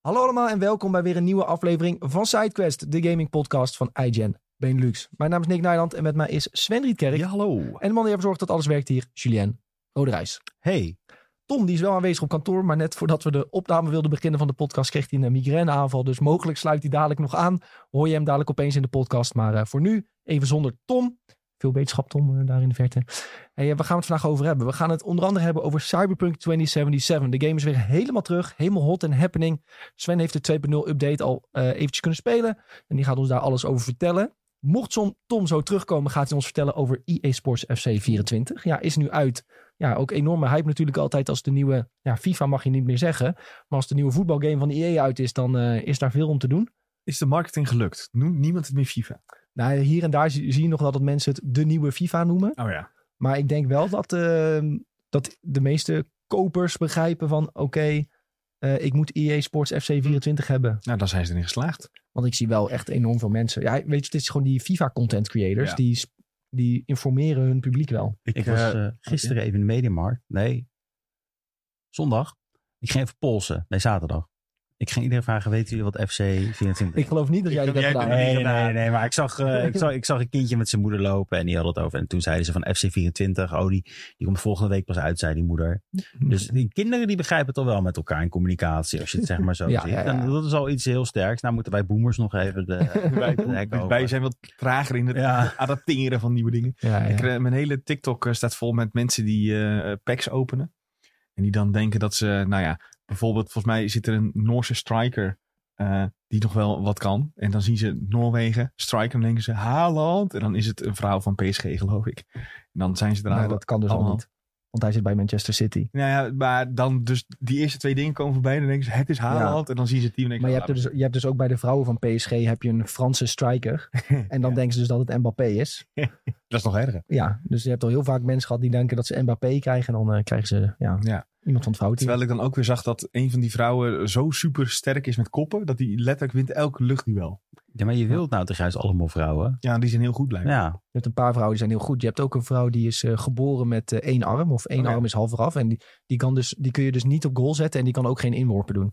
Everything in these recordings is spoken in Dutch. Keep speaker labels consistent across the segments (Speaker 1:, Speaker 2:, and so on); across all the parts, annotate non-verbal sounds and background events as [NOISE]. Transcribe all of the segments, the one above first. Speaker 1: Hallo allemaal en welkom bij weer een nieuwe aflevering van SideQuest, de gaming podcast van iGen Benelux. Mijn naam is Nick Nijland en met mij is Sven Rietkerk.
Speaker 2: Ja, hallo.
Speaker 1: En de man die ervoor zorgt dat alles werkt hier, Julien Roderijs.
Speaker 2: Hey.
Speaker 1: Tom, die is wel aanwezig op kantoor, maar net voordat we de opname wilden beginnen van de podcast, kreeg hij een migraineaanval. Dus mogelijk sluit hij dadelijk nog aan. Hoor je hem dadelijk opeens in de podcast. Maar eh, voor nu, even zonder Tom. Veel beterschap, Tom, eh, daar in de verte. Hey, eh, waar gaan we het vandaag over hebben? We gaan het onder andere hebben over Cyberpunk 2077. De game is weer helemaal terug, helemaal hot en happening. Sven heeft de 2.0 update al eh eventjes kunnen spelen. En die gaat ons daar alles over vertellen. Mocht som- Tom zo terugkomen, gaat hij ons vertellen over EA Sports FC 24. Ja, is nu uit ja, ook enorme hype natuurlijk altijd als de nieuwe... Ja, FIFA mag je niet meer zeggen. Maar als de nieuwe voetbalgame van EA uit is, dan eh, is daar veel om te doen.
Speaker 2: Is de marketing gelukt? Noemt niemand het meer FIFA?
Speaker 1: Nou, hier en daar zie zie je nog wel dat mensen het de nieuwe FIFA noemen.
Speaker 2: Oh ja.
Speaker 1: Maar ik denk wel dat, eh, dat de meeste kopers begrijpen van... Oké, eh, ik moet EA Sports FC 24 hebben.
Speaker 2: Nou, daar zijn ze in geslaagd.
Speaker 1: Want ik zie wel echt enorm veel mensen. Ja, weet je, het is gewoon die FIFA content creators.
Speaker 2: Ja.
Speaker 1: Die, sp- die informeren hun publiek wel.
Speaker 3: Ik was eh, gisteren even in de Mediamarkt. Nee, zondag. Ik ging even polsen. Nee, zaterdag. Ik ging iedereen vragen, weten jullie wat FC 24
Speaker 1: Ik geloof niet dat jij dat hebt
Speaker 2: jij
Speaker 1: gedaan.
Speaker 2: doet het
Speaker 3: Nee,
Speaker 2: niet
Speaker 3: nee,
Speaker 2: gedaan.
Speaker 3: nee, nee, maar ik zag, [LAUGHS] eh, ik, zag, ik zag een kindje met zijn moeder lopen en die had het over. En toen zeiden ze van FC24, oh, die, die komt volgende week pas uit, zei die moeder. Dus die kinderen die begrijpen het al wel met elkaar in communicatie, als je het zeg maar
Speaker 1: [LAUGHS]
Speaker 3: zo
Speaker 1: Ja,
Speaker 3: ziet.
Speaker 1: ja, ja.
Speaker 3: En dat is al iets heel sterks. Nou moeten wij boomers nog
Speaker 1: [LAUGHS]
Speaker 3: even de,
Speaker 2: [LAUGHS]
Speaker 3: [LAUGHS]
Speaker 2: Wij,
Speaker 3: de hek over.
Speaker 2: wij zijn wat trager in het
Speaker 3: Ja,
Speaker 2: adapteren van nieuwe dingen.
Speaker 1: Ja, ja.
Speaker 2: Ik, eh, mijn hele TikTok eh, staat vol met mensen die eh, packs openen. En die dan denken dat ze, nou ja, bijvoorbeeld volgens mij zit er een Noorse striker eh, die nog wel wat kan. En dan zien ze Noorwegen, striker, en denken ze Haaland. En dan is het een verhaal van PSG, geloof ik. En dan zijn ze er
Speaker 1: Nou,
Speaker 2: al-
Speaker 1: dat kan dus al
Speaker 2: allemaal.
Speaker 1: niet. Want hij zit bij Manchester City.
Speaker 2: Nou ja, maar dan dus die eerste twee dingen komen voorbij. Dan denken ze, het is Haaland. En dan zien ze het team. en
Speaker 1: Maar
Speaker 2: denken
Speaker 1: je
Speaker 2: ze, "Ah,
Speaker 1: hebt, er dus, je hebt dus ook bij de vrouwen van PSG heb je een Franse
Speaker 2: [LAUGHS]
Speaker 1: striker. En dan denken ze dus dat het Mbappé is.
Speaker 2: Dat is nog erger.
Speaker 1: Ja, dus je hebt al heel vaak mensen gehad die denken dat ze Mbappé krijgen. En dan eh, krijgen ze ja,
Speaker 2: Ja.
Speaker 1: iemand van het vrouwteam.
Speaker 2: Terwijl ik dan ook weer zag dat een van die vrouwen zo super sterk is met koppen. Dat die letterlijk wint elk luchtduel.
Speaker 3: Ja, maar je wilt nou toch juist allemaal vrouwen?
Speaker 2: Ja, die zijn heel goed blijkbaar.
Speaker 3: Ja,
Speaker 1: Je hebt een paar vrouwen die zijn heel goed. Je hebt ook een vrouw die is eh, geboren met eh, één arm. Of één
Speaker 2: Oh, ja.
Speaker 1: arm is half eraf. En die, die, kan dus, die kun je dus niet op goal zetten. En die kan ook geen inworpen doen. Dat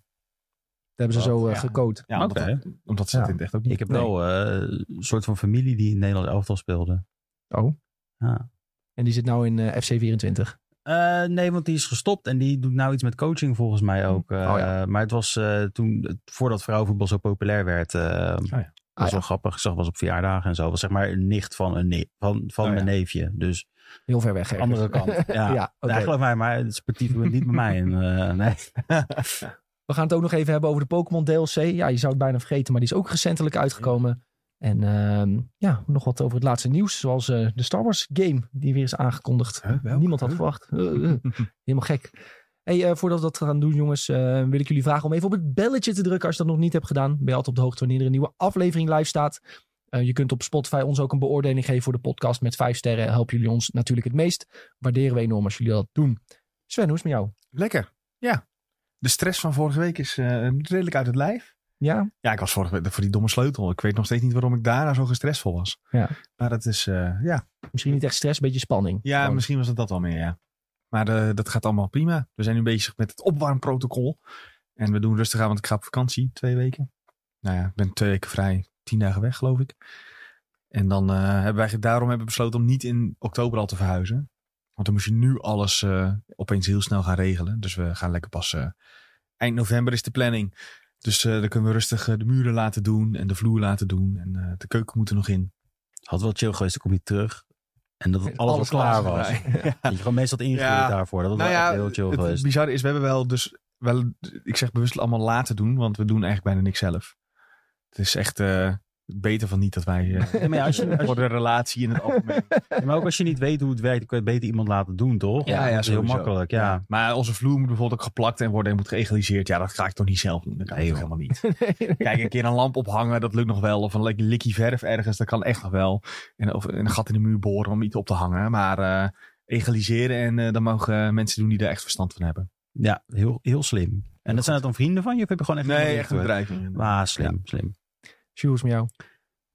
Speaker 1: hebben ze
Speaker 2: Wat?
Speaker 1: zo eh,
Speaker 2: Ja.
Speaker 1: gecoacht.
Speaker 2: Ja, omdat,
Speaker 3: Oké.
Speaker 2: dat- omdat ze
Speaker 1: Ja.
Speaker 2: het in het echt ook niet.
Speaker 3: ik heb
Speaker 1: Nee.
Speaker 3: wel eh, een soort van familie die in het Nederlands elftal speelde.
Speaker 1: Oh.
Speaker 3: Ja.
Speaker 1: En die zit nou in eh, FC24.
Speaker 3: Eh, nee, want die is gestopt en die doet nou iets met coaching volgens mij ook. Eh,
Speaker 1: Oh ja.
Speaker 3: Maar het was eh, toen, eh, voordat vrouwenvoetbal zo populair werd, eh,
Speaker 2: ehm,
Speaker 3: was
Speaker 2: Oh
Speaker 1: ja.
Speaker 3: wel grappig. Ik zag was op verjaardagen en zo. Was zeg maar een nicht van een ne- van, van
Speaker 2: Oh ja.
Speaker 3: mijn neefje. Dus
Speaker 1: Heel ver weg. ergens.
Speaker 3: andere kant. Ja,
Speaker 1: Ja, oké.
Speaker 3: Nou, geloof mij, maar het sportief wordt niet bij mij. En, eh, nee.
Speaker 1: We gaan het ook nog even hebben over de Pokémon DLC. Ja, je zou het bijna vergeten, maar die is ook recentelijk uitgekomen. En ehm, ja, nog wat over het laatste nieuws. Zoals eh, de Star Wars game, die weer is aangekondigd.
Speaker 2: Huh, welke?
Speaker 1: Niemand had verwacht. Eh, eh, helemaal gek. Hey, eh, voordat we dat gaan doen, jongens, eh, wil ik jullie vragen om even op het belletje te drukken. Als je dat nog niet hebt gedaan, ben je altijd op de hoogte wanneer er een nieuwe aflevering live staat. Eh, je kunt op Spotify ons ook een beoordeling geven voor de podcast met vijf sterren. Helpen jullie ons natuurlijk het meest. Waarderen we enorm als jullie dat doen. Sven, hoe is het met jou?
Speaker 2: Lekker. Ja. De stress van vorige week is eh, redelijk uit het lijf.
Speaker 1: Ja?
Speaker 2: Ja, ik was vorige week voor die domme sleutel. Ik weet nog steeds niet waarom ik daarna zo gestressvol was.
Speaker 1: Ja.
Speaker 2: Maar dat is, eh, ja.
Speaker 1: Misschien niet echt stress, een beetje spanning.
Speaker 2: Ja,
Speaker 1: Gewoon.
Speaker 2: misschien was het dat wel meer, ja. Maar eh, dat gaat allemaal prima. We zijn nu bezig met het opwarmprotocol. En we doen rustig aan, want ik ga op vakantie twee weken. Nou ja, ik ben twee weken vrij, tien dagen weg, geloof ik. En dan eh, hebben wij daarom hebben we besloten om niet in oktober al te verhuizen. Want dan moest je nu alles eh, opeens heel snel gaan regelen. Dus we gaan lekker pas. eh, eind november is de planning. Dus eh, dan kunnen we rustig eh, de muren laten doen en de vloer laten doen. En eh, de keuken moet er nog in.
Speaker 3: Had wel chill geweest, dan kom je terug. En dat alles, al klaar was.
Speaker 2: [LAUGHS]
Speaker 3: Dat je gewoon meestal had ingehuurd
Speaker 2: Ja.
Speaker 3: daarvoor. Dat was
Speaker 2: Nou
Speaker 3: wel
Speaker 2: ja,
Speaker 3: echt heel chill
Speaker 2: het
Speaker 3: geweest.
Speaker 2: bizarre is, we hebben wel dus, wel, ik zeg bewust allemaal laten doen, want we doen eigenlijk bijna niks zelf. Het is echt eh, beter van niet dat wij eh,
Speaker 3: [LAUGHS] Ja, maar ja, als je, als
Speaker 2: voor de relatie in het algemeen.
Speaker 3: Ja, maar ook als je niet weet hoe het werkt, dan kun je het beter iemand laten doen, toch?
Speaker 1: Ja, ja,
Speaker 3: dat is heel
Speaker 2: sowieso.
Speaker 3: makkelijk. [LAUGHS] Ja.
Speaker 2: Maar onze vloer moet bijvoorbeeld ook geplakt en worden en moet geëgaliseerd. Ja, dat ga ik toch niet zelf doen. Dat kan
Speaker 3: Nee,
Speaker 2: toch
Speaker 3: joh.
Speaker 2: helemaal
Speaker 1: [LAUGHS]
Speaker 2: niet. Kijk, een keer een lamp ophangen, dat lukt nog wel. Of een lekker likkie verf ergens, dat kan echt nog wel. En, of een gat in de muur boren om iets op te hangen. Maar eh, egaliseren en eh, dan mogen mensen doen die daar echt verstand van hebben.
Speaker 3: Ja, heel, heel slim. En dat zijn het dan vrienden van je of heb je gewoon echt...
Speaker 2: Nee,
Speaker 3: iemand
Speaker 2: echt een
Speaker 3: ingehuurd?
Speaker 2: bedrijf.
Speaker 3: Ah, slim, slim.
Speaker 1: Sjoerd, hoe is het met jou?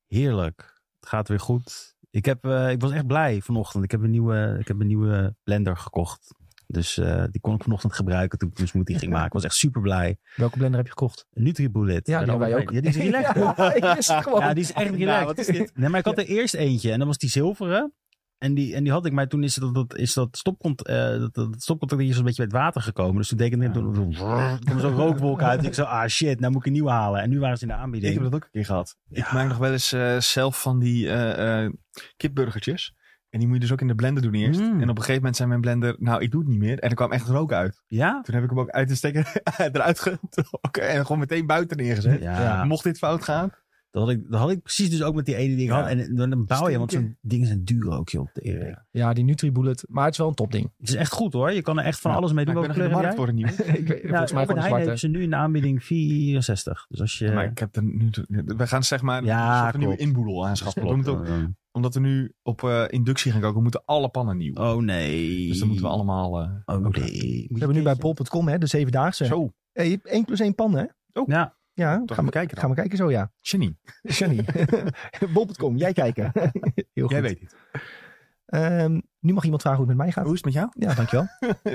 Speaker 3: Heerlijk. Het gaat weer goed. Ik, heb, eh, ik was echt blij vanochtend. Ik heb een nieuwe, ik heb een nieuwe blender gekocht. Dus eh, die kon ik vanochtend gebruiken toen ik een smoothie ging maken. was echt super blij.
Speaker 1: Welke blender heb je gekocht?
Speaker 3: Nutribullet.
Speaker 1: Ja, die
Speaker 3: Van de
Speaker 1: hebben wij
Speaker 3: Albert
Speaker 1: ook.
Speaker 3: Heijn. Ja,
Speaker 2: [LAUGHS]
Speaker 3: die is relaxed.
Speaker 1: Ja, ik wist het gewoon.
Speaker 3: Ja, die is echt relaxed.
Speaker 2: Nou, wat is dit?
Speaker 3: Nee, maar ik had er eerst eentje en dat was die zilveren. En die, en die had ik, maar toen is dat, dat, is dat, stopcont, eh, dat, dat stopcontact hier zo'n beetje bij het water gekomen. Dus toen deed ik het, toen, toen, toen kwam zo'n rookwolk uit. Ik zo, ah shit, nou moet ik een nieuwe halen. En nu waren ze in de
Speaker 2: Ik heb
Speaker 3: aanbieding.
Speaker 2: dat ook een keer gehad.
Speaker 3: Ja.
Speaker 2: Ik maak nog wel eens eh, zelf van die eh, eh, kipburgertjes. En die moet je dus ook in de blender doen eerst.
Speaker 3: Mm.
Speaker 2: En op een gegeven moment zei mijn blender, nou ik doe het niet meer. En er kwam echt rook uit.
Speaker 3: Ja?
Speaker 2: Toen heb ik hem ook uit de stekker [LAUGHS] eruit getrokken. En gewoon meteen buiten neergezet.
Speaker 3: Ja,
Speaker 2: Mocht dit fout gaan.
Speaker 3: dat had, ik, dat had ik precies dus ook met die ene die ik
Speaker 2: Ja.
Speaker 3: had. En dan- dan bouw je, want zo'n
Speaker 2: Stinken.
Speaker 3: dingen zijn duur ook, joh. De Erik.
Speaker 1: Ja, die Nutribullet. Maar het is wel een topding.
Speaker 3: Het is echt goed hoor, je kan er echt van
Speaker 2: Ja,
Speaker 3: alles mee doen.
Speaker 2: Maar ik ben
Speaker 3: Welke
Speaker 2: nog in
Speaker 3: kleur
Speaker 2: de
Speaker 3: heb
Speaker 2: markt
Speaker 3: jij?
Speaker 2: voor een nieuwe.
Speaker 3: [LAUGHS]
Speaker 1: ik weet, volgens mij gewoon
Speaker 3: Albert
Speaker 1: een
Speaker 3: Nou, Heijn heeft
Speaker 1: zwarte.
Speaker 3: ze nu in de aanbieding 64. Dus als je...
Speaker 2: Maar ik heb er nu... We gaan zeg maar
Speaker 3: Ja,
Speaker 2: een, soort van nieuwe
Speaker 3: klopt.
Speaker 2: inboedel aanschaffen. We moeten ook-
Speaker 3: eh,
Speaker 2: omdat we nu op eh, inductie gaan koken, moeten alle pannen nieuw.
Speaker 3: Oh nee.
Speaker 2: Dus dan moeten we allemaal... eh,
Speaker 3: Oh
Speaker 2: ook-
Speaker 3: nee.
Speaker 1: We hebben nu bij bol.com hè, de zevendaagse.
Speaker 2: Zo,
Speaker 1: Hey, 1 plus 1 pan, hè?
Speaker 3: Ja,
Speaker 1: Ja,
Speaker 2: toch
Speaker 1: gaan
Speaker 2: gaan
Speaker 1: we,
Speaker 2: kijken
Speaker 1: gaan
Speaker 2: dan.
Speaker 1: we kijken zo, ja.
Speaker 2: Genie,
Speaker 1: [LAUGHS]
Speaker 2: [LAUGHS]
Speaker 1: Shani. bol.com, jij kijken. Heel goed.
Speaker 2: jij weet het.
Speaker 1: Ehm, nu mag iemand vragen hoe het met mij gaat.
Speaker 2: Hoe is het met
Speaker 3: [LAUGHS]
Speaker 2: jou?
Speaker 1: Ja,
Speaker 2: [LAUGHS]
Speaker 1: dankjewel.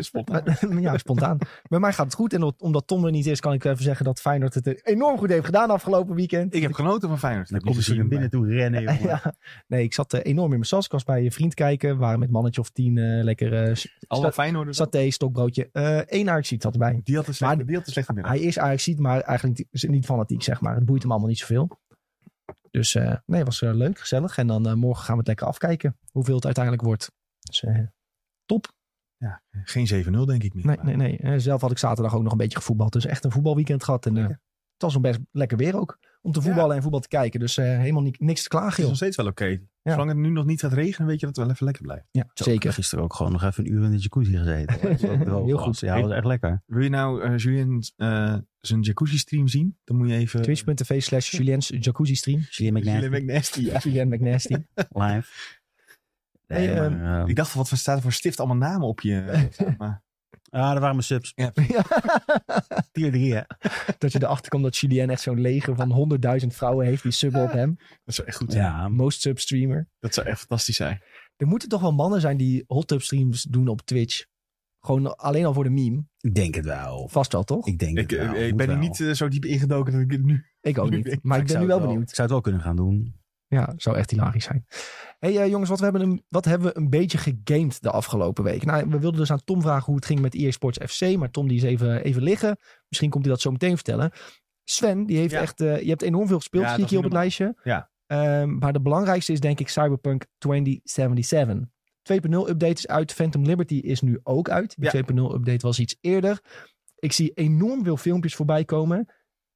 Speaker 2: Spontaan.
Speaker 1: Maar- [LAUGHS] ja, spontaan. Bij mij gaat het goed. En omdat Tom er niet is, kan ik even zeggen dat Feyenoord het enorm goed heeft gedaan afgelopen weekend.
Speaker 2: Ik heb genoten van Feyenoord.
Speaker 3: dan
Speaker 2: Ik heb
Speaker 3: komt
Speaker 2: niet
Speaker 3: ze naar
Speaker 2: gezien,
Speaker 3: binnen toe rennen. jongen.
Speaker 1: [LAUGHS] Ja, nee, ik zat eh, enorm in mijn sas. Ik was bij een vriend kijken. We waren met mannetje of tien eh, lekker eh, s-
Speaker 2: maar Alle Feyenoorders.
Speaker 1: saté, stokbroodje. Eén uh, Ajaxiet had erbij.
Speaker 2: Die had een slechte,
Speaker 1: Maar-
Speaker 2: die had een slechte middag.
Speaker 1: Hij is Ajaxiet, maar eigenlijk niet- niet fanatiek, zeg maar. Het boeit hem allemaal niet zoveel. Dus eh, nee, was eh, leuk, gezellig. En dan eh, morgen gaan we het lekker afkijken hoeveel het uiteindelijk wordt. Dus, eh,
Speaker 2: Geen 7-0 denk ik meer.
Speaker 1: nee,
Speaker 2: maar-
Speaker 1: nee, nee. Eh, zelf had ik zaterdag ook nog een beetje gevoetbald. Dus echt een voetbalweekend gehad. En eh,
Speaker 2: Lekker.
Speaker 1: het was nog best lekker weer ook. Om te voetballen en voetbal te kijken. Dus eh, helemaal ni- niks te
Speaker 2: Het
Speaker 1: klagen,
Speaker 2: is
Speaker 1: joh.
Speaker 2: nog steeds wel oké. Zolang het nu nog niet gaat regenen, weet je dat het wel even lekker blijft.
Speaker 1: Ja,
Speaker 3: Zo, ik heb
Speaker 1: zeker.
Speaker 3: gisteren ook gewoon nog even een uur in de jacuzzi gezeten. hoor.
Speaker 1: [LAUGHS]
Speaker 3: Dat was droog
Speaker 1: Heel
Speaker 3: was.
Speaker 1: goed.
Speaker 3: Ja, dat was echt lekker.
Speaker 2: Wil je nou eh Julien eh, zijn jacuzzi stream zien? Dan moet je even...
Speaker 1: Twitch.tv slash Julien's Jacuzzi Stream.
Speaker 2: [LAUGHS]
Speaker 3: Slim
Speaker 2: Julien
Speaker 3: McNair
Speaker 2: McNasty, ja.
Speaker 1: Julien McNasty.
Speaker 3: live.
Speaker 1: [LAUGHS]
Speaker 3: Nee,
Speaker 1: Hey, ehm,
Speaker 3: maar, eh,
Speaker 2: Ik dacht, wat voor- staat er voor stift allemaal namen op
Speaker 3: [LAUGHS]
Speaker 2: je? maar,
Speaker 3: ah, daar waren mijn subs.
Speaker 1: Ja.
Speaker 3: [LAUGHS] Tier 3, hè.
Speaker 1: dat je erachter komt dat Julien echt zo'n leger van 100.000 vrouwen heeft die subben op hem.
Speaker 2: dat zou echt goed zijn.
Speaker 3: Ja.
Speaker 1: Most sub streamer.
Speaker 2: Dat zou echt fantastisch zijn.
Speaker 1: Er moeten toch wel mannen zijn die hot tub streams doen op Twitch. Gewoon alleen al voor de meme.
Speaker 3: Ik denk het wel.
Speaker 1: Vast wel, toch?
Speaker 3: Ik denk
Speaker 2: Ik,
Speaker 3: het wel.
Speaker 2: eh, ik
Speaker 3: Moet
Speaker 2: ben er
Speaker 3: wel.
Speaker 2: niet eh, zo diep ingedoken dat ik het nu...
Speaker 1: Ik ook
Speaker 2: Nu
Speaker 1: niet.
Speaker 2: denk-
Speaker 1: Maar ik
Speaker 2: ik
Speaker 1: ben
Speaker 2: zou
Speaker 1: nu wel
Speaker 2: het wel.
Speaker 1: benieuwd.
Speaker 3: Ik zou het wel kunnen gaan doen.
Speaker 1: Ja, zou echt hilarisch zijn. hey, eh, jongens, wat, we hebben een, wat hebben we een beetje gegamed de afgelopen week? Nou, we wilden dus aan Tom vragen hoe het ging met EA Sports FC. Maar Tom die is even, even liggen. Misschien komt hij dat zo meteen vertellen. Sven, die heeft
Speaker 2: Ja.
Speaker 1: echt, eh, je hebt enorm veel gespeeld,
Speaker 2: Ja,
Speaker 1: zie ik
Speaker 2: dat
Speaker 1: hier op
Speaker 2: is
Speaker 1: het
Speaker 2: niet
Speaker 1: lijstje.
Speaker 2: Ja.
Speaker 1: Ehm, maar de belangrijkste is denk ik Cyberpunk 2077. 2.0 update is uit. Phantom Liberty is nu ook uit. Die
Speaker 2: Ja.
Speaker 1: 2.0 update was iets eerder. Ik zie enorm veel filmpjes voorbij komen.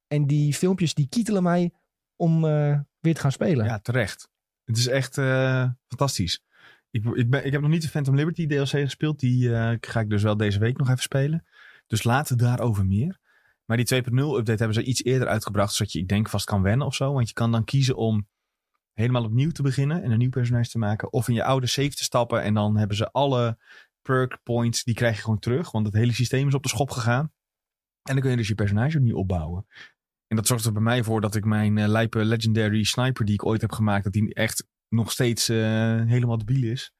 Speaker 1: En die filmpjes die kietelen mij om eh, weer te gaan spelen.
Speaker 2: Ja, terecht. Het is echt eh, fantastisch. Ik, ik, ben, ik heb nog niet de Phantom Liberty DLC gespeeld. Die eh, ga ik dus wel deze week nog even spelen. Dus later daarover meer. Maar die 2.0 update hebben ze iets eerder uitgebracht. Zodat je, ik denk, vast kan wennen of zo. Want je kan dan kiezen om helemaal opnieuw te beginnen. En een nieuw personage te maken. Of in je oude save te stappen. En dan hebben ze alle perk points. Die krijg je gewoon terug. Want het hele systeem is op de schop gegaan. En dan kun je dus je personage opnieuw opbouwen. En dat zorgt er bij mij voor dat ik mijn eh, lijpe legendary sniper die ik ooit heb gemaakt, dat die echt nog steeds eh, helemaal debiel is.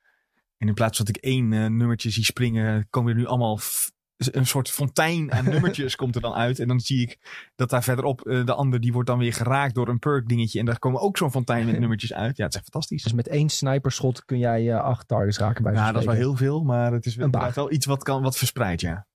Speaker 2: En in plaats van dat ik één eh, nummertje zie springen, komen er nu allemaal f- een soort fontein
Speaker 1: [LAUGHS]
Speaker 2: aan nummertjes komt er dan uit. En dan zie ik dat daar verderop eh, de ander, die wordt dan weer geraakt door een perk dingetje. En daar komen ook zo'n
Speaker 1: [LAUGHS]
Speaker 2: fontein met nummertjes uit. Ja, het is echt fantastisch.
Speaker 1: Dus met één sniperschot kun jij eh, acht targets raken bij
Speaker 2: Ja,
Speaker 1: zo'n
Speaker 2: dat is wel
Speaker 1: spreken.
Speaker 2: heel veel, maar het is wel,
Speaker 1: Een baag.
Speaker 2: inderdaad wel iets wat, kan, wat verspreidt, ja.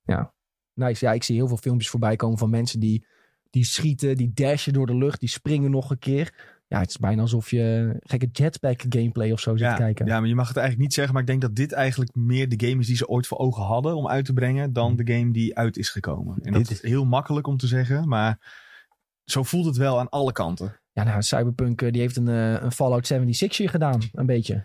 Speaker 1: nice. Ja, ik zie heel veel filmpjes voorbij komen van mensen die, die schieten, die dashen door de lucht, die springen nog een keer. Ja, het is bijna alsof je gekke jetpack gameplay of zo zit
Speaker 2: Ja,
Speaker 1: te kijken.
Speaker 2: ja, maar je mag het eigenlijk niet zeggen. Maar ik denk dat dit eigenlijk meer de game is die ze ooit voor ogen hadden om uit te brengen. dan de game die uit is gekomen. En dat
Speaker 3: Dit
Speaker 2: is heel makkelijk om te zeggen. Maar zo voelt het wel aan alle kanten.
Speaker 1: Ja, nou, Cyberpunk eh, die heeft een, eh, een Fallout 76 hier gedaan, een beetje.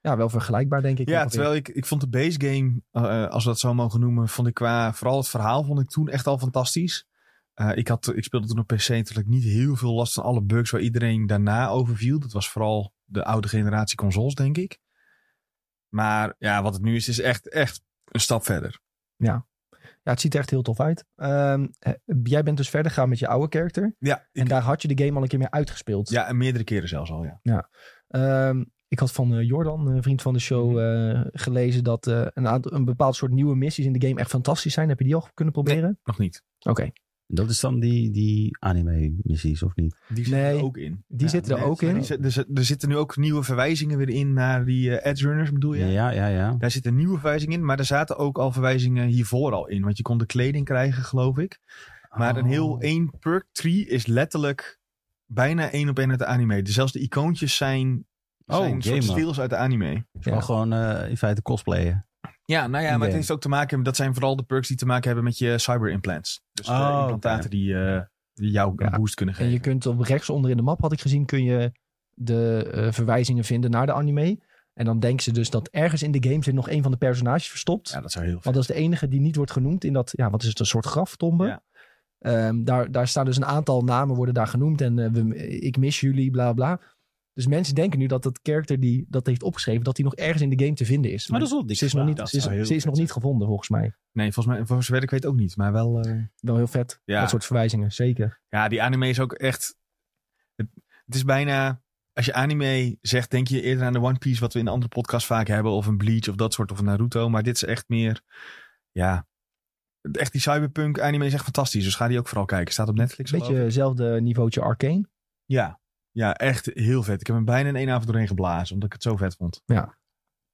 Speaker 1: Ja, wel vergelijkbaar denk ik.
Speaker 2: ja,
Speaker 1: ongeveer.
Speaker 2: terwijl ik, ik vond de base game, eh, als we dat zo mogen noemen. vond ik qua vooral het verhaal vond ik toen echt al fantastisch. Eh, ik, had, ik speelde toen op PC natuurlijk niet heel veel last van alle bugs waar iedereen daarna over viel. Dat was vooral de oude generatie consoles, denk ik. Maar ja, wat het nu is, is echt, echt een stap verder.
Speaker 1: Ja, het ziet er echt heel tof uit. Ehm, eh, jij bent dus verder gegaan met je oude character.
Speaker 2: Ja,
Speaker 1: En daar had je de game al een keer mee uitgespeeld.
Speaker 2: ja, en meerdere keren zelfs al, ja.
Speaker 1: Ehm, Ik had van eh, Jordan, een vriend van de show, eh, gelezen dat eh, een, aantal- een bepaald soort nieuwe missies in de game echt fantastisch zijn. Heb je die al kunnen proberen?
Speaker 2: Nog niet.
Speaker 1: Oké,
Speaker 3: Dat is dan die, die anime-missies, of niet?
Speaker 2: Die zitten
Speaker 1: Nee.
Speaker 2: er ook in.
Speaker 1: die zitten er
Speaker 2: Nee,
Speaker 1: ook
Speaker 2: die
Speaker 1: in.
Speaker 2: zit- Er, zit- er zitten nu ook nieuwe verwijzingen weer in naar die eh, edge runners bedoel je?
Speaker 3: Ja, ja, ja. ja.
Speaker 2: Daar zitten nieuwe verwijzingen in, maar er zaten ook al verwijzingen hiervoor al in. Want je kon de kleding krijgen, geloof ik. Maar een
Speaker 3: Oh.
Speaker 1: Oh.
Speaker 2: heel één perk tree is letterlijk bijna één op één uit de anime. Dus zelfs de icoontjes zijn,
Speaker 3: Oh,
Speaker 2: zijn soort
Speaker 3: jemig.
Speaker 2: stils uit de anime.
Speaker 3: Gewoon gewoon eh, in feite cosplayen.
Speaker 2: Ja, nou ja, maar
Speaker 3: In-game.
Speaker 2: het heeft ook te maken, dat zijn vooral de perks die te maken hebben met je cyber implants. Dus de
Speaker 3: Oh,
Speaker 2: implantaten
Speaker 3: oké.
Speaker 2: die, eh, die jou een
Speaker 1: Ja.
Speaker 2: boost kunnen
Speaker 1: En
Speaker 2: geven.
Speaker 1: je kunt op rechtsonder in de map, had ik gezien, kun je de eh, verwijzingen vinden naar de anime. En dan denken ze dus dat ergens in de game zit nog een van de personages verstopt.
Speaker 2: Ja, dat zou heel
Speaker 1: Want dat is de enige die niet wordt genoemd in dat, ja, wat is het, een soort graftombe.
Speaker 2: Ja.
Speaker 1: Ehm, daar, daar staan dus een aantal namen worden daar genoemd en eh, we, ik mis jullie, bla bla. Dus mensen denken nu dat dat character die dat heeft opgeschreven, dat die nog ergens in de game te vinden is.
Speaker 3: Maar dat is wel dik.
Speaker 1: ze is nog
Speaker 3: gedaan.
Speaker 1: niet,
Speaker 2: dat
Speaker 1: ze is,
Speaker 2: zou heel
Speaker 1: ze is nog
Speaker 2: vet
Speaker 1: niet gevonden volgens mij.
Speaker 2: Nee, volgens mij, voor zover ik weet ook niet. Maar wel. eh,
Speaker 1: Wel heel vet,
Speaker 2: Ja.
Speaker 1: dat soort verwijzingen, zeker.
Speaker 2: Ja, die anime is ook echt. Het, het is bijna. Als je anime zegt, denk je eerder aan de One Piece, wat we in andere podcasts vaak hebben, of een Bleach of dat soort, of een Naruto. Maar dit is echt meer. Ja. Echt die cyberpunk anime is echt fantastisch. Dus ga die ook vooral kijken. Staat op Netflix. geloof
Speaker 1: Beetje
Speaker 2: ik.
Speaker 1: hetzelfde niveautje arcane.
Speaker 2: Ja. Ja, echt heel vet. Ik heb hem bijna in één avond doorheen geblazen, omdat ik het zo vet vond.
Speaker 1: Ja,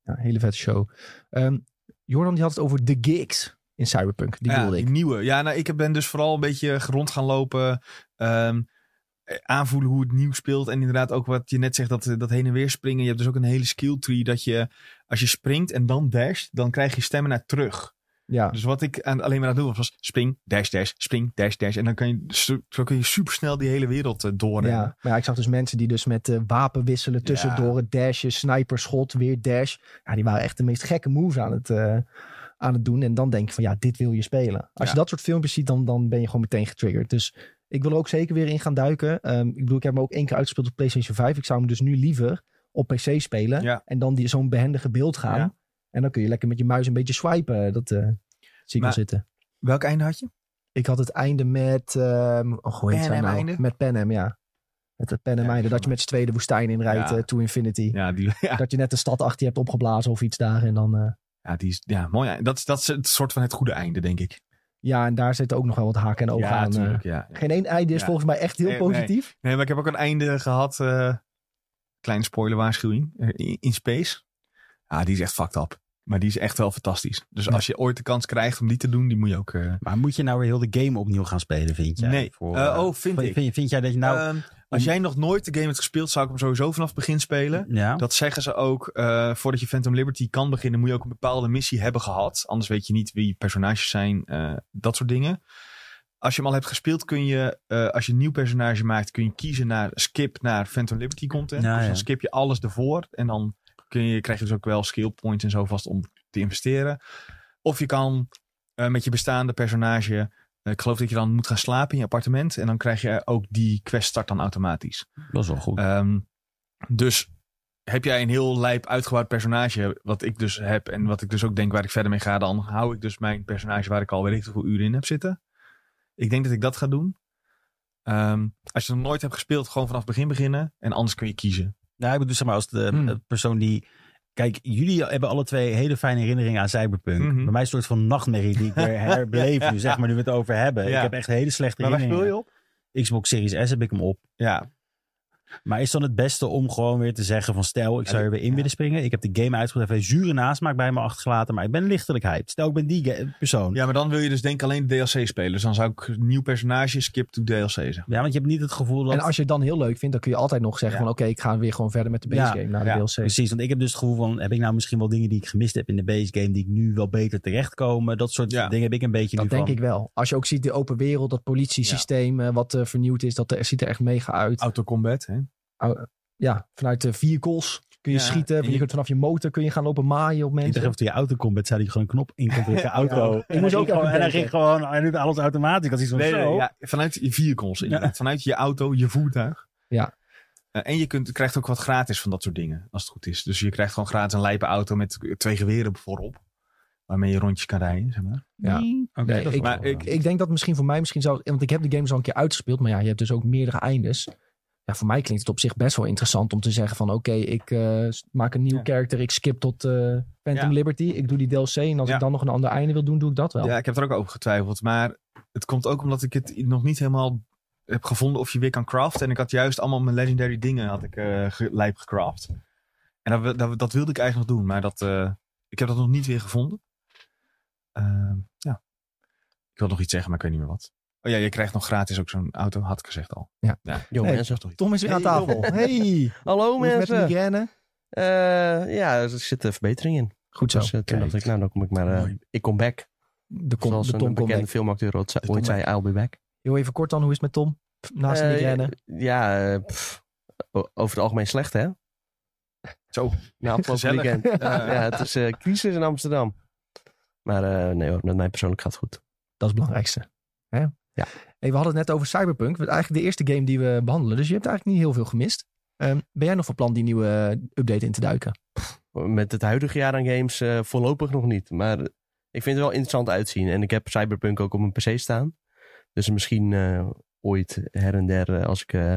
Speaker 1: hele vette show. Ehm, Jordan die had het over de gigs in Cyberpunk, die
Speaker 2: ja,
Speaker 1: bedoelde ik.
Speaker 2: Die nieuwe. Ja, nou, ik heb- ben dus vooral een beetje rond gaan lopen. ehm, eh, aanvoelen hoe het nieuw speelt. En inderdaad ook wat je net zegt, dat, eh, dat heen en weer springen. Je hebt dus ook een hele skill tree dat je... Als je springt en dan dasht, dan krijg je stemmen naar terug.
Speaker 1: Ja,
Speaker 2: Dus wat ik aan, alleen maar aan het doen was, was spring, dash, dash, spring, dash, dash. En dan kun je, zo, zo kun je supersnel die hele wereld eh,
Speaker 1: Ja,
Speaker 2: doorrennen.
Speaker 1: maar ja, ik zag dus mensen die dus met eh, wapen wisselen tussendoor. het Dashen, sniper, schot, weer dash. Ja, die waren echt de meest gekke moves aan het, eh, aan het doen. En dan denk je van ja, dit wil je spelen. Als
Speaker 2: Ja.
Speaker 1: je dat soort filmpjes ziet, dan, dan ben je gewoon meteen getriggerd. Dus ik wil er ook zeker weer in gaan duiken. Ehm, ik bedoel, ik heb hem ook één keer uitgespeeld op PlayStation 5. Ik zou hem dus nu liever op PC spelen.
Speaker 2: Ja.
Speaker 1: En dan die, zo'n behendige beeld gaan.
Speaker 2: Ja.
Speaker 1: En dan kun je lekker met je muis een beetje swipen. Dat eh, zie ik
Speaker 2: Maar-
Speaker 1: al zitten.
Speaker 2: Welk einde had je?
Speaker 1: Ik had het einde met. ehm oh, hoe heet
Speaker 2: Pan
Speaker 1: zij
Speaker 2: Am
Speaker 1: nou?
Speaker 2: einde?
Speaker 1: Met Pan Am, ja. Met het Pan Am
Speaker 2: Ja,
Speaker 1: einde. Dat
Speaker 2: van-
Speaker 1: je met z'n tweeën de woestijn inrijdt
Speaker 2: Ja.
Speaker 1: eh, to infinity.
Speaker 2: Ja, die, [LAUGHS] ja,
Speaker 1: Dat je net de stad achter je hebt opgeblazen of iets daar. En dan, eh,
Speaker 2: ja, die is ja, mooi. einde. Dat, is- dat is het soort van het goede einde, denk ik.
Speaker 1: ja, en daar zitten ook nog wel wat haken en ogen
Speaker 2: ja,
Speaker 1: aan. eh.
Speaker 2: tuurlijk, ja. ja.
Speaker 1: geen één einde is
Speaker 2: Ja.
Speaker 1: volgens mij echt heel
Speaker 2: Nee, nee.
Speaker 1: positief.
Speaker 2: Nee, maar ik heb ook een einde gehad. eh kleine spoilerwaarschuwing. eh, In, in Space. Ja, die is echt fucked up. Maar die is echt wel fantastisch. Dus
Speaker 1: Ja.
Speaker 2: als je ooit de kans krijgt om die te doen, die moet je ook... eh,
Speaker 3: Maar moet je nou weer heel de game opnieuw gaan spelen, vind jij?
Speaker 2: nee.
Speaker 3: Voor,
Speaker 2: Eh,
Speaker 3: eh,
Speaker 2: oh, vind
Speaker 3: vind,
Speaker 2: ik.
Speaker 3: vind, vind jij dat je nou...
Speaker 2: Ehm, als jij nog nooit de game hebt gespeeld, zou ik hem sowieso vanaf het begin spelen.
Speaker 3: ja?
Speaker 2: Eh, Dat zeggen ze ook. eh, voordat je Phantom Liberty kan beginnen, moet je ook een bepaalde missie hebben gehad. Anders weet je niet wie personages zijn. eh, dat soort dingen. Als je hem al hebt gespeeld, kun je, eh, als je een nieuw personage maakt, kun je kiezen naar skip naar Phantom Liberty content.
Speaker 3: Ja,
Speaker 2: dus dan
Speaker 3: ja.
Speaker 2: skip je alles ervoor. En dan kun je, krijg je dus ook wel skill points en zo vast om te investeren. Of je kan eh, met je bestaande personage. eh, ik geloof dat je dan moet gaan slapen in je appartement. En dan krijg je ook die quest start dan automatisch.
Speaker 3: Dat is wel goed.
Speaker 2: Ehm, dus heb jij een heel lijp uitgebouwd personage, wat ik dus heb en wat ik dus ook denk waar ik verder mee ga, dan hou ik dus mijn personage waar ik al weet ik hoeveel uren in heb zitten. Ik denk dat ik dat ga doen. Ehm, als je nog nooit hebt gespeeld, gewoon vanaf het begin beginnen. En anders kun je kiezen.
Speaker 3: Nou, ik bedoel, zeg maar, als de
Speaker 1: Hmm.
Speaker 3: eh, persoon die... Kijk, jullie hebben alle twee hele fijne herinneringen aan Cyberpunk.
Speaker 2: Mhm.
Speaker 3: Bij mij is het een soort van nachtmerrie die ik weer
Speaker 2: [LAUGHS]
Speaker 3: herbeleef nu, zeg maar, nu we het over hebben.
Speaker 2: Ja.
Speaker 3: Ik heb echt hele slechte herinneringen.
Speaker 2: op?
Speaker 3: Xbox Series S heb ik hem op.
Speaker 2: Ja,
Speaker 3: Maar is dan het beste om gewoon weer te zeggen van stel, ik zou er weer in willen springen. Ik heb de game uitgevoerd, even zure nasmaak bij me achtergelaten, maar ik ben lichtelijk hyped. Stel, ik ben die ge- persoon. Ja.
Speaker 2: ja, maar dan wil je dus denk ik alleen de DLC spelen. Dus dan zou ik een nieuw personage skip to DLC zeggen.
Speaker 3: want je hebt niet het gevoel dat...
Speaker 1: En als je het dan heel leuk vindt, dan kun je altijd nog zeggen
Speaker 2: Ja.
Speaker 1: van oké, ik ga weer gewoon verder met de base
Speaker 3: Ja,
Speaker 1: game naar
Speaker 2: ja,
Speaker 1: de DLC.
Speaker 3: Precies, want ik heb dus het gevoel van, heb ik nou misschien wel dingen die ik gemist heb in de base game, die ik nu wel beter terechtkomen? Dat soort
Speaker 2: Ja.
Speaker 3: dingen heb ik een beetje
Speaker 1: Dat
Speaker 3: nu
Speaker 1: denk
Speaker 3: van.
Speaker 1: ik wel. Als je ook ziet de open wereld, dat politiesysteem eh, wat eh, vernieuwd is, dat eh, ziet er echt mega uit.
Speaker 2: Autocombat, hè?
Speaker 1: Ja, vanuit de vehicles kun je
Speaker 2: Ja, en
Speaker 1: schieten. Je
Speaker 2: je-
Speaker 1: kunt vanaf je motor kun je gaan lopen maaien op
Speaker 3: Ik
Speaker 1: mensen.
Speaker 3: dacht even toen je auto komt, zei dat je gewoon een knop in kon drukken,
Speaker 1: [LAUGHS] Ja,
Speaker 3: auto.
Speaker 1: ik
Speaker 3: En hij
Speaker 1: moest ook
Speaker 3: ging gewoon,
Speaker 1: even
Speaker 3: En hij
Speaker 1: denken.
Speaker 3: ging gewoon, hij doet alles automatisch. Ik had iets van zo.
Speaker 2: ja, vanuit je vehicles inderdaad. Vanuit je auto, je voertuig.
Speaker 1: Ja.
Speaker 2: Eh, en je kunt, krijgt ook wat gratis van dat soort dingen, als het goed is. Dus je krijgt gewoon gratis een lijpe auto met twee geweren voorop. Waarmee je rondjes kan rijden, zeg maar.
Speaker 1: Ja.
Speaker 3: Oké,
Speaker 1: Nee,
Speaker 3: dat is
Speaker 1: ik-
Speaker 3: wel-
Speaker 2: maar ik-
Speaker 1: Ik denk dat misschien voor mij misschien zou... Want ik heb de games al een keer uitgespeeld. Maar ja, je hebt dus ook meerdere eindes. Ja, voor mij klinkt het op zich best wel interessant om te zeggen van... oké, ik eh, s- maak een nieuw
Speaker 2: Ja.
Speaker 1: character. Ik skip tot eh Phantom
Speaker 2: Ja.
Speaker 1: Liberty. Ik doe die DLC. En als
Speaker 2: Ja.
Speaker 1: ik dan nog een ander einde wil doen, doe ik dat wel.
Speaker 2: Ja, ik heb er ook over getwijfeld. Maar het komt ook omdat ik het nog niet helemaal heb gevonden of je weer kan craften. En ik had juist allemaal mijn legendary dingen had ik, eh ge- lijp gecraft. En dat, wil- dat, dat wilde ik eigenlijk nog doen. Maar dat, eh, ik heb dat nog niet weer gevonden. Ehm, ja. Ik wil nog iets zeggen, maar ik weet niet meer wat. Oh ja, je krijgt nog gratis ook zo'n auto, had ik gezegd al.
Speaker 4: Yo,
Speaker 1: Hey.
Speaker 4: mensen.
Speaker 2: toch iets.
Speaker 1: Tom is weer aan
Speaker 4: Hey,
Speaker 1: tafel. Hey,
Speaker 4: Hallo
Speaker 1: hoe is het met de
Speaker 4: mensen.
Speaker 1: migraine?
Speaker 4: Eh, ja, er zit een verbetering in.
Speaker 1: Goed zo.
Speaker 4: Dus eh, toen
Speaker 2: kijk.
Speaker 4: dacht ik, nou dan kom ik maar... eh,
Speaker 2: Mooi.
Speaker 4: ik kom back.
Speaker 1: De, kom,
Speaker 4: Zoals
Speaker 1: de
Speaker 4: een
Speaker 1: Tom komt
Speaker 4: bekende
Speaker 1: back.
Speaker 4: filmacteur ooit zei,
Speaker 2: De Tom
Speaker 4: ooit zei, I'll be back.
Speaker 1: Heel even kort dan, hoe is het met Tom? Naast de
Speaker 4: Eh,
Speaker 1: migraine.
Speaker 4: Ja, eh, pff, o- over het algemeen slecht hè.
Speaker 2: Zo.
Speaker 1: [LAUGHS]
Speaker 4: Na afgelopen
Speaker 2: Gezellig.
Speaker 4: weekend.
Speaker 2: Ja.
Speaker 4: ja, het is eh, crisis in Amsterdam. Maar eh, nee hoor, met mij persoonlijk gaat het goed.
Speaker 1: Dat is het belangrijkste. Hè?
Speaker 4: Ja.
Speaker 1: Hey, we hadden het net over Cyberpunk. wat Eigenlijk de eerste game die we behandelen. Dus je hebt eigenlijk niet heel veel gemist. Ehm, ben jij nog van plan die nieuwe eh, update in te duiken?
Speaker 4: Met het huidige jaar aan games eh, voorlopig nog niet. Maar ik vind het wel interessant uitzien. En ik heb Cyberpunk ook op mijn PC staan. Dus misschien eh, ooit her en der, eh, als ik, eh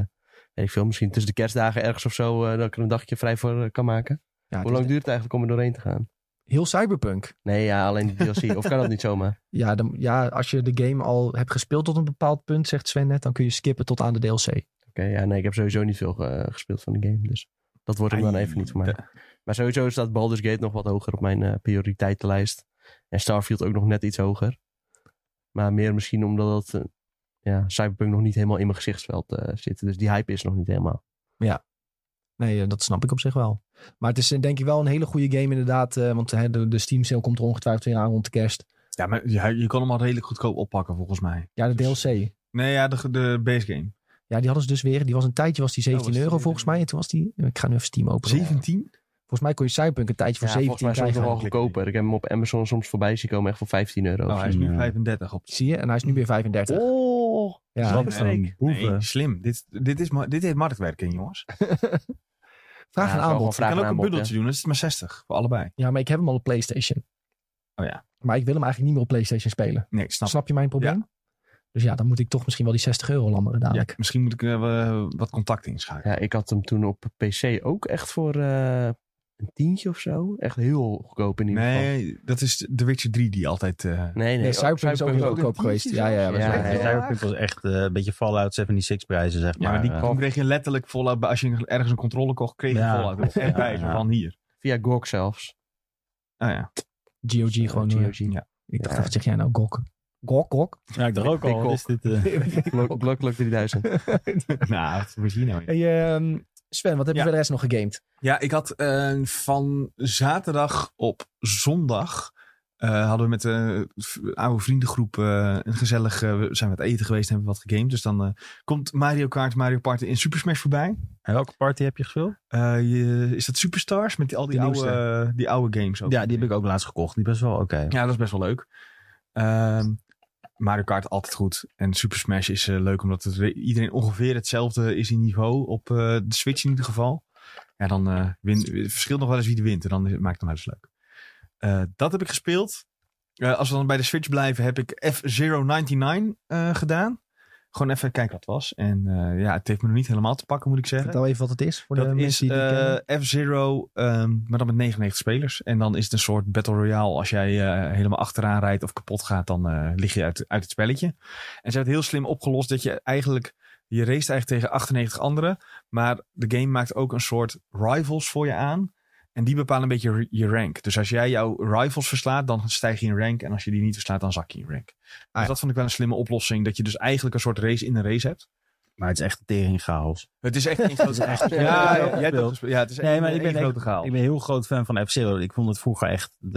Speaker 4: weet ik veel, misschien tussen de kerstdagen ergens of zo, eh, dat ik er een dagje vrij voor eh, kan maken.
Speaker 1: Ja, het
Speaker 4: Hoe
Speaker 1: is
Speaker 4: lang duurt het eigenlijk om er doorheen te gaan?
Speaker 1: Heel Cyberpunk.
Speaker 4: Nee, ja, alleen de DLC. of kan dat niet zomaar?
Speaker 1: Ja, dan, ja, als je de game al hebt gespeeld tot een bepaald punt, zegt Sven net, dan kun je skippen tot aan de DLC.
Speaker 4: Oké, ja, nee, ik heb sowieso niet veel eh, gespeeld van de game. Dus dat wordt hem dan even niet voor mij. Maar sowieso staat Baldur's Gate nog wat hoger op mijn eh, prioriteitenlijst. En Starfield ook nog net iets hoger. Maar meer misschien omdat dat, eh, ja, Cyberpunk nog niet helemaal in mijn gezichtsveld eh, zit. Dus die hype is nog niet helemaal.
Speaker 1: Nee, eh, dat snap ik op zich wel. Maar het is eh, denk ik wel een hele goede game inderdaad. eh, want hè, de, de Steam sale komt er ongetwijfeld weer aan rond de kerst.
Speaker 2: Ja, maar je, je kan hem al redelijk goedkoop oppakken volgens mij.
Speaker 1: Ja, de DLC.
Speaker 2: Nee, ja, de, de base game.
Speaker 1: Ja, die hadden ze dus weer. Die was een tijdje was die
Speaker 2: was
Speaker 1: 17
Speaker 2: die,
Speaker 1: euro
Speaker 2: eh,
Speaker 1: volgens mij. En toen was die, ik ga nu even Steam openen.
Speaker 2: 17?
Speaker 1: Volgens mij kon je Cyberpunk een tijdje voor
Speaker 4: ja,
Speaker 1: 17
Speaker 4: volgens mij soms nog
Speaker 1: krijgen.
Speaker 4: wel goedkoper. Ik heb hem op Amazon soms voorbij zien komen echt voor 15 euro.
Speaker 2: Oh,
Speaker 4: of
Speaker 2: hij
Speaker 4: zo.
Speaker 2: is nu
Speaker 3: Ja.
Speaker 2: 35 op
Speaker 1: Zie je? En hij is nu weer 35.
Speaker 4: oh,
Speaker 1: ja,
Speaker 4: zo.
Speaker 1: hè?
Speaker 4: Wat een
Speaker 2: Nee,
Speaker 3: boeven.
Speaker 2: nee, slim. Dit, dit, is, ma- dit heeft marktwerking, jongens. Je
Speaker 1: Vraag
Speaker 4: Ja,
Speaker 1: en
Speaker 4: het is wel gewoon
Speaker 1: aanbod.
Speaker 4: vraag
Speaker 2: kan
Speaker 4: en
Speaker 2: ook een
Speaker 4: aanbod,
Speaker 2: bundeltje doen. Dat is het maar 60 voor allebei.
Speaker 1: Ja, maar ik heb hem al op PlayStation.
Speaker 2: Oh ja.
Speaker 1: Maar ik wil hem eigenlijk niet meer op PlayStation spelen.
Speaker 2: Nee, ik snap.
Speaker 1: Snap je mijn probleem? Dus ja, dan moet ik toch misschien wel die 60 euro lammeren
Speaker 2: ja,
Speaker 1: dadelijk.
Speaker 2: misschien moet ik eh, wat contact inschakelen.
Speaker 4: Ja, ik had hem toen op PC ook echt voor eh, een tientje of zo. Echt heel goedkoop in ieder geval.
Speaker 2: nee, dat is The Witcher 3 die altijd... eh,
Speaker 4: Nee,
Speaker 1: Nee, Cyberpunk is ook heel goedkoop
Speaker 2: Een
Speaker 1: geweest.
Speaker 2: tientje
Speaker 1: Ja, ja, ja.
Speaker 2: zelfs.
Speaker 1: dat is
Speaker 4: Ja,
Speaker 1: wel-
Speaker 4: ja, ja.
Speaker 3: Cyberpunk was echt eh, een beetje Fallout 76 prijzen, zeg
Speaker 2: Ja,
Speaker 3: maar.
Speaker 2: maar die
Speaker 3: Eh,
Speaker 2: toen kreeg je letterlijk Fallout. Als je ergens een controle kocht, kreeg je
Speaker 3: Ja.
Speaker 2: Fallout. er Echt
Speaker 3: Ja,
Speaker 2: bij, zo
Speaker 3: ja.
Speaker 2: van hier.
Speaker 4: Via GOG zelfs.
Speaker 2: Oh ja.
Speaker 1: GOG gewoon.
Speaker 4: Eh,
Speaker 1: eh,
Speaker 4: GOG.
Speaker 1: Ik dacht
Speaker 4: Ja.
Speaker 1: even, zeg jij nou gok? Gok, gok.
Speaker 3: ja, ik dacht ook al.
Speaker 4: Ik
Speaker 3: wat Is dit, eh,
Speaker 4: Glok, Glok,
Speaker 1: [LAUGHS]
Speaker 4: Glok
Speaker 2: [LAUGHS]
Speaker 4: 3000.
Speaker 2: nou, wat moet je hier nou
Speaker 1: [LAUGHS]
Speaker 2: in?
Speaker 1: Hey, ehm, Sven, wat heb je
Speaker 2: Ja.
Speaker 1: voor de rest nog gegamed?
Speaker 2: Ja, ik had eh, van zaterdag op zondag. eh, hadden we met de oude vriendengroep eh, een gezellig. eh, we zijn met eten geweest en hebben wat gegamed. Dus dan eh, komt Mario Kart, Mario Party in Super Smash voorbij.
Speaker 3: en welke party heb je gespeeld?
Speaker 2: Eh, je- is dat Superstars met die, al die,
Speaker 1: De
Speaker 2: oude,
Speaker 1: nieuwste.
Speaker 2: eh, die oude games ook?
Speaker 3: Ja, die heb ik ook laatst gekocht. Die best wel oké.
Speaker 2: Ja, dat is best wel leuk. Ehm, Mario Kart altijd goed. En Super Smash is eh, leuk omdat het, weer- iedereen ongeveer hetzelfde is in niveau. Op eh, de Switch in ieder geval. Ja, dan eh win, het verschilt nog wel eens wie de wint. En dan is, het- maakt het maar eens leuk. Eh, dat heb ik gespeeld. Eh, als we dan bij de Switch blijven, heb ik F099 eh gedaan. Gewoon even kijken wat het was. En eh, ja, het heeft me nog niet helemaal te pakken, moet ik zeggen.
Speaker 1: Vertel even wat het is voor de
Speaker 2: Dat is
Speaker 1: mensen die het kennen.
Speaker 2: eh, F-Zero, ehm, maar dan met 99 spelers. En dan is het een soort Battle Royale. Als jij eh, helemaal achteraan rijdt of kapot gaat, dan eh, lig je uit, uit het spelletje. En ze hebben het heel slim opgelost dat je eigenlijk... Je race eigenlijk tegen 98 anderen. Maar de game maakt ook een soort rivals voor je aan. En die bepalen een beetje r- je rank. Dus als jij jouw rivals verslaat, dan stijg je in rank. En als je die niet verslaat, dan zak je in rank.
Speaker 1: Ah,
Speaker 2: Dus dat vond ik wel een slimme oplossing. Dat je dus eigenlijk een soort race in een race hebt.
Speaker 3: Maar het is echt tering chaos.
Speaker 2: Het is echt [LAUGHS] een grote
Speaker 3: echt-
Speaker 2: Ja,
Speaker 3: Ja,
Speaker 2: jij hebt dat gespeeld. Ja, het is echt
Speaker 3: Nee, maar ik ben
Speaker 2: een
Speaker 3: echt-
Speaker 2: grote chaal.
Speaker 3: Ik ben een heel groot fan van F-Zero. Ik vond het vroeger echt de,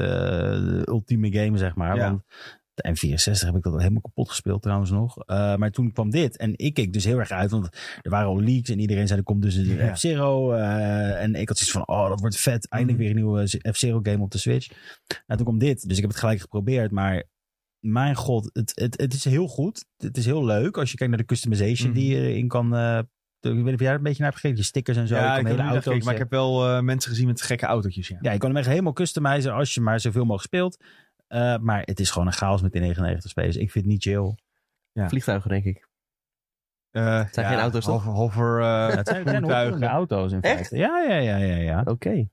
Speaker 3: de ultieme game, zeg maar.
Speaker 2: Ja.
Speaker 3: Want de N64 heb ik dat al helemaal kapot gespeeld trouwens nog. Eh, maar toen kwam dit. En ik keek dus heel erg uit. Want er waren al leaks. En iedereen zei, er komt dus een
Speaker 2: Ja. Mhm.
Speaker 3: F-Zero. eh, en ik had zoiets van, oh, dat wordt vet. Eindelijk weer een nieuwe Z- F-Zero game op de Switch. En toen kwam dit. Dus ik heb het gelijk geprobeerd. Maar mijn god, het, het, het is heel goed. Het is heel leuk. Als je kijkt naar de customization
Speaker 2: Mhm.
Speaker 3: die je erin kan... eh, ik weet niet of jij er een beetje naar hebt gekeken. Je stickers en zo. je
Speaker 2: ja,
Speaker 3: kan
Speaker 2: ik heb
Speaker 3: hele
Speaker 2: er niet naar gekeken,
Speaker 3: auto's,
Speaker 2: maar
Speaker 3: eh,
Speaker 2: ik heb wel eh, mensen gezien met gekke autootjes. Ja.
Speaker 3: ja, je kan hem echt helemaal customizen als je maar zoveel mogelijk speelt. Eh, maar het is gewoon een chaos met die 99 spelers. Ik vind het niet chill.
Speaker 4: Vliegtuigen, denk ik.
Speaker 2: Eh,
Speaker 4: zijn geen auto's, toch?
Speaker 2: Hover, hover, eh, [LAUGHS]
Speaker 3: Het zijn, het zijn
Speaker 2: Voertuigen.
Speaker 3: honderden auto's in
Speaker 4: Echt?
Speaker 3: feite. Ja, ja, ja, ja, ja.
Speaker 4: Oké.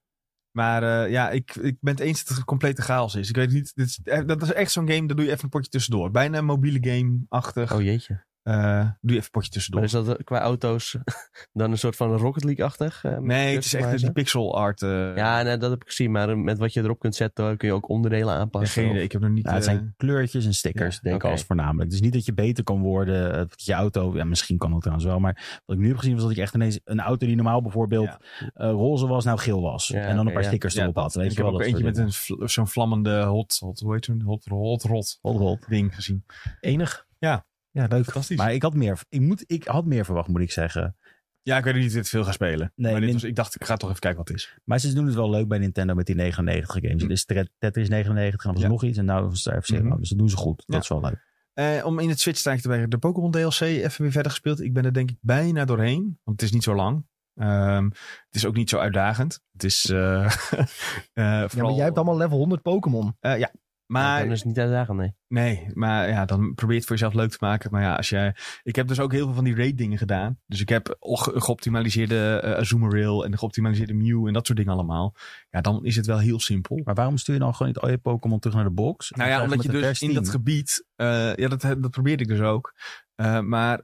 Speaker 2: maar eh, ja, ik, ik ben het eens dat het een complete chaos is. Ik weet niet, dit is, eh, dat is echt zo'n game, daar doe je even een potje tussendoor. Bijna een mobiele game-achtig.
Speaker 4: Oh jeetje.
Speaker 2: Eh, doe je even een potje tussendoor.
Speaker 4: Maar is dat eh, qua auto's [LAUGHS] dan een soort van Rocket League-achtig? eh, met
Speaker 2: nee, het is echt die
Speaker 4: customizen?
Speaker 2: pixel art. eh,
Speaker 4: Ja, nee, dat heb ik gezien. Maar eh, met wat je erop kunt zetten eh, kun je ook onderdelen
Speaker 2: ja,
Speaker 4: aanpassen.
Speaker 2: geen idee. Ik heb nog niet...
Speaker 3: Nou, het
Speaker 2: eh,
Speaker 3: zijn kleurtjes en stickers,
Speaker 2: ja,
Speaker 3: denk ik
Speaker 4: oké.
Speaker 3: als voornamelijk. Dus niet dat je beter kan worden, eh, dat je auto, ja, misschien kan dat trouwens wel, maar wat ik nu heb gezien was dat ik echt ineens een auto die normaal bijvoorbeeld
Speaker 2: Ja.
Speaker 3: eh, roze was, nou geel was.
Speaker 4: Ja,
Speaker 3: en dan
Speaker 4: oké,
Speaker 3: een paar
Speaker 4: ja.
Speaker 3: stickers
Speaker 2: ja,
Speaker 3: erop
Speaker 2: dat-
Speaker 3: had. Weet
Speaker 2: ik
Speaker 3: je
Speaker 2: heb
Speaker 3: wel,
Speaker 2: ook
Speaker 3: dat
Speaker 2: eentje
Speaker 3: soort
Speaker 2: met een, vl- zo'n vlammende hot, hot, hoe heet zo'n hot, hot, hot,
Speaker 3: dingen. Hot, hot.
Speaker 2: ding gezien.
Speaker 1: Enig.
Speaker 2: Ja.
Speaker 1: Ja, leuk.
Speaker 2: Fantastisch.
Speaker 3: Maar ik had, meer, ik, moet, ik had meer verwacht, moet ik zeggen.
Speaker 2: ja, ik weet niet of dit veel gaat spelen.
Speaker 3: Nee,
Speaker 2: maar dit
Speaker 3: min-
Speaker 2: was, ik dacht, ik ga toch even kijken wat het is.
Speaker 3: Maar ze doen het wel leuk bij Nintendo met die 99 games.
Speaker 2: Hm.
Speaker 3: Het is Tet- Tetris 99 en dan was er
Speaker 2: Ja.
Speaker 3: nog iets en nou was het RFC.
Speaker 2: Mhm.
Speaker 3: Dus dat doen ze goed.
Speaker 2: Ja.
Speaker 3: Dat is wel leuk.
Speaker 2: Eh, om in het Switch te bij de Pokémon DLC even weer verder gespeeld. Ik ben er denk ik bijna doorheen. Want het is niet zo lang. Ehm, het is ook niet zo uitdagend. Het is... eh, [LAUGHS] eh,
Speaker 1: Ja, maar
Speaker 2: vooral-
Speaker 1: jij hebt allemaal level 100 Pokémon.
Speaker 2: Eh, ja,
Speaker 4: Maar...
Speaker 2: maar
Speaker 4: Dan is het niet uitdagend, nee.
Speaker 2: Nee, maar ja, dan probeer je het voor jezelf leuk te maken. Maar ja, als jij... Ik heb dus ook heel veel van die raid dingen gedaan. Dus ik heb o- ge- geoptimaliseerde eh, Azumarill en de geoptimaliseerde Mew en dat soort dingen allemaal. Ja, dan is het wel heel simpel.
Speaker 3: Maar waarom stuur je dan gewoon niet al je Pokémon terug naar de box?
Speaker 2: Nou ja,
Speaker 3: Of
Speaker 2: omdat
Speaker 3: met
Speaker 2: je
Speaker 3: een
Speaker 2: dus
Speaker 3: vers
Speaker 2: in
Speaker 3: team?
Speaker 2: dat gebied... eh, ja, dat, dat probeerde ik dus ook. Eh, maar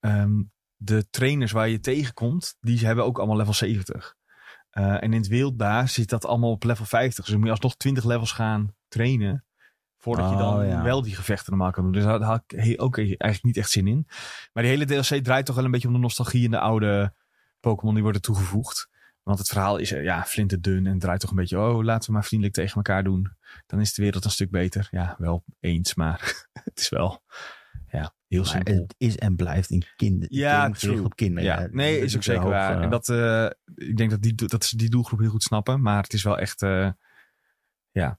Speaker 2: ehm, de trainers waar je tegenkomt, die hebben ook allemaal level 70. Eh, en in het wild daar zit dat allemaal op level 50. Dus dan moet je alsnog 20 levels gaan trainen. Voordat je dan
Speaker 3: Oh, ja.
Speaker 2: wel die gevechten normaal kan doen. Dus daar had ik he- ook e- eigenlijk niet echt zin in. Maar die hele DLC draait toch wel een beetje om de nostalgie en de oude Pokémon die worden toegevoegd. Want het verhaal is eh, ja, flinterdun en draait toch een beetje... Oh, laten we maar vriendelijk tegen elkaar doen. Dan is de wereld een stuk beter. Ja, wel eens, maar [LAUGHS] het is wel ja, heel
Speaker 3: Maar
Speaker 2: simpel.
Speaker 3: het is en blijft een kinder.
Speaker 2: Ja,
Speaker 3: game gericht
Speaker 2: true.
Speaker 3: op kinderen.
Speaker 2: Ja, nee,
Speaker 3: Dat
Speaker 2: is ook
Speaker 3: de
Speaker 2: zeker
Speaker 3: hoofd,
Speaker 2: waar.
Speaker 3: eh,
Speaker 2: En dat, eh, ik denk dat, die, do- dat ze die doelgroep heel goed snappen. Maar het is wel echt, eh, ja,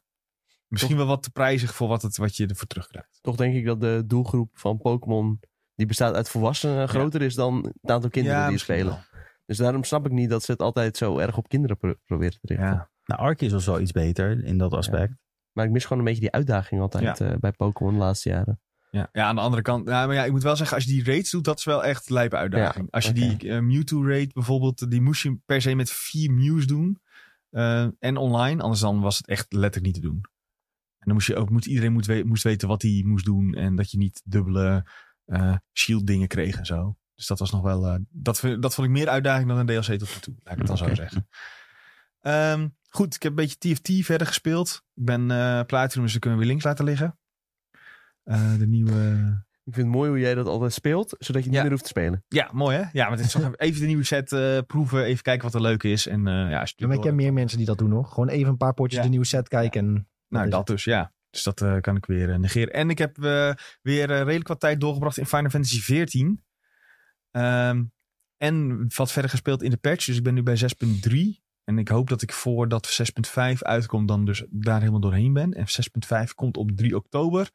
Speaker 2: misschien wel wat te prijzig voor wat, het, wat je ervoor terugkrijgt.
Speaker 4: Toch denk ik dat de doelgroep van Pokémon, die bestaat uit volwassenen, groter is dan het aantal kinderen
Speaker 2: ja,
Speaker 4: die het
Speaker 2: misschien
Speaker 4: spelen. Dus daarom snap ik niet dat ze het altijd zo erg op kinderen pro- proberen te
Speaker 2: wel.
Speaker 4: richten.
Speaker 2: Ja.
Speaker 3: Nou, Arceus was wel iets beter in dat aspect.
Speaker 4: Maar ik mis gewoon een beetje die uitdaging altijd eh, bij Pokémon de laatste jaren.
Speaker 2: Ja. ja, aan de andere kant. Nou, maar ja, ik moet wel zeggen, als je die raids doet, dat is wel echt lijpe uitdaging. als je die eh, Mewtwo raid bijvoorbeeld, die moest je per se met vier Mews doen. eh, en online, anders dan was het echt letterlijk niet te doen. En dan moest je ook, moet, iedereen moet we- moest weten wat hij moest doen. En dat je niet dubbele eh, shield dingen kreeg en zo. Dus dat was nog wel, eh, dat, vind- dat vond ik meer uitdaging dan een DLC tot nu toe. Laat ik het dan
Speaker 4: Oké.
Speaker 2: zo zeggen. Ehm, goed, ik heb een beetje TFT verder gespeeld. Ik ben eh Platinum, dus we kunnen weer links laten liggen. Eh, de nieuwe...
Speaker 4: Ik vind het mooi hoe jij dat altijd speelt, zodat je niet
Speaker 2: Ja.
Speaker 4: meer hoeft te spelen.
Speaker 2: Ja, mooi hè? Ja, maar dit is
Speaker 1: [LAUGHS]
Speaker 2: toch even de nieuwe set eh, proeven. Even kijken wat er leuk is. En eh, ja, als je
Speaker 1: Ja, maar ik ken meer mensen die dat doen, hoor. Gewoon even een paar potjes
Speaker 2: Ja.
Speaker 1: de nieuwe set kijken. En...
Speaker 2: Nou,
Speaker 1: is
Speaker 2: dat dus, ja. Dus dat eh, kan ik weer eh, negeren. En ik heb eh, weer eh, redelijk wat tijd doorgebracht in Final Fantasy XIV. Ehm, en wat verder gespeeld in de patch. Dus ik ben nu bij 6.3. En ik hoop dat ik voordat 6.5 uitkomt, dan dus daar helemaal doorheen ben. En 6.5 komt op 3 oktober.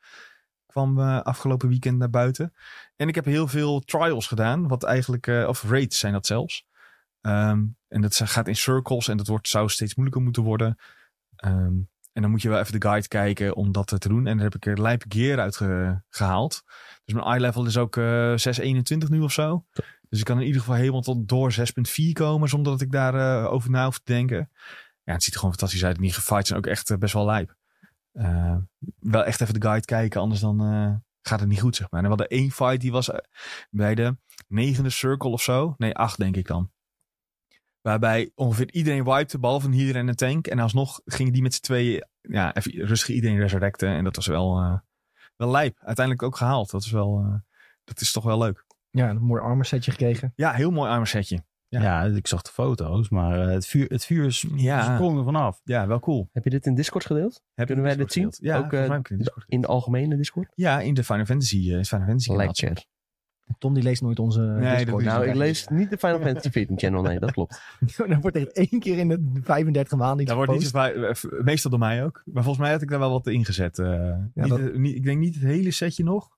Speaker 2: Kwam eh, afgelopen weekend naar buiten. En ik heb heel veel trials gedaan. Wat eigenlijk, eh, of raids zijn dat zelfs. Ehm, en dat gaat in circles en dat wordt, zou steeds moeilijker moeten worden. Ehm, en dan moet je wel even de guide kijken om dat eh, te doen. En daar heb ik er lijp gear uit ge- gehaald. Dus mijn eye level is ook eh 621 nu of zo. Dus ik kan in ieder geval helemaal tot door 6.4 komen. Zonder dat ik daar eh, over na hoef te denken. Ja, het ziet er gewoon fantastisch uit. En die fights zijn ook echt eh, best wel lijp. Eh, wel echt even de guide kijken. Anders dan eh, gaat het niet goed, zeg maar. En we hadden één fight die was eh, bij de negende circle of zo. Nee, acht denk ik dan. Waarbij ongeveer iedereen wipte, behalve een healer en een tank. En alsnog gingen die met z'n tweeën ja, even rustig iedereen resurrecten. En dat was wel, eh, wel lijp. Uiteindelijk ook gehaald. Dat is wel... eh, dat is toch wel leuk.
Speaker 1: Ja, een mooi armor setje gekregen.
Speaker 2: Ja, heel mooi armor setje. Ja.
Speaker 3: Ja. ik zag de foto's, maar eh, het vuur, het vuur s-
Speaker 2: Ja,
Speaker 3: sprong er vanaf.
Speaker 2: Dus ja wel cool.
Speaker 4: Heb je dit in Discord gedeeld?
Speaker 2: Heb
Speaker 4: Kunnen
Speaker 2: je
Speaker 4: wij dit zien?
Speaker 2: Discord gedeeld? Ja,
Speaker 4: Ook,
Speaker 2: volgens
Speaker 4: eh,
Speaker 2: mij heb ik het in Discord
Speaker 4: In de algemene Discord?
Speaker 2: gedeeld. Ja, in de Final Fantasy. eh, in het Final Fantasy kanaal.
Speaker 4: Lekker.
Speaker 1: Tom die leest nooit onze
Speaker 2: dat
Speaker 1: Discord.
Speaker 2: doe je
Speaker 4: Nou,
Speaker 2: Ja,
Speaker 4: ik lees niet de Final Fantasy 14 channel, nee, dat klopt.
Speaker 1: [LAUGHS] Dan wordt echt één keer in de 35 maanden iets
Speaker 2: Daar wordt niet
Speaker 1: gepost.
Speaker 2: zo vaak- eh, meestal door mij ook. Maar volgens mij had ik daar wel wat in gezet. eh. niet,
Speaker 1: dat-
Speaker 2: eh, niet- ik denk niet het hele setje nog.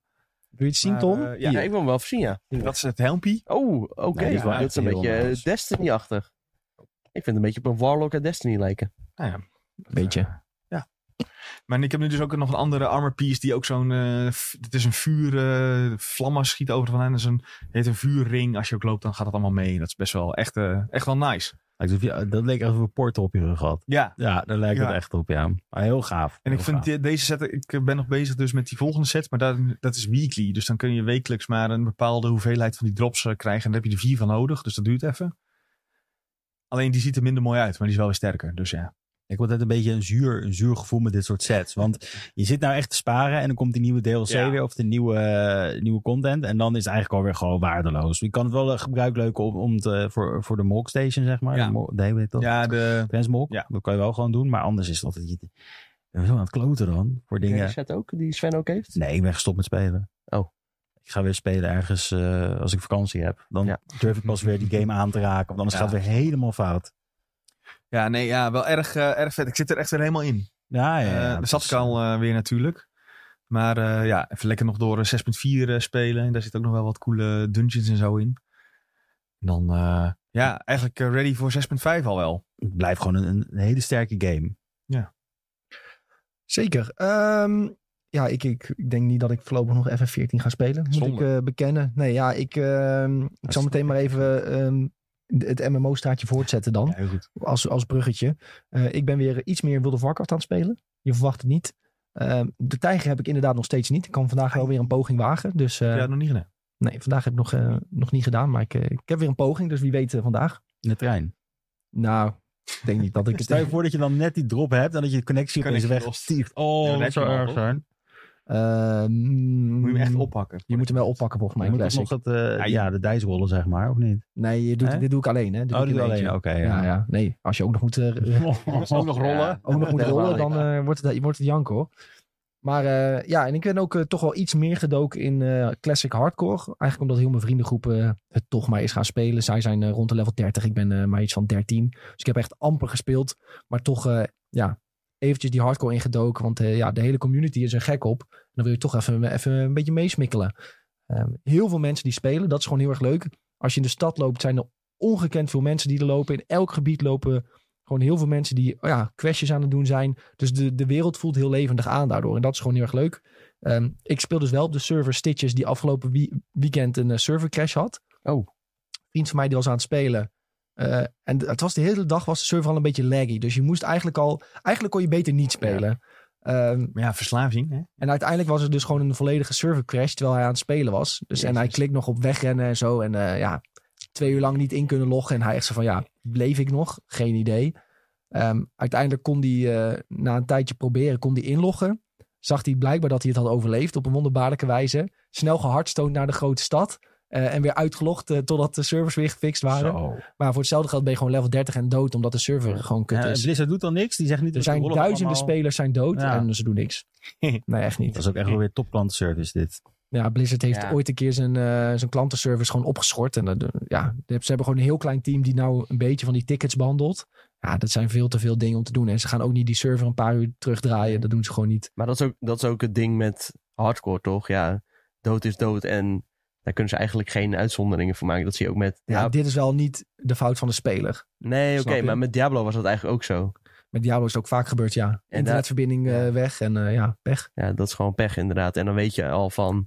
Speaker 1: Wil je het zien,
Speaker 2: Maar,
Speaker 1: Tom?
Speaker 2: eh,
Speaker 4: Ja,
Speaker 2: ja,
Speaker 4: ik wil hem wel even zien, ja.
Speaker 2: dat is het helmpie.
Speaker 4: Oh, oké.
Speaker 3: Nee,
Speaker 2: die is wel
Speaker 4: dat
Speaker 3: echt
Speaker 4: is een
Speaker 3: heel
Speaker 4: beetje eh,
Speaker 3: anders.
Speaker 4: Destiny-achtig. Ik vind het een beetje op een Warlock uit Destiny lijken.
Speaker 2: Nou ja,
Speaker 1: Beetje.
Speaker 2: eh, ja, Maar ik heb nu dus ook nog een andere armor piece die ook zo'n... eh, v- het is een vuur... eh, vlammen schiet over van hen. Dat is een, het heet een vuurring. Als je ook loopt, dan gaat dat allemaal mee. Dat is best wel echt, eh, echt wel nice.
Speaker 3: Alsof je- Dat leek alsof je een portal op je rug had.
Speaker 2: Ja.
Speaker 3: Ja, daar lijkt
Speaker 2: Ja.
Speaker 3: het echt op, ja. Maar heel gaaf.
Speaker 2: En ik
Speaker 3: Heel
Speaker 2: vind
Speaker 3: gaaf.
Speaker 2: de- deze set... Ik ben nog bezig dus met die volgende set. Maar daar, dat is weekly. Dus dan kun je wekelijks maar een bepaalde hoeveelheid van die drops eh, krijgen. En daar heb je er vier van nodig. Dus dat duurt even. Alleen die ziet er minder mooi uit. Maar die is wel weer sterker. Dus ja.
Speaker 3: Ik word altijd een beetje een zuur, een zuur gevoel met dit soort sets. Want je zit nou echt te sparen en dan komt die nieuwe DLC
Speaker 2: Ja.
Speaker 3: weer of de nieuwe, eh, nieuwe content. En dan is het eigenlijk alweer gewoon waardeloos. Je kan het wel eh, gebruik leuken om, om te, voor, voor de Mog Station, zeg maar.
Speaker 2: Ja.
Speaker 3: De, Mol- nee, hoe heet dat?
Speaker 2: Ja, de...
Speaker 3: Transmog.
Speaker 2: Ja.
Speaker 3: Dat kan je wel gewoon doen. Maar anders is het altijd... Je, je bent zo aan het kloten dan voor
Speaker 4: Ken je
Speaker 3: dingen.
Speaker 4: Die set ook, die Sven ook heeft.
Speaker 3: Nee, ik ben gestopt met spelen.
Speaker 4: Oh.
Speaker 3: Ik ga weer spelen ergens eh, als ik vakantie heb. Dan
Speaker 4: Ja.
Speaker 3: durf ik pas weer die game aan te raken. Want anders
Speaker 2: Ja.
Speaker 3: gaat het weer helemaal fout.
Speaker 2: Ja, nee, ja, wel erg, eh, erg vet. Ik zit er echt weer helemaal in.
Speaker 3: Ja, ja,
Speaker 2: Eh,
Speaker 3: ja.
Speaker 2: daar
Speaker 3: dat
Speaker 2: zat
Speaker 3: is-
Speaker 2: ik al eh, weer natuurlijk. Maar eh, ja, even lekker nog door eh, 6.4 eh, spelen. En daar zitten ook nog wel wat coole dungeons en zo in. En dan, eh, ja, eigenlijk eh, ready voor 6.5 al wel.
Speaker 3: Het blijft gewoon een, een hele sterke game.
Speaker 1: Zeker. Ehm, ja, ik, ik, ik denk niet dat ik voorlopig nog FF14 ga spelen. Moet
Speaker 2: Zonde.
Speaker 1: ik eh, bekennen. Nee, ja, ik, ehm, ik zal
Speaker 3: snap
Speaker 1: meteen
Speaker 3: ik.
Speaker 1: maar even ehm, de- het MMO-staartje voortzetten dan.
Speaker 2: Ja, heel goed.
Speaker 1: Als, als bruggetje. Eh, ik ben weer iets meer World of Warcraft aan het spelen. Je verwacht het niet. Ehm, de tijger heb ik inderdaad nog steeds niet. Ik kan vandaag wel weer een poging wagen. Dus eh,
Speaker 2: ja, nog niet gedaan.
Speaker 1: nee, vandaag heb ik nog, eh, nog niet gedaan. Maar ik, eh, ik heb weer een poging. Dus wie weet eh, vandaag.
Speaker 3: In de trein.
Speaker 1: Nou, ik denk niet dat ik het... [LAUGHS]
Speaker 3: [LAUGHS] Stel je voor dat je dan net die drop hebt en dat je de connectie op deze
Speaker 2: Connectie
Speaker 3: weg
Speaker 2: lost.
Speaker 3: stieft. Oh,
Speaker 2: Ja, dat
Speaker 3: dat
Speaker 2: heb je
Speaker 3: zou
Speaker 2: wel,
Speaker 3: erg
Speaker 2: toch?
Speaker 3: zijn.
Speaker 1: Ehm,
Speaker 2: Moet je hem echt oppakken.
Speaker 1: Je moet hem wel oppakken volgens mij.
Speaker 3: Maar je moet ook
Speaker 1: Classic.
Speaker 3: nog het, eh, ja, de dijsrollen, zeg maar, of niet?
Speaker 1: Nee, je doet,
Speaker 3: Hè?
Speaker 1: dit doe ik alleen, hè? Dit
Speaker 3: Oh,
Speaker 1: doe
Speaker 3: die
Speaker 1: ik in
Speaker 3: wel alleen.
Speaker 1: eentje.
Speaker 3: Oké,
Speaker 1: Ja,
Speaker 3: ja.
Speaker 1: [LAUGHS] ja. Nee, als je ook nog moet, eh,
Speaker 3: Ook nog rollen.
Speaker 1: ook nog moet
Speaker 3: Ja,
Speaker 1: rollen,
Speaker 3: wel,
Speaker 1: dan eh, wordt, het, wordt het janken, hoor. Maar eh, ja, en ik ben ook eh, toch wel iets meer gedoken in eh, classic hardcore. Eigenlijk omdat heel mijn vriendengroep eh, het toch maar is gaan spelen. Zij zijn eh, rond de level 30, ik ben eh, maar iets van 13. Dus ik heb echt amper gespeeld. Maar toch, eh, ja, eventjes die hardcore ingedoken. Want eh, ja, de hele community is er gek op. En dan wil je toch even, even een beetje meesmikkelen. Ehm, heel veel mensen die spelen, dat is gewoon heel erg leuk. Als je in de stad loopt, zijn er ongekend veel mensen die er lopen. In elk gebied lopen gewoon heel veel mensen die oh ja, questjes aan het doen zijn. Dus de, de wereld voelt heel levendig aan daardoor. En dat is gewoon heel erg leuk. Ehm, ik speel dus wel op de server Stitches die afgelopen wie- weekend een eh, server servercrash had.
Speaker 4: Oh.
Speaker 1: Vriend van mij die was aan het spelen. Eh, en d- het was de hele dag was de server al een beetje laggy. Dus je moest eigenlijk al... Eigenlijk kon je beter niet spelen. Ehm,
Speaker 2: Maar ja, verslaving. Hè?
Speaker 1: en uiteindelijk was het dus gewoon een volledige server crash terwijl hij aan het spelen was. Dus, en hij klikt nog op wegrennen en zo. En eh, ja, twee uur lang niet in kunnen loggen. En hij echt zo van, ja, bleef ik nog? Geen idee. Ehm, uiteindelijk kon hij eh, na een tijdje proberen, kon hij inloggen. Zag hij blijkbaar dat hij het had overleefd op een wonderbaarlijke wijze. Snel gehardstoond naar de grote stad. eh, en weer uitgelogd eh, totdat de servers weer gefixt waren.
Speaker 3: Zo.
Speaker 1: Maar voor hetzelfde geld ben je gewoon level 30 en dood. Omdat de server gewoon kut
Speaker 3: Ja,
Speaker 1: is.
Speaker 3: Eh, Blizzard doet dan niks. Die zegt
Speaker 1: er
Speaker 3: niet dat die
Speaker 1: zijn
Speaker 3: rollen
Speaker 1: duizenden
Speaker 3: allemaal-
Speaker 1: spelers zijn dood
Speaker 3: Ja.
Speaker 1: en ze doen
Speaker 3: [LAUGHS]
Speaker 1: niks. Nee, echt niet.
Speaker 3: Dat is ook echt wel weer topklantenservice dit.
Speaker 1: Ja, Blizzard heeft
Speaker 4: Ja.
Speaker 1: ooit een keer zijn, eh, zijn klantenservice gewoon opgeschort. En dat, eh, ja, ze hebben gewoon een heel klein team die nou een beetje van die tickets behandelt. Ja, dat zijn veel te veel dingen om te doen. En ze gaan ook niet die server een paar uur terugdraaien. Dat doen ze gewoon niet.
Speaker 4: Maar dat is, ook, dat is ook het ding met hardcore, toch? Ja, dood is dood en daar kunnen ze eigenlijk geen uitzonderingen voor maken. Dat zie je ook met...
Speaker 1: Ja,
Speaker 4: Diab-
Speaker 1: dit is wel niet de fout van de speler.
Speaker 4: nee, oké,
Speaker 1: snap je?
Speaker 4: maar met Diablo was dat eigenlijk ook zo.
Speaker 1: Met Diablo is het ook vaak gebeurd, ja. Internetverbinding eh, weg en eh, ja, pech.
Speaker 4: Ja, dat is gewoon pech inderdaad. En dan weet je al van...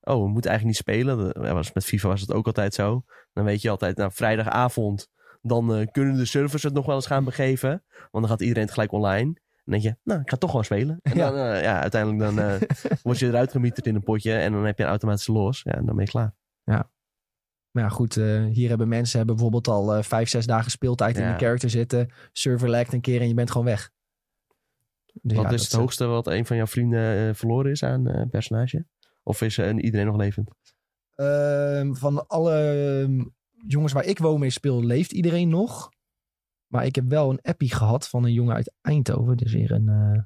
Speaker 4: Oh, we moeten eigenlijk niet spelen. Dat- ja, was- Met FIFA was het ook altijd zo. Dan weet je altijd, nou, vrijdagavond... dan eh, kunnen de servers het nog wel eens gaan begeven. Want dan gaat iedereen tegelijk online. En dan denk je, nou, ik ga toch gewoon spelen. En
Speaker 1: Ja.
Speaker 4: dan, eh, ja, uiteindelijk dan
Speaker 1: [LAUGHS]
Speaker 4: eh, word je eruit gemieterd in een potje... en dan heb je een automatische los. Ja, en dan ben je klaar.
Speaker 1: Maar ja, goed, eh, hier hebben mensen hebben bijvoorbeeld al eh, vijf, zes dagen speeltijd in
Speaker 4: Ja.
Speaker 1: een character zitten. Server lagt een keer en je bent gewoon weg. Dus
Speaker 4: wat
Speaker 1: ja,
Speaker 4: is
Speaker 1: dat,
Speaker 4: het hoogste wat een van jouw vrienden eh, verloren is aan eh, personage? Of is eh, iedereen nog levend?
Speaker 1: Ehm, van alle ehm, jongens waar ik woon mee speel, leeft iedereen nog. Maar ik heb wel een appie gehad van een jongen uit Eindhoven. Dus weer een. eh,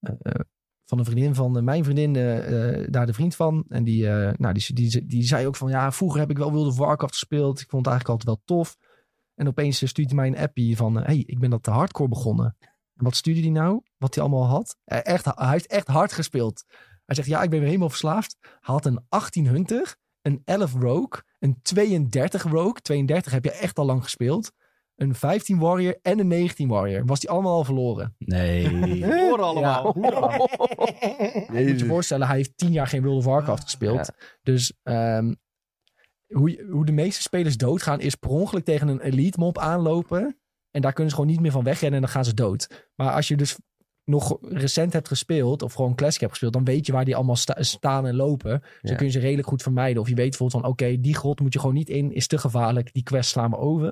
Speaker 1: eh, eh, van een vriendin van eh, mijn vriendin, eh, eh, daar de vriend van. En die, eh, nou, die, die, die zei ook van ja, vroeger heb ik wel World of Warcraft gespeeld. Ik vond het eigenlijk altijd wel tof. En opeens eh, stuurt hij mij een appie van eh, hey, ik ben dat de hardcore begonnen. En wat stuurde hij nou? Wat hij allemaal had? Eh, echt, hij heeft echt hard gespeeld. Hij zegt ja, ik ben weer helemaal verslaafd. Hij had een 18 hunter, een 11 rogue, een 32 rogue. 32 heb je echt al lang gespeeld. een 15 Warrior en een 19 Warrior. Was die allemaal al verloren. [LAUGHS]
Speaker 3: Nee.
Speaker 4: Hoor allemaal. [LAUGHS]
Speaker 1: Moet je je voorstellen, hij heeft 10 jaar geen World of Warcraft gespeeld. Dus ehm, hoe, je- hoe de meeste spelers doodgaan is per ongeluk tegen een elite mob aanlopen. En daar kunnen ze gewoon niet meer van wegrennen en dan gaan ze dood. Maar als je dus nog recent hebt gespeeld of gewoon Classic hebt gespeeld, dan weet je waar die allemaal sta- staan en lopen. Dus
Speaker 4: Ja.
Speaker 1: dan kun je ze redelijk goed vermijden. Of je weet bijvoorbeeld van, oké, die grot moet je gewoon niet in, is te gevaarlijk, die quest slaan we over.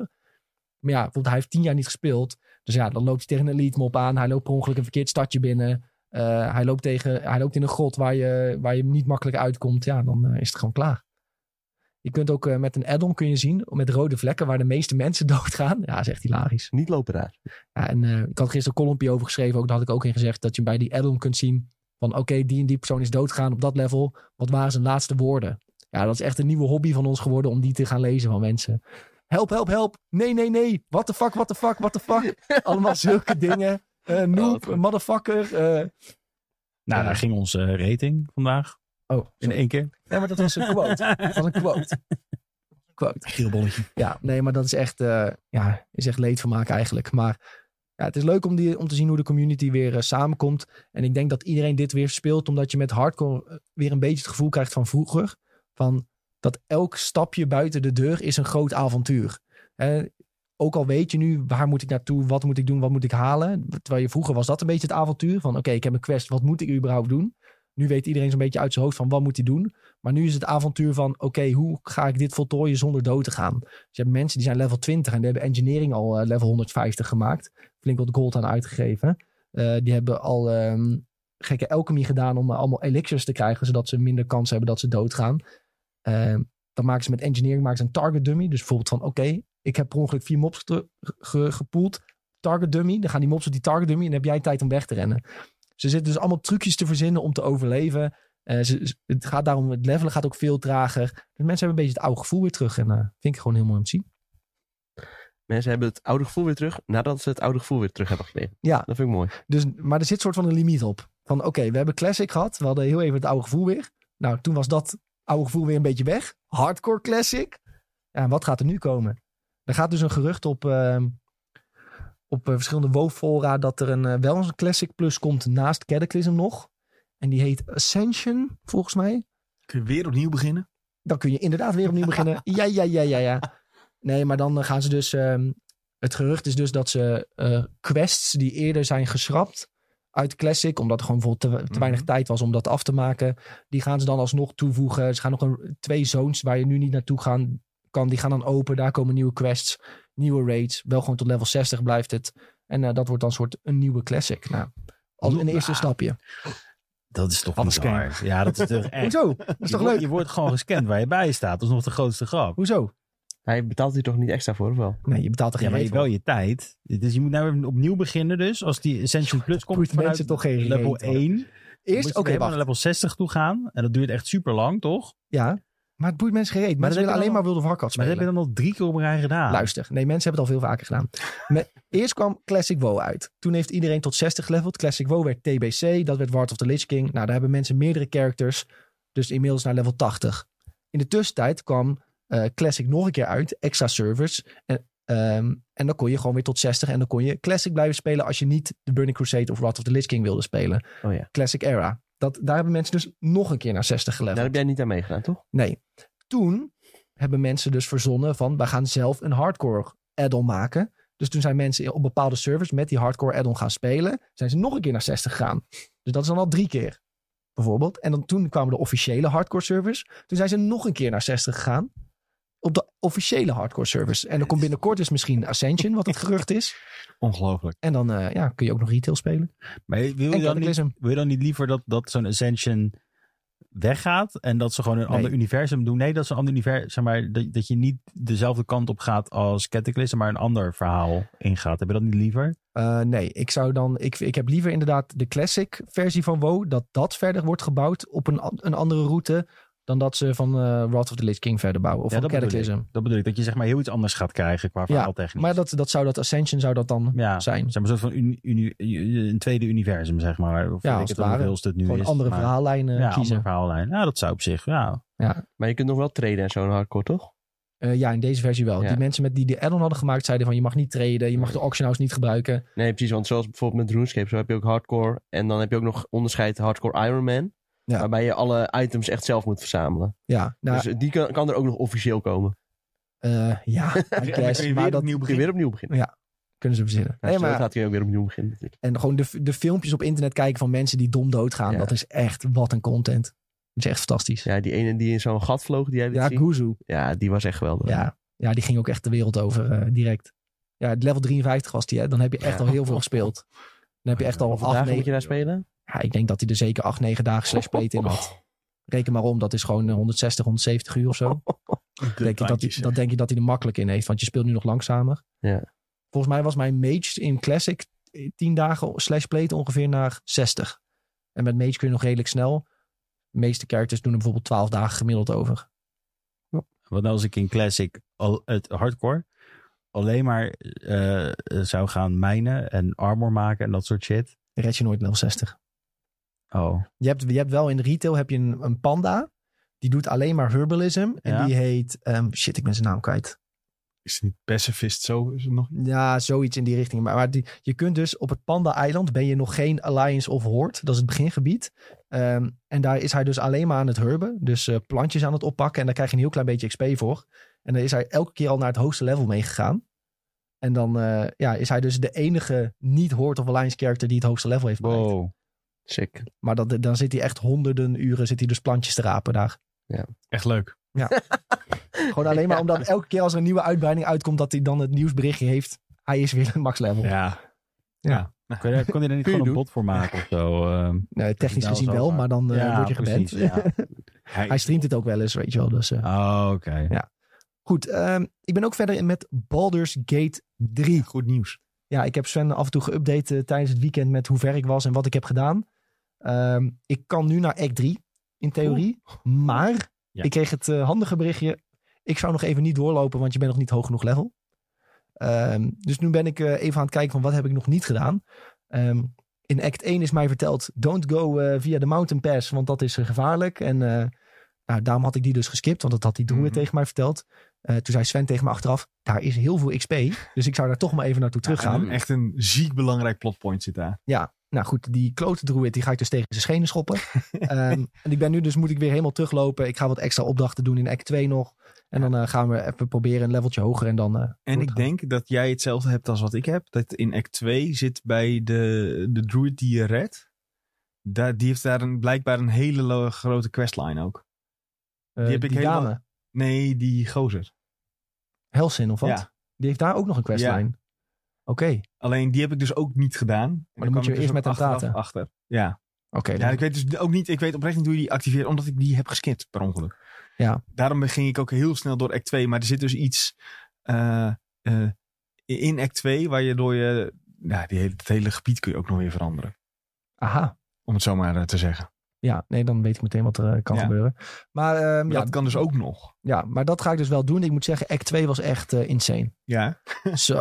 Speaker 1: Maar ja, bijvoorbeeld hij heeft tien jaar niet gespeeld. Dus ja, dan loopt hij tegen een elite mob aan. Hij loopt per ongeluk een verkeerd stadje binnen. Eh, hij, loopt tegen, hij loopt in een grot waar je, waar je niet makkelijk uitkomt. Ja, dan eh, is het gewoon klaar. Je kunt ook eh, met een add-on kun je zien, met rode vlekken, waar de meeste [LAUGHS] mensen doodgaan. Ja, dat is echt hilarisch.
Speaker 4: Niet lopen daar.
Speaker 1: Ja, en eh, ik had gisteren een columnpje over geschreven, ook, daar had ik ook in gezegd, dat je bij die add-on kunt zien van oké, die en die persoon is doodgaan op dat level. Wat waren zijn laatste woorden? Ja, dat is echt een nieuwe hobby van ons geworden om die te gaan lezen van mensen. Help, help, help. Nee, nee, nee. What the fuck, what the fuck, what the [LAUGHS] fuck. Allemaal zulke dingen. Eh noob, motherfucker. eh,
Speaker 3: Nou, daar ging onze rating vandaag
Speaker 1: Oh,
Speaker 3: in één keer.
Speaker 1: Nee, maar dat was een quote. Dat was een quote. [LAUGHS] Quote.
Speaker 2: Geelbolletje.
Speaker 1: Ja, nee, maar dat is echt, eh, ja, is echt leedvermaak eigenlijk. Maar ja, het is leuk om, die, om te zien hoe de community weer eh, samenkomt. En ik denk dat iedereen dit weer speelt, omdat je met hardcore eh, weer een beetje het gevoel krijgt van vroeger. Van dat elk stapje buiten de deur is een groot avontuur. Eh, ook al weet je nu, waar moet ik naartoe, wat moet ik doen, wat moet ik halen. Terwijl je vroeger was dat een beetje het avontuur. Van oké, ik heb een quest, wat moet ik überhaupt doen? Nu weet iedereen zo'n beetje uit zijn hoofd van wat moet hij doen. Maar nu is het avontuur van oké, hoe ga ik dit voltooien zonder dood te gaan? Dus je hebt mensen die zijn level 20 en die hebben engineering al eh, level 150 gemaakt. Flink wat gold aan uitgegeven. Eh, die hebben al ehm, gekke alchemy gedaan om eh, allemaal elixirs te krijgen, zodat ze minder kans hebben dat ze doodgaan. Ehm, dan maken ze met engineering maken ze een target dummy. Dus bijvoorbeeld van oké, ik heb per ongeluk vier mobs getre- ge- gepoeld. Target dummy, dan gaan die mobs op die target dummy en dan heb jij tijd om weg te rennen. Ze zitten dus allemaal trucjes te verzinnen om te overleven. Eh, ze- ze- het gaat daarom, het levelen gaat ook veel trager. Dus mensen hebben een beetje het oude gevoel weer terug. En eh, vind ik gewoon heel mooi om te zien.
Speaker 4: Mensen hebben het oude gevoel weer terug nadat ze het oude gevoel weer terug hebben gekregen.
Speaker 1: Ja.
Speaker 4: Dat vind ik mooi.
Speaker 1: Dus, maar er zit soort van een limiet op. Van oké, we hebben Classic gehad. We hadden heel even het oude gevoel weer. Nou, toen was dat oude gevoel weer een beetje weg. Hardcore Classic. Ja, en wat gaat er nu komen? Er gaat dus een gerucht op, ehm, op eh, verschillende WoW-fora... dat er een, eh, wel eens een Classic Plus komt naast Cataclysm nog. En die heet Ascension, volgens mij.
Speaker 2: Kun je weer opnieuw beginnen?
Speaker 1: dan kun je inderdaad weer opnieuw
Speaker 3: [LAUGHS]
Speaker 1: beginnen. Ja, ja, ja, ja, ja. Nee, maar dan eh, gaan ze dus. ehm, het gerucht is dus dat ze eh, quests die eerder zijn geschrapt uit Classic, omdat er gewoon bijvoorbeeld te, te weinig
Speaker 2: Mhm.
Speaker 1: tijd was om dat af te maken, die gaan ze dan alsnog toevoegen. Ze gaan nog een, twee zones waar je nu niet naartoe gaan, kan, die gaan dan open. Daar komen nieuwe quests, nieuwe raids. Wel gewoon tot level 60 blijft het. En eh, dat wordt dan een soort een nieuwe Classic. Nou, als een eerste
Speaker 3: Nou,
Speaker 1: stapje.
Speaker 3: [LAUGHS] Dat is toch
Speaker 2: Alles
Speaker 3: bizar. Ja, dat is toch echt.
Speaker 1: [LAUGHS]
Speaker 3: [LAUGHS]
Speaker 1: Hoezo? Dat is
Speaker 3: Je
Speaker 1: toch
Speaker 3: wordt-
Speaker 1: leuk?
Speaker 3: Je wordt gewoon gescand waar je bij staat. Dat is nog de grootste grap.
Speaker 1: Hoezo?
Speaker 4: Hij betaalt hier toch niet extra voor, of wel?
Speaker 1: Nee, je betaalt er geen
Speaker 3: Ja, maar je
Speaker 1: reet
Speaker 3: hebt wel je tijd. Dus je moet nou weer opnieuw beginnen dus. Als die Ascension Plus komt
Speaker 1: boeit
Speaker 3: vanuit
Speaker 1: mensen toch geen
Speaker 3: level
Speaker 1: reet, hoor.
Speaker 3: 1.
Speaker 1: voor. Eerst, oké,
Speaker 3: oké,
Speaker 1: wacht.
Speaker 3: naar level 60 toe gaan. En dat duurt echt super lang, toch?
Speaker 1: Ja, maar het boeit mensen gereed. Mensen
Speaker 3: dat
Speaker 1: willen
Speaker 3: heb je
Speaker 1: alleen
Speaker 3: dan
Speaker 1: maar World of Warcraft
Speaker 3: Maar dat
Speaker 1: spelen.
Speaker 3: heb je dan Ah. al drie keer op een rij gedaan.
Speaker 1: Luister, nee, mensen hebben het al veel vaker
Speaker 3: [LAUGHS]
Speaker 1: gedaan. Met, eerst kwam Classic WoW uit. Toen heeft iedereen tot 60 geleveld. Classic WoW werd TBC, dat werd Ward of the Lich King. Nou, daar hebben mensen meerdere characters. Dus inmiddels naar level 80. In de tussentijd kwam eh, Classic nog een keer uit. Extra servers. En, ehm, en dan kon je gewoon weer tot 60. En dan kon je Classic blijven spelen als je niet de Burning Crusade of Wrath of the Lich King wilde spelen.
Speaker 4: Oh ja.
Speaker 1: Classic Era. Dat, daar hebben mensen dus nog een keer naar 60 geleveld.
Speaker 4: Nou, Daar heb jij niet aan meegedaan, toch?
Speaker 1: Nee. Toen hebben mensen dus verzonnen van... wij gaan zelf een hardcore add-on maken. Dus toen zijn mensen op bepaalde servers met die hardcore add-on gaan spelen. Zijn ze nog een keer naar 60 gegaan. Dus dat is dan al drie keer, bijvoorbeeld. En dan, toen kwamen de officiële hardcore servers. Toen zijn ze nog een keer naar 60 gegaan. Op de officiële hardcore servers. En dan komt binnenkort dus misschien Ascension, wat het gerucht is.
Speaker 2: Ongelooflijk.
Speaker 1: En dan eh, ja, kun je ook nog retail spelen.
Speaker 3: Maar wil
Speaker 1: En
Speaker 3: je, dan niet,
Speaker 1: Cataclysm.
Speaker 3: wil je dan niet liever dat, dat zo'n Ascension weggaat en dat ze gewoon een
Speaker 1: Nee.
Speaker 3: ander universum doen? Nee, dat ze een ander universum, zeg maar, dat, dat je niet dezelfde kant op gaat als Cataclysm, maar een ander verhaal ingaat. Heb je dat niet liever?
Speaker 1: Eh, nee, ik zou dan. Ik, ik heb liever inderdaad de classic versie van WoW. Dat dat verder wordt gebouwd op een, an- een andere route. Dan dat ze van eh Wrath of the Lich King verder bouwen. Of
Speaker 3: Ja,
Speaker 1: van
Speaker 3: dat bedoel ik.
Speaker 1: Cataclysm.
Speaker 3: Dat bedoel ik, dat je zeg maar heel iets anders gaat krijgen qua verhaaltechnisch.
Speaker 1: Maar dat, dat zou dat Ascension zou dat dan
Speaker 3: ja,
Speaker 1: zijn.
Speaker 3: zeg maar, een soort van uni- uni- een tweede universum, zeg maar. Of
Speaker 1: Ja,
Speaker 3: weet
Speaker 1: als het
Speaker 3: ik het
Speaker 1: ware.
Speaker 3: heel stuk nu
Speaker 1: Gewoon
Speaker 3: is.
Speaker 1: andere
Speaker 3: maar-
Speaker 1: verhaallijnen
Speaker 3: Ja,
Speaker 1: kiezen.
Speaker 3: andere verhaallijn. Ja, dat zou op zich, ja.
Speaker 4: Maar je kunt nog wel traden en zo in hardcore, toch?
Speaker 1: Eh, ja, in deze versie wel.
Speaker 4: Ja.
Speaker 1: Die mensen met, die de add-on hadden gemaakt zeiden van je mag niet traden, je mag de auction house niet gebruiken.
Speaker 4: Nee, precies. Want zoals bijvoorbeeld met RuneScape, zo heb je ook hardcore. En dan heb je ook nog onderscheid hardcore Iron Man.
Speaker 1: Ja.
Speaker 4: Waarbij je alle items echt zelf moet verzamelen.
Speaker 1: Ja, nou,
Speaker 4: Dus eh, die kan, kan er ook nog officieel komen.
Speaker 1: eh, ja, I
Speaker 2: Ja,
Speaker 1: guess,
Speaker 2: kun je
Speaker 1: maar
Speaker 2: weer
Speaker 1: dat
Speaker 2: opnieuw
Speaker 4: Kun je
Speaker 2: beginnen.
Speaker 4: weer opnieuw beginnen.
Speaker 1: kunnen ze verzinnen.
Speaker 4: Nou,
Speaker 1: Nee,
Speaker 4: zo
Speaker 1: maar-
Speaker 4: gaat hij ook weer opnieuw beginnen natuurlijk.
Speaker 1: en gewoon de, de filmpjes op internet kijken van mensen die dom doodgaan,
Speaker 4: Ja.
Speaker 1: dat is echt wat een content. Dat is echt fantastisch. Ja,
Speaker 4: Ja, die ene die in zo'n gat vloog, die jij liet zien.
Speaker 1: Guzu.
Speaker 4: Ja, die was echt geweldig.
Speaker 1: Ja. ja, die ging ook echt de wereld over eh, direct. Ja, het level 53 was die, hè. Dan heb je echt
Speaker 4: Ja.
Speaker 1: al heel veel gespeeld. Dan heb je echt al
Speaker 4: Hoeveel
Speaker 1: acht,
Speaker 4: dagen moet
Speaker 1: negen...
Speaker 4: je daar spelen?
Speaker 1: Ja, ik denk dat hij er zeker acht, negen dagen slash plate in had. Reken maar om, dat is gewoon eh, 160, 170 uur of zo.
Speaker 2: De
Speaker 1: denk ik dat, hij,
Speaker 2: tandjes,
Speaker 1: dat denk je dat hij er makkelijk in heeft. Want je speelt nu nog langzamer.
Speaker 4: Ja.
Speaker 1: Volgens mij was mijn mage in Classic eh, 10 dagen slash plate ongeveer naar 60. En met mage kun je nog redelijk snel. De meeste characters doen er bijvoorbeeld 12 dagen gemiddeld over.
Speaker 3: Want als ik in Classic al, het hardcore alleen maar eh, zou gaan mijnen en armor maken en dat soort shit.
Speaker 1: Dan red je nooit level 60.
Speaker 3: Oh,
Speaker 1: Je hebt, je hebt wel in retail heb je een, een panda. Die doet alleen maar herbalism. En
Speaker 3: Ja.
Speaker 1: die heet... ehm, shit, ik ben zijn naam kwijt.
Speaker 2: Is het niet pacifist zo? Is het nog?
Speaker 1: Ja, zoiets in die richting. Maar, maar die, je kunt dus op het Panda-eiland ben je nog geen Alliance of Horde. Dat is het begingebied. Ehm, en daar is hij dus alleen maar aan het herben. Dus eh, plantjes aan het oppakken. En daar krijg je een heel klein beetje XP voor. En dan is hij elke keer al naar het hoogste level meegegaan. En dan eh, ja, is hij dus de enige niet-Horde of Alliance character die het hoogste level heeft bereikt.
Speaker 3: wow.
Speaker 4: Sick.
Speaker 1: Maar dat, dan zit hij echt honderden uren zit hij dus plantjes te rapen daar.
Speaker 2: Echt leuk.
Speaker 1: Gewoon alleen maar omdat elke keer als er een nieuwe uitbreiding uitkomt... dat hij dan het nieuwsberichtje heeft. Hij is weer [LAUGHS] een max level.
Speaker 2: Ja.
Speaker 3: Kon je, kon je daar
Speaker 1: [LAUGHS]
Speaker 3: niet
Speaker 4: Kun je
Speaker 3: gewoon een
Speaker 4: doen.
Speaker 3: bot voor maken of zo? ehm?
Speaker 1: Nee, technisch
Speaker 3: Nou,
Speaker 1: gezien
Speaker 3: zo
Speaker 1: wel,
Speaker 3: vaak.
Speaker 1: maar dan eh,
Speaker 3: Ja,
Speaker 1: word je geband.
Speaker 3: precies,
Speaker 1: [LAUGHS]
Speaker 3: ja.
Speaker 2: Hij,
Speaker 1: Hij streamt het ook wel eens, weet je wel. Dus, eh.
Speaker 3: Oh, oké.
Speaker 1: Goed, ehm, ik ben ook verder in met Baldur's Gate 3.
Speaker 2: Goed nieuws.
Speaker 1: Ja, ik heb Sven af en toe geüpdate eh, tijdens het weekend met hoe ver ik was en wat ik heb gedaan. Ehm, ik kan nu naar Act 3, in theorie. Maar
Speaker 2: Ja.
Speaker 1: ik kreeg het eh, handige berichtje. Ik zou nog even niet doorlopen, want je bent nog niet hoog genoeg level. Ehm, dus nu ben ik eh, even aan het kijken van wat heb ik nog niet gedaan. Ehm, in Act 1 is mij verteld, don't go eh, via de mountain pass, want dat is eh, gevaarlijk. En eh, nou, daarom had ik die dus geskipt, want dat had die Druid
Speaker 2: Mhm.
Speaker 1: tegen mij verteld. Eh, toen zei Sven tegen me achteraf, daar is heel veel XP, dus ik zou daar toch maar even naartoe teruggaan.
Speaker 2: En Echt een ziek belangrijk plotpoint zit daar.
Speaker 1: Nou goed, die klote druid, die ga ik dus tegen zijn schenen schoppen.
Speaker 2: [LAUGHS]
Speaker 1: Ehm, en ik ben nu dus, moet ik weer helemaal teruglopen. Ik ga wat extra opdrachten doen in act 2 nog. En dan eh, gaan we even proberen een leveltje hoger en dan... eh,
Speaker 2: En ik denk dat jij hetzelfde hebt als wat ik heb. Dat in act 2 zit bij de, de druid die je redt. Daar, die heeft daar een, blijkbaar een hele lo- grote questline ook.
Speaker 1: eh,
Speaker 2: die heb ik helemaal-
Speaker 1: dame,
Speaker 2: Nee, die gozer.
Speaker 1: Helsin of wat?
Speaker 2: Ja.
Speaker 1: Die heeft daar ook nog een questline. Oké,
Speaker 2: Alleen die heb ik dus ook niet gedaan. En
Speaker 1: dan moet
Speaker 2: kwam
Speaker 1: je
Speaker 2: ik dus
Speaker 1: eerst
Speaker 2: ook
Speaker 1: met hem
Speaker 2: achteraf
Speaker 1: praten.
Speaker 2: Achter. Ja.
Speaker 1: oké.
Speaker 2: ja, ik weet dus ook niet. Ik weet oprecht niet hoe je die activeert, omdat ik die heb geskipt per ongeluk.
Speaker 1: Ja.
Speaker 2: Daarom ging ik ook heel snel door act 2. Maar er zit dus iets eh, eh, in act 2 waar je door je. Nou, die hele, het hele gebied kun je ook nog weer veranderen.
Speaker 1: Aha.
Speaker 2: Om het zo maar eh, te zeggen.
Speaker 1: Ja, nee, dan weet ik meteen wat er eh, kan
Speaker 2: Ja.
Speaker 1: gebeuren. Maar, ehm,
Speaker 2: Maar
Speaker 1: ja,
Speaker 2: dat kan dus ook nog.
Speaker 1: ja, maar dat ga ik dus wel doen. Ik moet zeggen, act 2 was echt eh, insane.
Speaker 2: Ja.
Speaker 1: Zo.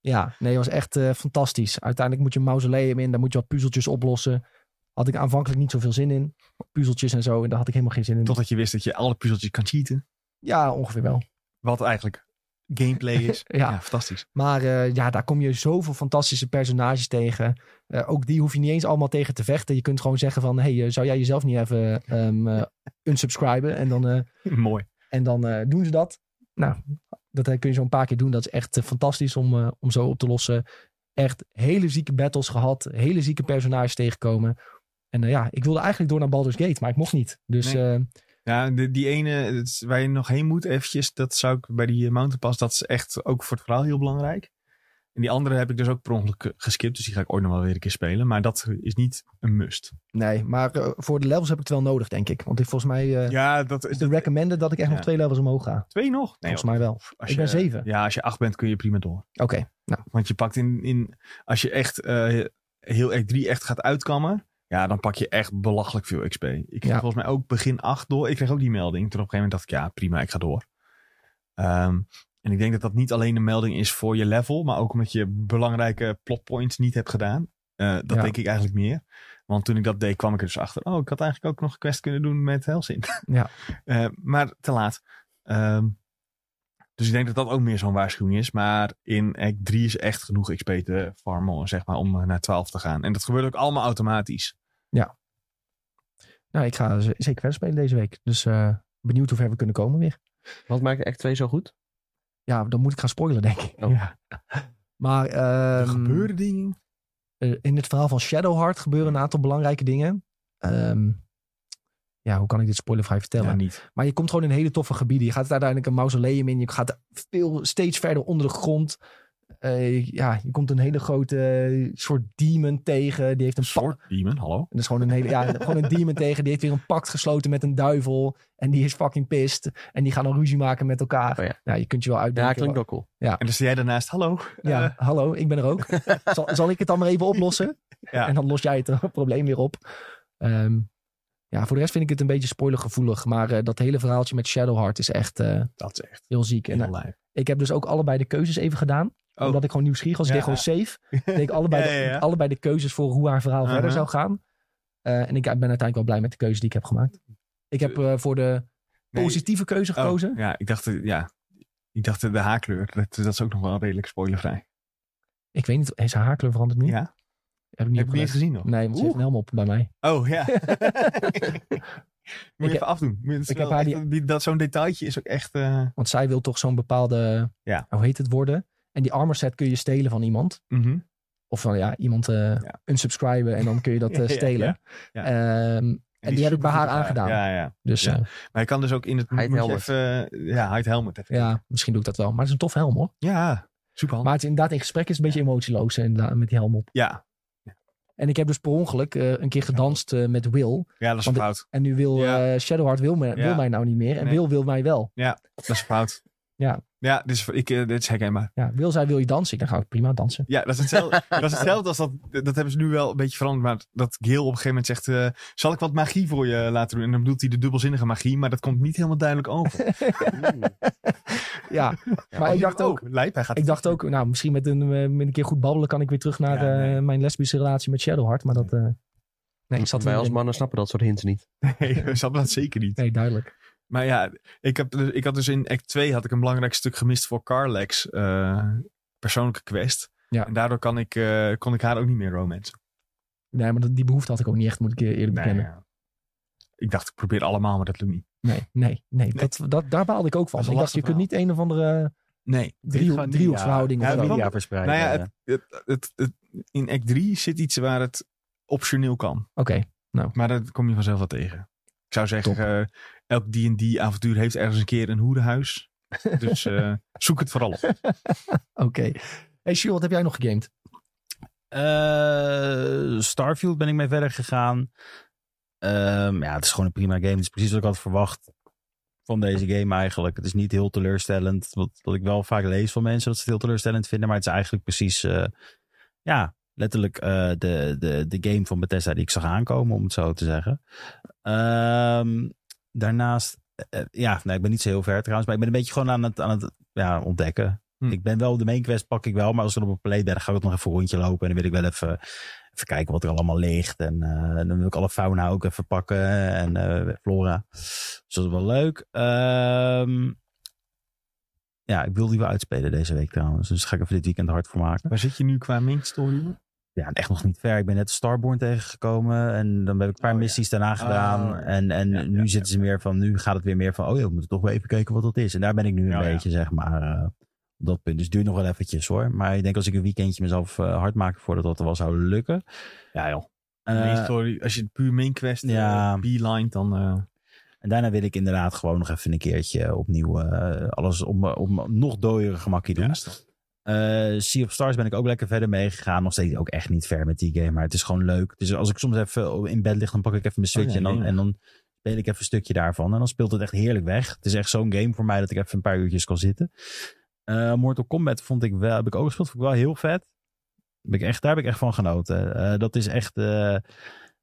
Speaker 1: ja, nee, het was echt eh, fantastisch. Uiteindelijk moet je een mausoleum in, daar moet je wat puzzeltjes oplossen. Had ik aanvankelijk niet zoveel zin in. Puzzeltjes en zo, en daar had ik helemaal geen zin in.
Speaker 2: Totdat je wist dat je alle puzzeltjes kan cheaten.
Speaker 1: Ja, ongeveer wel.
Speaker 2: Wat eigenlijk gameplay is.
Speaker 1: [LAUGHS] Ja.
Speaker 2: fantastisch.
Speaker 1: Maar eh, ja, daar kom je zoveel fantastische personages tegen. Eh, ook die hoef je niet eens allemaal tegen te vechten. Je kunt gewoon zeggen van, hey, eh, zou jij jezelf niet even ehm eh, unsubscriben? En dan, eh,
Speaker 2: Mooi.
Speaker 1: en dan eh, doen ze dat. Nou, dat eh, kun je zo een paar keer doen. Dat is echt eh, fantastisch om, eh, om zo op te lossen. Echt hele zieke battles gehad. Hele zieke personages tegenkomen. En eh, ja, ik wilde eigenlijk door naar Baldur's Gate, maar ik mocht niet. Dus
Speaker 2: Nee.
Speaker 1: eh,
Speaker 2: Ja, de- die ene het is- waar je nog heen moet eventjes, dat zou ik bij die eh, Mountain Pass, dat is echt ook voor het verhaal heel belangrijk. En die andere heb ik dus ook per ongeluk eh, geskipt, dus die ga ik ooit nog wel weer een keer spelen. Maar dat is niet een must.
Speaker 1: nee, maar eh, voor de levels heb ik het wel nodig, denk ik. Want ik, volgens mij eh,
Speaker 2: Ja, dat
Speaker 1: is de recommended dat ik echt
Speaker 2: Ja.
Speaker 1: nog twee levels omhoog ga.
Speaker 2: twee nog.
Speaker 1: volgens mij wel.
Speaker 2: als
Speaker 1: ik ben zeven.
Speaker 2: Ja, als je acht bent kun je prima door.
Speaker 1: Oké,
Speaker 2: Want je pakt in, in als je echt eh, heel Act 3 echt gaat uitkammen, ja, dan pak je echt belachelijk veel XP. Ik kreeg
Speaker 1: Ja.
Speaker 2: volgens mij ook begin 8 door. Ik kreeg ook die melding. Toen op een gegeven moment dacht ik, ja, prima, ik ga door. Ehm, en ik denk dat dat niet alleen een melding is voor je level, maar ook omdat je belangrijke plotpoints niet hebt gedaan. Eh, dat
Speaker 1: Ja.
Speaker 2: denk ik eigenlijk meer. Want toen ik dat deed, kwam ik er dus achter. Oh, ik had [LAUGHS] eigenlijk ook nog een quest kunnen doen met Helsin.
Speaker 1: Ja.
Speaker 2: Eh, maar te laat. Ehm, Dus ik denk dat dat ook meer zo'n waarschuwing is. Maar in Act 3 is echt genoeg XP te farmen, zeg maar, om eh, naar 12 te gaan. En dat gebeurt ook allemaal automatisch.
Speaker 1: Nou, ik ga z- zeker verder spelen deze week. Dus eh, benieuwd hoe ver we kunnen komen weer.
Speaker 4: Wat maakt Act 2 zo goed?
Speaker 1: Ja, dan moet ik gaan spoilen, denk ik.
Speaker 4: Oh.
Speaker 2: Ja.
Speaker 1: Maar
Speaker 2: Er
Speaker 1: ehm,
Speaker 2: gebeuren dingen.
Speaker 1: eh, in het verhaal van Shadowheart gebeuren een aantal belangrijke dingen. Ehm, ja, hoe kan ik dit spoilervrij vertellen?
Speaker 2: Ja, niet.
Speaker 1: Maar je komt gewoon in hele toffe gebieden. Je gaat uiteindelijk een mausoleum in. Je gaat veel, steeds verder onder de grond. Eh, ja, je komt een hele grote eh, soort demon tegen. Die heeft een pak-
Speaker 2: Soort demon, hallo.
Speaker 1: En dat is gewoon een
Speaker 4: [LAUGHS]
Speaker 1: hele, ja, gewoon een demon tegen. Die heeft weer een pact gesloten met een duivel. En die is fucking pissed. En die gaan dan ruzie maken met elkaar.
Speaker 4: Oh ja.
Speaker 1: Nou, je kunt je wel uitdenken.
Speaker 4: Ja, klinkt wel cool.
Speaker 2: En dan sta jij daarnaast, hallo.
Speaker 1: Ja,
Speaker 2: Eh,
Speaker 1: hallo, ik ben er
Speaker 2: [LAUGHS]
Speaker 1: ook. zal, zal ik het dan maar even oplossen?
Speaker 2: Ja.
Speaker 1: En dan los jij het eh, probleem weer op. Ehm, ja, voor de rest vind ik het een beetje spoilergevoelig. Maar eh, dat hele verhaaltje met Shadowheart is echt eh,
Speaker 2: dat is echt
Speaker 1: heel ziek. En
Speaker 2: heel
Speaker 1: eh,
Speaker 2: lijp.
Speaker 1: ik heb dus ook allebei de keuzes even gedaan.
Speaker 2: Oh.
Speaker 1: Omdat ik gewoon nieuwsgierig was. Ik
Speaker 2: [LAUGHS] Ja.
Speaker 1: deed gewoon safe. Ik deed allebei,
Speaker 2: Ja, ja, ja.
Speaker 1: De, allebei de keuzes voor hoe haar verhaal
Speaker 2: Uh-huh.
Speaker 1: verder zou gaan. Eh, en ik ben uiteindelijk wel blij met de keuze die ik heb gemaakt. Ik heb eh, voor de
Speaker 2: Nee.
Speaker 1: positieve keuze
Speaker 2: Oh,
Speaker 1: gekozen.
Speaker 2: ja, ik dacht, eh, ja. Ik dacht eh, de haarkleur. Dat, dat is ook nog wel redelijk spoilervrij.
Speaker 1: Ik weet niet, is haar haarkleur veranderd nu?
Speaker 2: Ja.
Speaker 1: Heb ik niet
Speaker 2: Heb je niet eens
Speaker 1: opgelet.
Speaker 2: gezien nog?
Speaker 1: Nee, want ze
Speaker 2: Oeh.
Speaker 1: heeft een helm op bij mij.
Speaker 2: Oh
Speaker 1: [LAUGHS]
Speaker 2: ja. Moet
Speaker 1: Ik
Speaker 2: je
Speaker 1: heb-
Speaker 2: even afdoen. Moet je- het is
Speaker 1: ik heb
Speaker 2: wel
Speaker 1: haar
Speaker 2: echt- die- dat zo'n detailtje is ook echt. eh,
Speaker 1: Want zij wil toch zo'n bepaalde,
Speaker 2: Ja.
Speaker 1: hoe heet het, worden. En die armor set kun je stelen van iemand.
Speaker 2: mhm.
Speaker 1: Of van ja, iemand eh
Speaker 2: Ja.
Speaker 1: unsubscriben en dan kun
Speaker 2: [LAUGHS]
Speaker 1: je dat eh,
Speaker 2: Ja, ja,
Speaker 1: stelen.
Speaker 2: ja.
Speaker 1: Ehm,
Speaker 2: is
Speaker 1: die heb ik bij haar
Speaker 2: supergoed gedaan.
Speaker 1: aangedaan.
Speaker 2: Ja, ja.
Speaker 1: dus
Speaker 2: Ja.
Speaker 1: eh,
Speaker 2: Maar je kan dus ook in het. moet je
Speaker 4: helmet.
Speaker 2: Even, eh, ja, hide helmet. Even.
Speaker 1: ja, misschien doe ik dat wel. Maar het is een tof helm hoor.
Speaker 2: Ja, superhandig.
Speaker 1: Maar het is inderdaad in gesprek is het een beetje emotieloos eh, inderdaad, met die helm op.
Speaker 2: Ja.
Speaker 1: En ik heb dus per ongeluk eh, een keer gedanst eh, met Will.
Speaker 2: ja, dat is een
Speaker 1: Want de-
Speaker 2: fout.
Speaker 1: En nu wil
Speaker 2: Ja.
Speaker 1: eh, Shadowheart wil, me, wil
Speaker 2: Ja.
Speaker 1: mij nou niet meer. En
Speaker 2: Nee.
Speaker 1: Will wil mij wel.
Speaker 2: Dat is een fout.
Speaker 1: Ja.
Speaker 2: Ja, dit is, ik, eh, dit is herkenbaar.
Speaker 1: Ja, Will zei wil je dansen? Ik dacht, nou, prima dansen.
Speaker 2: Ja, dat is
Speaker 1: [LAUGHS]
Speaker 2: hetzelfde, dat is hetzelfde als dat. Dat hebben ze nu wel een beetje veranderd. Maar dat Gil op een gegeven moment zegt: eh, Zal ik wat magie voor je laten doen? En dan bedoelt hij de dubbelzinnige magie, maar dat komt niet helemaal duidelijk over.
Speaker 1: [LAUGHS]
Speaker 4: Mm.
Speaker 1: Ja, maar ik dacht ook...
Speaker 2: Oh, lijp, hij gaat
Speaker 1: Ik dacht ook, nou, misschien met een, eh, met een keer goed babbelen kan ik weer terug naar
Speaker 2: Ja, nee.
Speaker 1: eh, mijn lesbische relatie met Shadowheart. Maar dat. eh, nee, ik zat
Speaker 4: Wij
Speaker 1: er
Speaker 4: als
Speaker 1: in.
Speaker 4: mannen snappen dat soort hints niet.
Speaker 2: [LAUGHS] Nee, ze hadden dat zeker niet.
Speaker 1: Nee, duidelijk.
Speaker 2: Maar ja, ik, heb, dus- ik had dus in act 2 had ik een belangrijk stuk gemist voor Carlex. eh, persoonlijke quest.
Speaker 1: Ja.
Speaker 2: En daardoor kan ik, eh, kon ik haar ook niet meer romancen.
Speaker 1: Nee, maar dat- die behoefte had ik ook niet echt, moet ik je eerlijk bekennen.
Speaker 2: ja. Ik dacht, ik probeer allemaal, maar dat lukt niet.
Speaker 1: Nee, nee, nee. Dat, dat, daar baalde ik ook van.
Speaker 2: Dat
Speaker 1: Ik
Speaker 2: is een
Speaker 1: dacht, je
Speaker 2: lastig
Speaker 1: kunt niet een of andere eh,
Speaker 2: Nee.
Speaker 1: driehoek- driehoeksverhouding
Speaker 2: Ja,
Speaker 1: of zo.
Speaker 2: want-
Speaker 3: media verspreiden.
Speaker 2: Nou ja,
Speaker 3: eh.
Speaker 2: Het, het, het- in act 3 zit iets waar het optioneel kan.
Speaker 1: Oké,
Speaker 2: Maar dat kom je vanzelf wel tegen. Ik zou zeggen, eh, elk D&D avontuur heeft ergens een keer een hoerenhuis. Dus eh, zoek het vooral op.
Speaker 1: oké. Hey, Sjoerd, wat heb jij nog gegamed?
Speaker 3: Eh, Starfield ben ik mee verder gegaan. Ehm, ja, het is gewoon een prima game. Het is precies wat ik had verwacht van deze game eigenlijk. Het is niet heel teleurstellend. Wat, wat ik wel vaak lees van mensen dat ze het heel teleurstellend vinden. Maar het is eigenlijk precies, eh, ja, letterlijk eh, de, de, de game van Bethesda die ik zag aankomen, om het zo te zeggen. Ehm, daarnaast, eh, ja, nou, ik ben niet zo heel ver trouwens. Maar ik ben een beetje gewoon aan het, aan het ja, ontdekken.
Speaker 2: Hm.
Speaker 3: Ik ben wel, de main quest pak ik wel. Maar als ik dan op een play ben, dan ga ik ook nog even een rondje lopen. En dan wil ik wel even Even kijken wat er allemaal ligt. En eh, dan wil ik alle fauna ook even pakken. En eh, flora. Dus dat is wel leuk. Ehm, ja, ik wil die wel uitspelen deze week trouwens. Dus daar ga ik even dit weekend hard voor maken.
Speaker 2: Waar zit je nu qua main story?
Speaker 3: Ja, echt nog niet ver. Ik ben net Starborn tegengekomen. En dan heb ik een paar
Speaker 2: Oh, ja.
Speaker 3: missies daarna gedaan.
Speaker 2: ja.
Speaker 3: En, en
Speaker 2: Ja,
Speaker 3: nu
Speaker 2: ja,
Speaker 3: zitten ze meer van... Nu gaat het weer meer van... Oh ja, we moeten toch wel even kijken wat dat is. En daar ben ik nu een
Speaker 2: Oh, Ja, ja.
Speaker 3: beetje, zeg maar... eh, op dat punt. Dus het duurt nog wel eventjes hoor. Maar ik denk als ik een weekendje mezelf eh, hard maak... voordat dat wel zou lukken.
Speaker 2: Ja joh.
Speaker 3: Eh,
Speaker 2: main story, als je het puur main quest eh,
Speaker 3: ja.
Speaker 2: beeline, dan... eh,
Speaker 3: En daarna wil ik inderdaad gewoon nog even een keertje opnieuw eh, alles om, om nog dooiere gemakkie doen.
Speaker 2: Ja,
Speaker 3: Eh, sea of Stars ben ik ook lekker verder meegegaan. Nog steeds ook echt niet ver met die game, maar het is gewoon leuk. Dus als ik soms even in bed lig, dan pak ik even mijn Switch
Speaker 2: Oh ja,
Speaker 3: en, dan,
Speaker 2: ja.
Speaker 3: en dan speel ik even een stukje daarvan. En dan speelt het echt heerlijk weg. Het is echt zo'n game voor mij dat ik even een paar uurtjes kan zitten. Eh, Mortal Kombat vond ik wel, heb ik ook gespeeld, vond ik wel heel vet. Ben ik echt, daar heb ik echt van genoten. Eh, dat is echt... eh,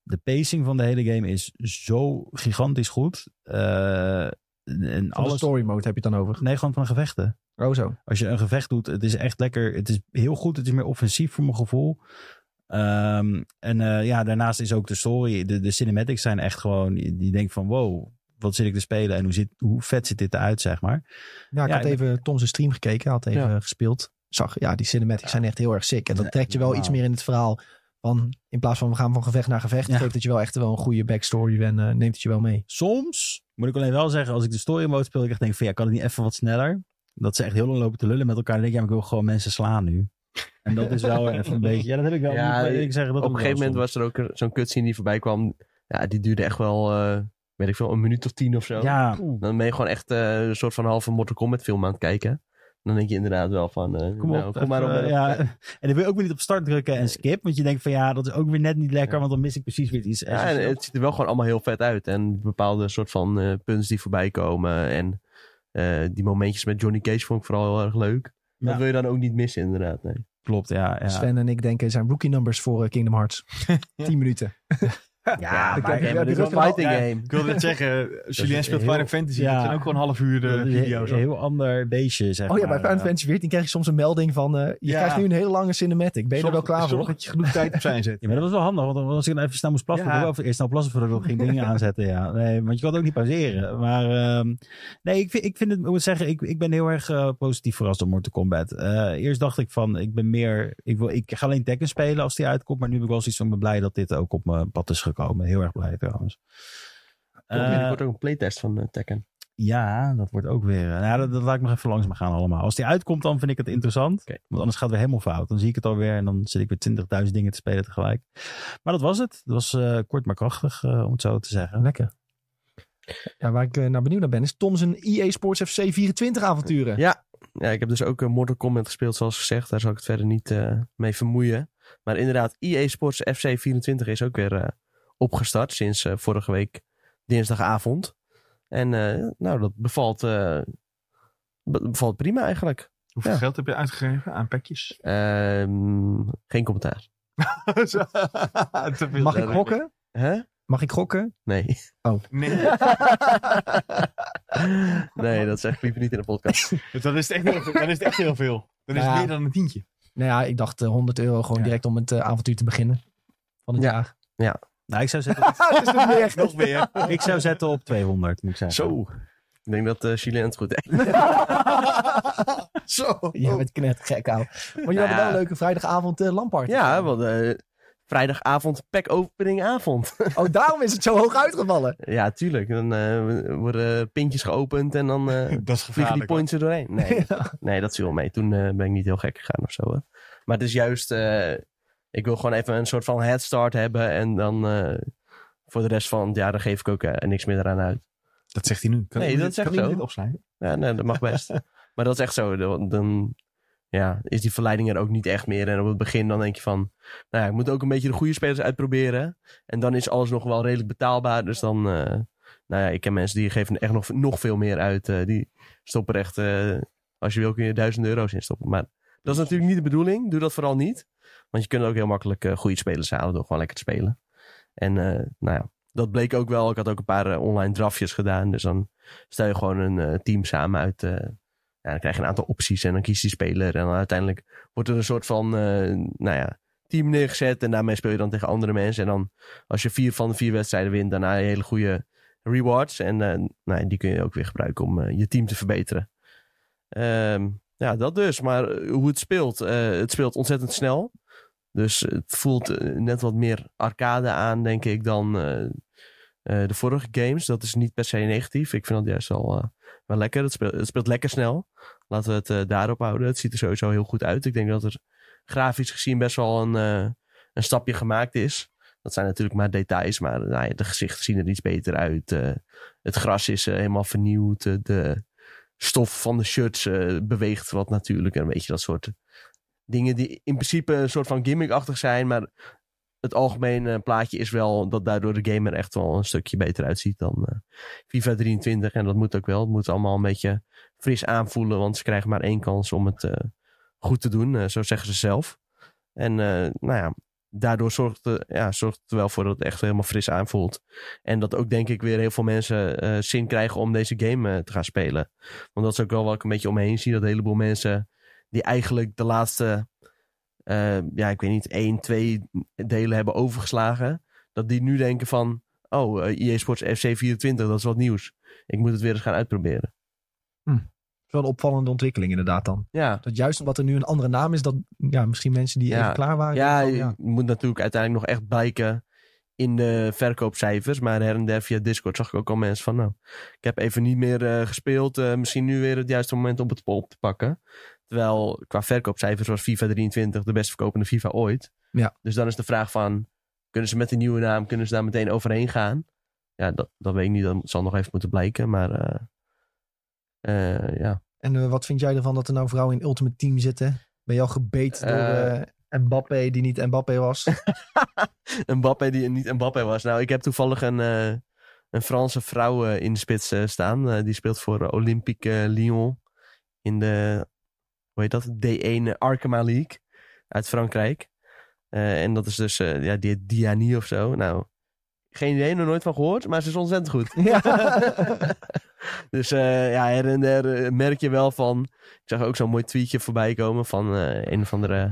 Speaker 3: de pacing van de hele game is zo gigantisch goed. Eh, en
Speaker 1: Van de
Speaker 3: alles...
Speaker 1: story mode heb je het dan over.
Speaker 3: Nee, gewoon van gevechten.
Speaker 1: Oh, zo.
Speaker 3: Als je een gevecht doet, het is echt lekker. Het is heel goed. Het is meer offensief voor mijn gevoel. Ehm, en eh, ja, daarnaast is ook de story. De, de cinematics zijn echt gewoon. Je, je denkt van wow, wat zit ik te spelen en hoe, zit, hoe vet zit dit eruit, zeg maar.
Speaker 1: Ja, ik
Speaker 3: Ja,
Speaker 1: had
Speaker 3: ik-
Speaker 1: even Tom zijn stream gekeken. Hij had even gespeeld. Zag, ja, die cinematics zijn echt heel erg sick. En dat
Speaker 3: Ja,
Speaker 1: trekt je wel
Speaker 3: normaal.
Speaker 1: iets meer in het verhaal. Van, in plaats van we gaan van gevecht naar gevecht,
Speaker 3: Ja.
Speaker 1: geeft het je wel echt wel een goede backstory en eh, neemt het je wel mee.
Speaker 3: Soms moet ik alleen wel zeggen, als ik de story mode speel, ik echt denk van ja, kan het niet even wat sneller? Dat ze echt heel lang lopen te lullen met elkaar. Dan denk ik, ja, maar ik wil gewoon mensen slaan nu. En dat is
Speaker 4: [LAUGHS]
Speaker 3: wel even een beetje, ja, dat heb ik wel.
Speaker 4: Ja,
Speaker 3: moet ik eerlijk zeggen, dat
Speaker 4: Op een
Speaker 3: heb ik
Speaker 4: gegeven moment
Speaker 3: wel
Speaker 4: was er ook een- zo'n cutscene die voorbij kwam. Ja, die duurde echt wel, eh, weet ik veel, een minuut of tien of zo.
Speaker 3: soms. Ja,
Speaker 4: Dan ben je gewoon echt eh, een soort van halve Mortal Kombat film aan het kijken. Dan denk je inderdaad wel van, eh,
Speaker 3: Kom,
Speaker 4: nou,
Speaker 3: op,
Speaker 4: kom maar op.
Speaker 3: even, eh,
Speaker 4: met-
Speaker 3: ja. [LAUGHS] En dan wil je ook weer niet op start drukken en skip. Want je denkt van ja, dat is ook weer net niet lekker. Want dan mis ik precies weer iets. [LAUGHS]
Speaker 4: Ja, en
Speaker 3: essentieels.
Speaker 4: het ziet er wel gewoon allemaal heel vet uit. En bepaalde soort van eh punts die voorbij komen. En eh, die momentjes met Johnny Cage vond ik vooral heel erg leuk.
Speaker 3: Ja.
Speaker 4: Dat wil je dan ook niet missen, inderdaad. Nee.
Speaker 3: Klopt, ja. ja.
Speaker 1: Sven en ik denken zijn rookie numbers voor eh, Kingdom Hearts. 10 minuten.
Speaker 3: [LAUGHS] ja,
Speaker 1: ik
Speaker 3: maar-
Speaker 1: heb-
Speaker 4: Ja,
Speaker 1: ja,
Speaker 4: maar dit is
Speaker 1: die
Speaker 4: een fighting
Speaker 2: ja.
Speaker 4: game.
Speaker 2: Ik wilde net zeggen, eh, Julien speelt
Speaker 4: heel-
Speaker 2: Final Fantasy.
Speaker 3: ja.
Speaker 2: Dat zijn ook gewoon half uur eh, de
Speaker 3: dat is een
Speaker 2: video's.
Speaker 3: Een heel ander beestje, zeg
Speaker 1: Oh ja, bij
Speaker 3: maar.
Speaker 1: Final Fantasy 14 krijg je soms een melding van... eh, je
Speaker 2: Ja.
Speaker 1: krijgt nu een hele lange cinematic. Ben je er wel klaar
Speaker 2: Zorg
Speaker 1: voor?
Speaker 2: dat je genoeg tijd opzij zet.
Speaker 3: Ja, maar dat was wel handig, want als ik dan even snel moest plassen,
Speaker 2: Ja.
Speaker 3: ik wilde wel eerst snel plassen voordat ik nog ging dingen aanzetten. Ja. Nee, want je kan het ook niet pauzeren. Maar ehm, nee, ik vind, ik vind het, ik moet zeggen, ik, ik ben heel erg eh, positief verrast door Mortal Kombat. Eh, eerst dacht ik van, ik ben meer, ik, wil, ik ga alleen Tekken spelen als die uitkomt, maar nu ben ik wel zoiets van, ik ben blij dat dit ook op mijn pad is gekomen. Heel erg blij trouwens.
Speaker 4: Er komt
Speaker 3: Eh,
Speaker 4: binnenkort ook een playtest van eh, Tekken.
Speaker 3: ja, dat wordt ook weer. eh, Nou, dat, dat laat ik nog even langs me gaan allemaal. Als die uitkomt, dan vind ik het interessant.
Speaker 4: Oké.
Speaker 3: Want anders gaat het weer helemaal fout. Dan zie ik het alweer en dan zit ik weer 20.000 dingen te spelen tegelijk. Maar dat was het. Dat was eh, kort maar krachtig, eh, om het zo te zeggen.
Speaker 1: Lekker. Ja, waar ik eh, naar benieuwd naar ben, is Tom zijn EA Sports FC 24 avonturen.
Speaker 4: Ja. Ja, ik heb dus ook eh, Mortal Kombat gespeeld, zoals gezegd. Daar zal ik het verder niet eh, mee vermoeien. Maar inderdaad, EA Sports FC24 is ook weer eh, opgestart sinds eh, vorige week dinsdagavond. En eh, nou, dat bevalt, eh, be- bevalt prima eigenlijk.
Speaker 2: Hoeveel
Speaker 4: Ja.
Speaker 2: geld heb je uitgegeven aan [LAUGHS] pakjes?
Speaker 4: Ehm, geen commentaar.
Speaker 2: Te veel.
Speaker 1: Mag ik gokken?
Speaker 4: Hè?
Speaker 1: Mag ik gokken?
Speaker 4: Nee. [LAUGHS]
Speaker 2: Nee,
Speaker 4: nee, dat zeg ik liever niet in de podcast.
Speaker 2: dus dan is het echt heel veel. Dan is het echt heel veel. Dan is het
Speaker 1: Ja.
Speaker 2: meer dan een tientje.
Speaker 1: Nou ja, ik dacht eh, 100 euro gewoon
Speaker 2: Ja.
Speaker 1: direct om het eh, avontuur te beginnen. Van het
Speaker 4: Ja.
Speaker 1: jaar.
Speaker 3: Nou, ik zou zetten,
Speaker 1: [LAUGHS] dat is nog meer.
Speaker 2: Nog
Speaker 3: [LAUGHS]
Speaker 2: meer.
Speaker 3: ik zou zetten op 200, moet ik zeggen.
Speaker 2: [LAUGHS] Zo.
Speaker 4: Ik denk dat eh Chile het goed heeft.
Speaker 2: Zo.
Speaker 1: Je bent knettergek, ouwe. Maar jullie hebben wel een leuke vrijdagavond eh lampart.
Speaker 4: Nou Ja, want eh, vrijdagavond pack openingavond.
Speaker 1: Oh, daarom is het zo hoog uitgevallen.
Speaker 4: ja, tuurlijk. Dan eh, worden pintjes geopend en dan eh,
Speaker 2: Dat is
Speaker 4: vliegen die
Speaker 2: gevaarlijk.
Speaker 4: points er doorheen. Nee,
Speaker 1: [LAUGHS] Ja.
Speaker 4: nee dat viel wel mee. Toen eh, ben ik niet heel gek gegaan of zo. hoor. Maar het is juist, eh, ik wil gewoon even een soort van head start hebben. En dan eh, voor de rest van het jaar, daar geef ik ook eh, niks meer eraan uit.
Speaker 2: Dat zegt hij nu. Kan
Speaker 4: Nee,
Speaker 2: iemand
Speaker 4: dat
Speaker 2: dit-
Speaker 4: zegt
Speaker 2: kan iemand
Speaker 4: zo.
Speaker 2: dit opslaan?
Speaker 4: Ja, nee, dat mag best. maar dat is echt zo. Dan, dan ja, is die verleiding er ook niet echt meer. En op het begin dan denk je van... Nou ja, ik moet ook een beetje de goede spelers uitproberen. En dan is alles nog wel redelijk betaalbaar. Dus dan... eh, nou ja, ik ken mensen die geven echt nog, nog veel meer uit. eh, die stoppen er echt... eh, als je wil kun je duizend euro's in stoppen. Maar dat is natuurlijk niet de bedoeling. Doe dat vooral niet. Want je kunt ook heel makkelijk eh, goede spelers halen door gewoon lekker te spelen. En eh, nou ja, dat bleek ook wel. Ik had ook een paar eh, online drafjes gedaan. Dus dan stel je gewoon een eh, team samen uit. eh, ja, dan krijg je een aantal opties en dan kiest die speler. En dan uiteindelijk wordt er een soort van eh, nou ja, team neergezet. En daarmee speel je dan tegen andere mensen. En dan als je vier van de vier wedstrijden wint, daarna heb je hele goede rewards. En eh, nou, ja, die kun je ook weer gebruiken om eh, je team te verbeteren. Ehm, ja, dat dus. Maar eh, hoe het speelt, eh, het speelt ontzettend snel. Dus het voelt eh, net wat meer arcade aan, denk ik, dan eh, eh, de vorige games. Dat is niet per se negatief. Ik vind dat juist al wel lekker. Het speelt, het speelt lekker snel. Laten we het eh, daarop houden. Het ziet er sowieso heel goed uit. Ik denk dat er grafisch gezien best wel een, eh, een stapje gemaakt is. Dat zijn natuurlijk maar details, maar eh, nou ja, de gezichten zien er iets beter uit. Eh, het gras is eh, helemaal vernieuwd. Eh, de stof van de shirts eh, beweegt wat natuurlijk. En weet je, dat soort dingen die in principe een soort van gimmickachtig zijn. Maar het algemene plaatje is wel dat daardoor de game er echt wel een stukje beter uitziet dan eh, FIFA 23. En dat moet ook wel. Het moet allemaal een beetje fris aanvoelen. Want ze krijgen maar één kans om het eh, goed te doen. eh, zo zeggen ze zelf. En eh, nou ja, daardoor zorgt, eh, ja, zorgt het er wel voor dat het echt helemaal fris aanvoelt. En dat ook denk ik weer heel veel mensen eh, zin krijgen om deze game eh, te gaan spelen. Want dat is ook wel wat ik een beetje omheen zie. Dat een heleboel mensen die eigenlijk de laatste, eh, ja ik weet niet, één, twee delen hebben overgeslagen. Dat die nu denken van, Oh, eh, EA Sports FC 24, dat is wat nieuws. Ik moet het weer eens gaan uitproberen.
Speaker 1: is wel een opvallende ontwikkeling inderdaad dan.
Speaker 4: Ja,
Speaker 1: Dat juist omdat er nu een andere naam is, dat ja, misschien mensen die
Speaker 4: Ja.
Speaker 1: even klaar waren.
Speaker 4: ja,
Speaker 1: denken
Speaker 4: je
Speaker 1: van,
Speaker 4: moet natuurlijk uiteindelijk nog echt bijken in de verkoopcijfers. Maar her en der via Discord zag ik ook al mensen van... nou, ik heb even niet meer eh, gespeeld. eh, misschien nu weer het juiste moment om het op te pakken. Terwijl qua verkoopcijfers was FIFA 23 de best verkopende FIFA ooit.
Speaker 1: Ja.
Speaker 4: Dus dan is de vraag van... kunnen ze met die nieuwe naam, kunnen ze daar meteen overheen gaan? Ja, dat, dat weet ik niet. Dat zal nog even moeten blijken. Maar eh, eh, ja,
Speaker 1: En eh, wat vind jij ervan dat er nou vrouwen in Ultimate Team zitten? Ben je al gebeten door
Speaker 4: Eh.
Speaker 1: eh, Mbappé, die niet Mbappé was?
Speaker 4: [LAUGHS] Mbappé die niet Mbappé was. Nou, ik heb toevallig een, eh, een Franse vrouw eh, in de spits eh, staan. Eh, die speelt voor eh, Olympique eh, Lyon in de, hoe heet dat? D1 Arkema League uit Frankrijk. Eh, en dat is dus, eh, ja, die heet Diani of zo. Nou, geen idee, nog nooit van gehoord, maar ze is ontzettend goed.
Speaker 1: ja.
Speaker 4: [LAUGHS] Dus eh, ja, her en der eh, merk je wel van. Ik zag ook zo'n mooi tweetje voorbij komen van eh, een of andere